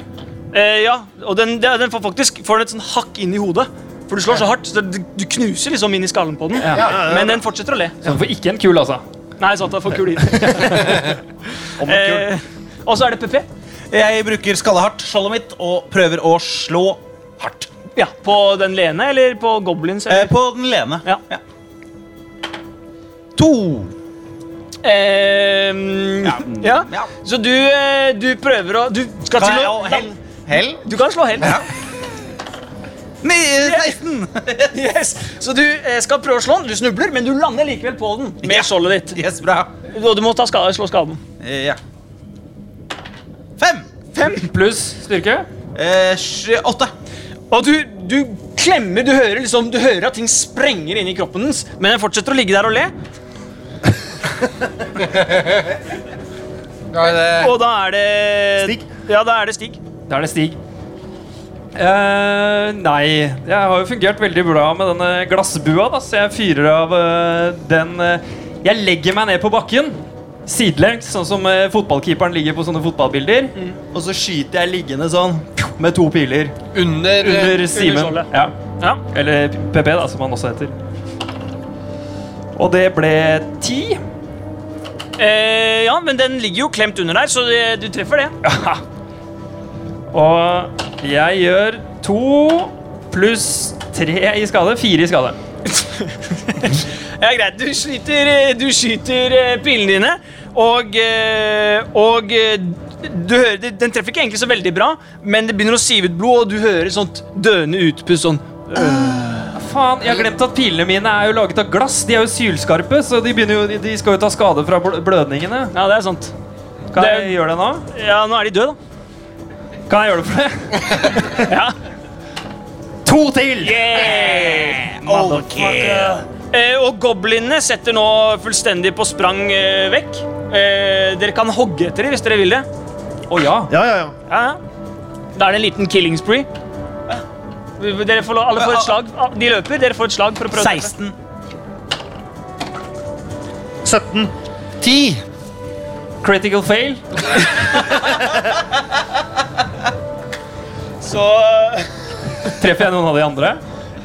Eh, ja, og den, det- den får faktisk får den et sånn hakk inn i hodet. For du slår så hardt, så du, du knuser liksom inn i skallen på den. Men den fortsetter å le. Så den får ikke en kul, altså. Nei, sant, den får (laughs) kul inn. eh, og så er det PP. Jeg bruker skallehardt skjoldet mitt og prøver å slå hardt. Ja, På den lene eller på goblins? Eh, Eller? på den lene. Ja. To. Eh, ja. ja. Så du, eh, du prøver å Du Kan skal til jeg å og hell? Hell? Du kan slå helt. Nei, eh, 16. (laughs) Yes. Så du eh, skal prøve å slå den. Du snubler, men du lander likevel på den med Ja. skjoldet ditt. (laughs) Yes, bra. Og du må ta skade, slå skaden. Eh, ja. Fem. Fem. Pluss styrke. Eh, sju, åtte. Og du, du klemmer, du hører, liksom, du hører at ting sprenger inni kroppen dens, men den fortsetter å ligge der og le. Da er det Og da er det Stig? Ja, da er det Stig. Da er det Stig. Eh, nei, jeg har jo fungert veldig bra med denne glassbua, da, så jeg fyrer av eh, den eh, Jeg legger meg ned på bakken, sidelengs, sånn som eh, fotballkeeperen ligger på sånne fotballbilder. Mm. Og så skyter jeg liggende sånn, med to piler Under, eh, under Simen. skjoldet. Ja. Ja. Eller PP, da, som han også heter. Og det ble ti. Eh, ja, men den ligger jo klemt under der, så det, du treffer det. Og jeg gjør to pluss tre i skade. Fire i skade. Ja, greit. Du skyter, eh, du skyter eh, pilene dine, og, eh, og eh, du hører, det- Den treffer ikke egentlig så veldig bra, men det begynner å sive ut blod, og du hører sånt døende utpust sånn Faen, jeg har glemt at pilene mine er jo laget av glass. De er jo sylskarpe, så de, begynner jo, de skal jo ta skade fra bl blødningene. Ja, det er sant. Kan Det- jeg gjøre det nå? Ja, nå er de døde, da. Kan jeg gjøre det for det? Ja. To til! Eh, og goblinene setter nå fullstendig på sprang eh, vekk. Eh, dere kan hogge etter dem hvis dere vil det. Å ja. Ja, ja, ja. Ja, ja. Da er det en liten killing spree. Dere får, lo- alle får et slag. Ah, De løper, dere får et slag for å prøve. å treffe. 16. 17. 10. Critical fail. Så eh, Treffer jeg noen av de andre?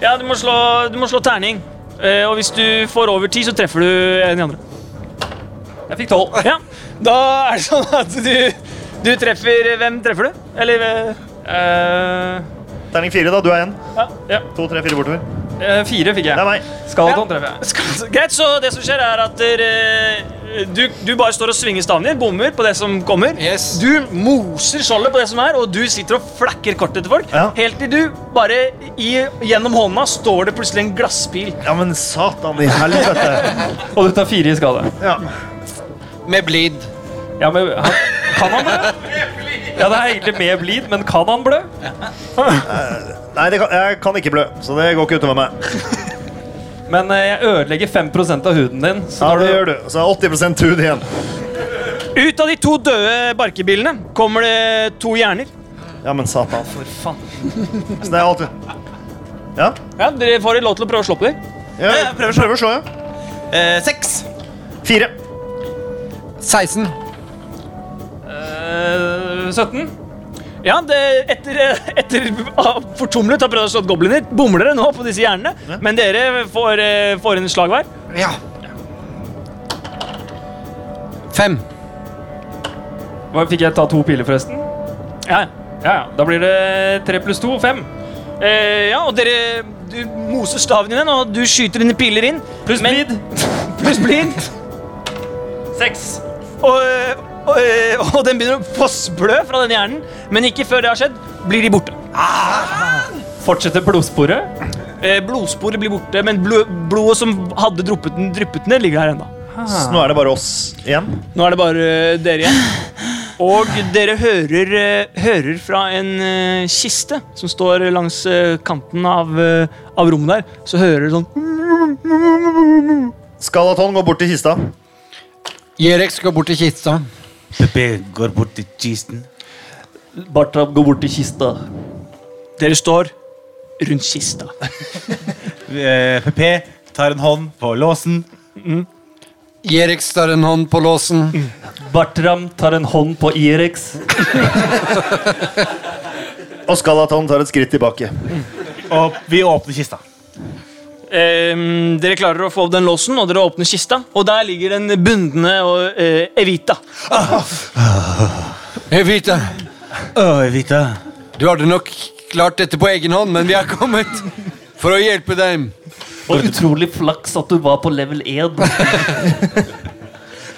Ja, du må slå, du må slå terning. Eh, og hvis du får over ti, så treffer du en i andre. Jeg fikk tolv. Ja. (laughs) Da er det sånn at du, du treffer Hvem treffer du? Eller eh, Eh, Terning fire, da. Du er igjen. Ja. ja. To, tre, fire bortover. eh, fire fikk Det er jeg. meg. Skalaton treffer jeg. Skal- Greit, så det som skjer er at dere, eh, du, du bare står og svinger staven din, bommer på det som kommer. Yes. Du moser skjoldet på det som er, og du sitter og flakker kortet til folk. Ja. Helt til du bare i, gjennom hånda står det plutselig en glasspil. Ja, men satan i helvete. Og du tar fire i skade. Ja. Med blid. Ja, men han- Kan han det? Ja, det er egentlig med blid, men kan han blø? Nei, det kan, jeg kan ikke blø, så det går ikke utover meg. Men eh, jeg ødelegger 5 av huden din. Så Ja, når det du, gjør du. Så er 80 hud igjen. Ut av de to døde barkebilene kommer det to hjerner. Ja, men satan. For faen. Så det er alt du Ja? Ja, Dere får lov til å prøve å slå på dem. ja prøver, å slå, ja. Eh, seks. Fire. 16. eh, 17? Ja, det, etter, etter ah, fortumlet har prøvd å slå gobliner, bommer dere nå på disse hjernene. Men dere får, eh, får en slag hver. Ja. 5. Hva, Fikk jeg ta to piler, forresten? Ja, ja. Ja, ja. Da blir det tre pluss to, fem. Eh, ja, og dere du moser staven din, og du skyter dine piler inn. Pluss Men- blid. Pluss blid. Seks. Og, eh, og, eh, og den begynner å fossblø fra denne hjernen. Men ikke før det har skjedd, blir de borte. Fortsetter blodsporet. Eh, blodsporet blir borte, men blod, blodet som hadde dryppet den, dryppet ned, ligger her ennå. Så nå er det bare oss igjen. Nå er det bare eh, dere igjen. Og dere hører, eh, hører fra en eh, kiste som står langs eh, kanten av, eh, av rommet der. Så hører dere sånn Skalaton går bort til kista. Jerex går bort til kista. Pepe går bort til kisten. Bartrab går bort til kista. Dere står rundt kista. Eh, Pepe tar en hånd på låsen. Jerex tar en hånd på låsen. Bartram tar en hånd på Irex. Og Skalaton tar et skritt tilbake. Og vi åpner kista. Ehm, dere klarer å få opp den låsen, og dere åpner kista. Og der ligger den bundne og, eh, Evita. Evita, Åh, Evita. du hadde nok klart dette på egen hånd, men vi er kommet for å hjelpe deg. Og utrolig flaks at du var på level 1.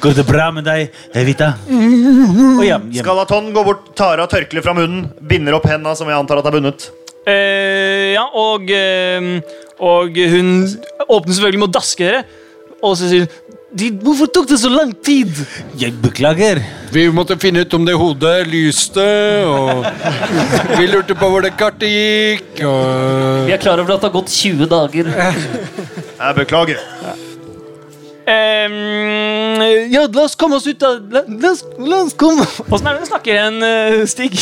Går det bra med deg, Evita? Og hjem, hjem. Skalaton går bort, tar av tørkleet fra munnen, binder opp henda som jeg antar at er bundet. Eh, ja, og, ehm, og hun åpner selvfølgelig med å daske dere. Og så sier hun de, Hvorfor tok det så lang tid? Jeg beklager. Vi måtte finne ut om det hodet lyste, og vi lurte på hvor det kartet gikk, og Vi er klar over at det har gått 20 dager. Jeg beklager. Ehm, ja, la oss komme oss ut av La, la, oss, la oss komme Åssen er det du snakker igjen, eh, Stig?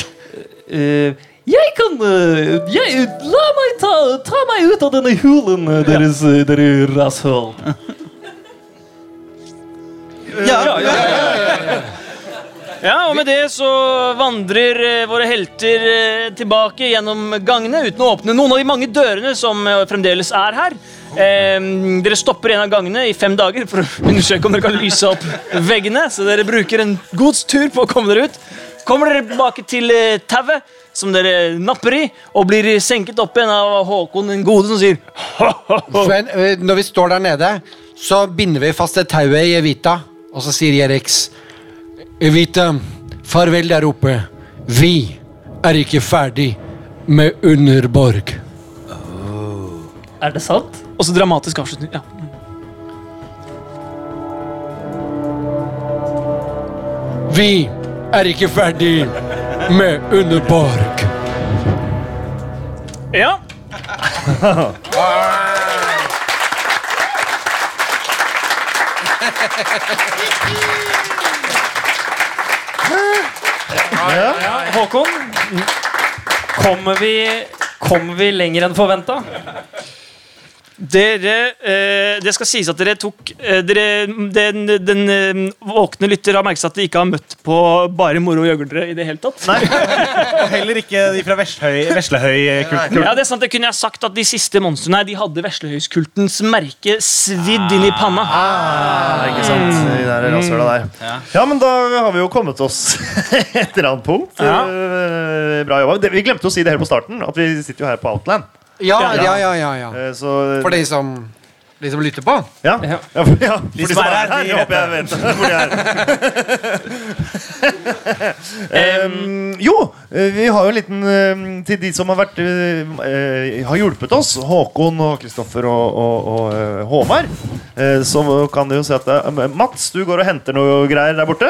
Eh, jeg kan eh, jeg, La meg ta, ta meg ut av denne hulen eh, deres, eh, dere rasshøl. Ja, og med det så vandrer eh, våre helter eh, tilbake gjennom gangene uten å åpne noen av de mange dørene som eh, fremdeles er her. Eh, dere stopper en av gangene i fem dager for å (laughs) undersøke om dere kan lyse opp veggene. Så dere bruker en god tur på å komme dere ut. Kommer dere tilbake til eh, tauet som dere napper i, og blir senket opp igjen av Håkon den gode, som sier Sven, eh, når vi står der nede, så binder vi fast det tauet i Evita, og så sier Jerex Evita, farvel der oppe. Vi er ikke ferdig med Underborg. Er det sant? Og så dramatisk avslutning. Ja. Vi er ikke ferdig med Underborg. ja. Håkon, kommer vi, kommer vi lenger enn forventa? Dere, eh, det skal sies at dere tok eh, dere, Den, den eh, våkne lytter har merket seg at de ikke har møtt på bare moro og gjøglere i det hele tatt. Og heller ikke de fra Veslehøy- Veslehøy-kulten. Ja, det er sant, det kunne jeg sagt at De siste monstrene her, de hadde Veslehøyskultens merke svidd inn i panna. Nei, ikke sant? De der rasshøla der. Ja, men da har vi jo kommet oss (laughs) et eller annet punkt. Eh, Bra jobba. Det- Vi glemte å si det helt på starten, at vi sitter jo her på Outland. Ja, ja, ja, ja. ja. Eh, Så For de som, de som lytter på. Ja, ja. for, (laughs) ja. for de som er her, de jeg håper jeg vet hvor de er. Em, jo, eh, vi har jo en liten eh, til de som har vært eh, eh, Har hjulpet oss. Håkon og Kristoffer og, og, og eh, Håvard. Eh, så kan de jo si at det, er- Mats, du går og henter noe greier der borte.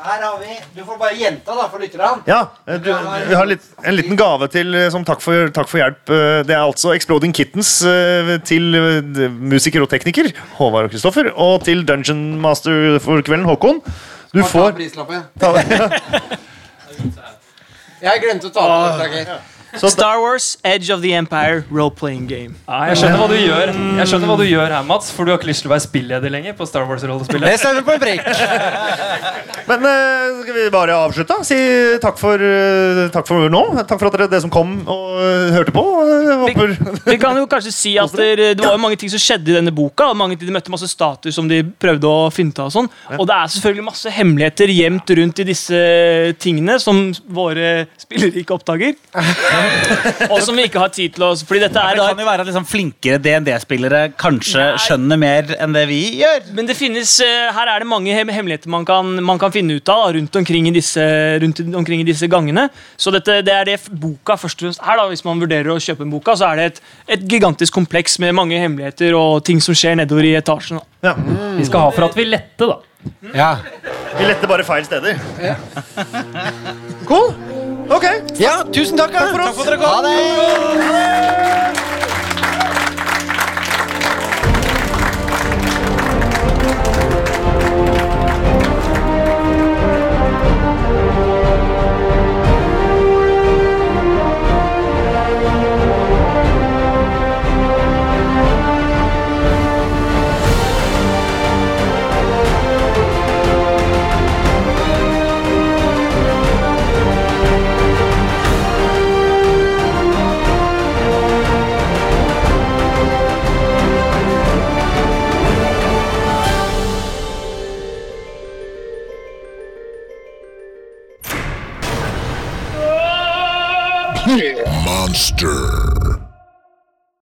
Her har vi Du får bare gjenta, da, for lytterne. Ja, eh, du, vi har litt, en liten gave til eh, som takk for, takk for hjelp. Eh, Det er altså Exploding Kittens eh, til eh, d- musiker og tekniker Håvard og Kristoffer, og til Dungeon Master for kvelden, Håkon. Du Ta får prislappen. ta, (laughs) Jeg glemte å ta den. beklager. Star Wars Edge of the Empire role-playing game. Ja, jeg skjønner hva du gjør Jeg skjønner hva du gjør her, Mats, for du har ikke lyst til å være spilleder lenger. på Star Wars-rollespillet Det stemmer på en prikk. Men eh, skal vi bare avslutte? Si takk for, eh, takk for nå. Takk for at dere, dere som kom og eh, hørte på. Eh, Håper Vi kan jo kanskje si at det, det var jo mange ting som skjedde i denne boka. Og mange De møtte masse status som de prøvde å finte av. Og sånn Og det er selvfølgelig masse hemmeligheter gjemt rundt i disse tingene som våre spillere ikke oppdager. Og som vi ikke har tid til å Fordi dette Det er da kan jo være at liksom flinkere DND-spillere kanskje skjønner mer enn det vi gjør. Men det finnes, eh, her er det mange hem- hemmeligheter man kan, man kan finne ut av da, rundt omkring i disse, rundt i- omkring i disse gangene. Så dette, det er det f- boka først og fremst er. da, Hvis man vurderer å kjøpe en boka, så er det et, et gigantisk kompleks med mange hemmeligheter og ting som skjer nedover i etasjen. da. Vi skal ha for at vi lette, da. Ja. vi letter bare feil steder. Cool. Ok. ja, tusen takk, da. for oss. Ha det. Monster.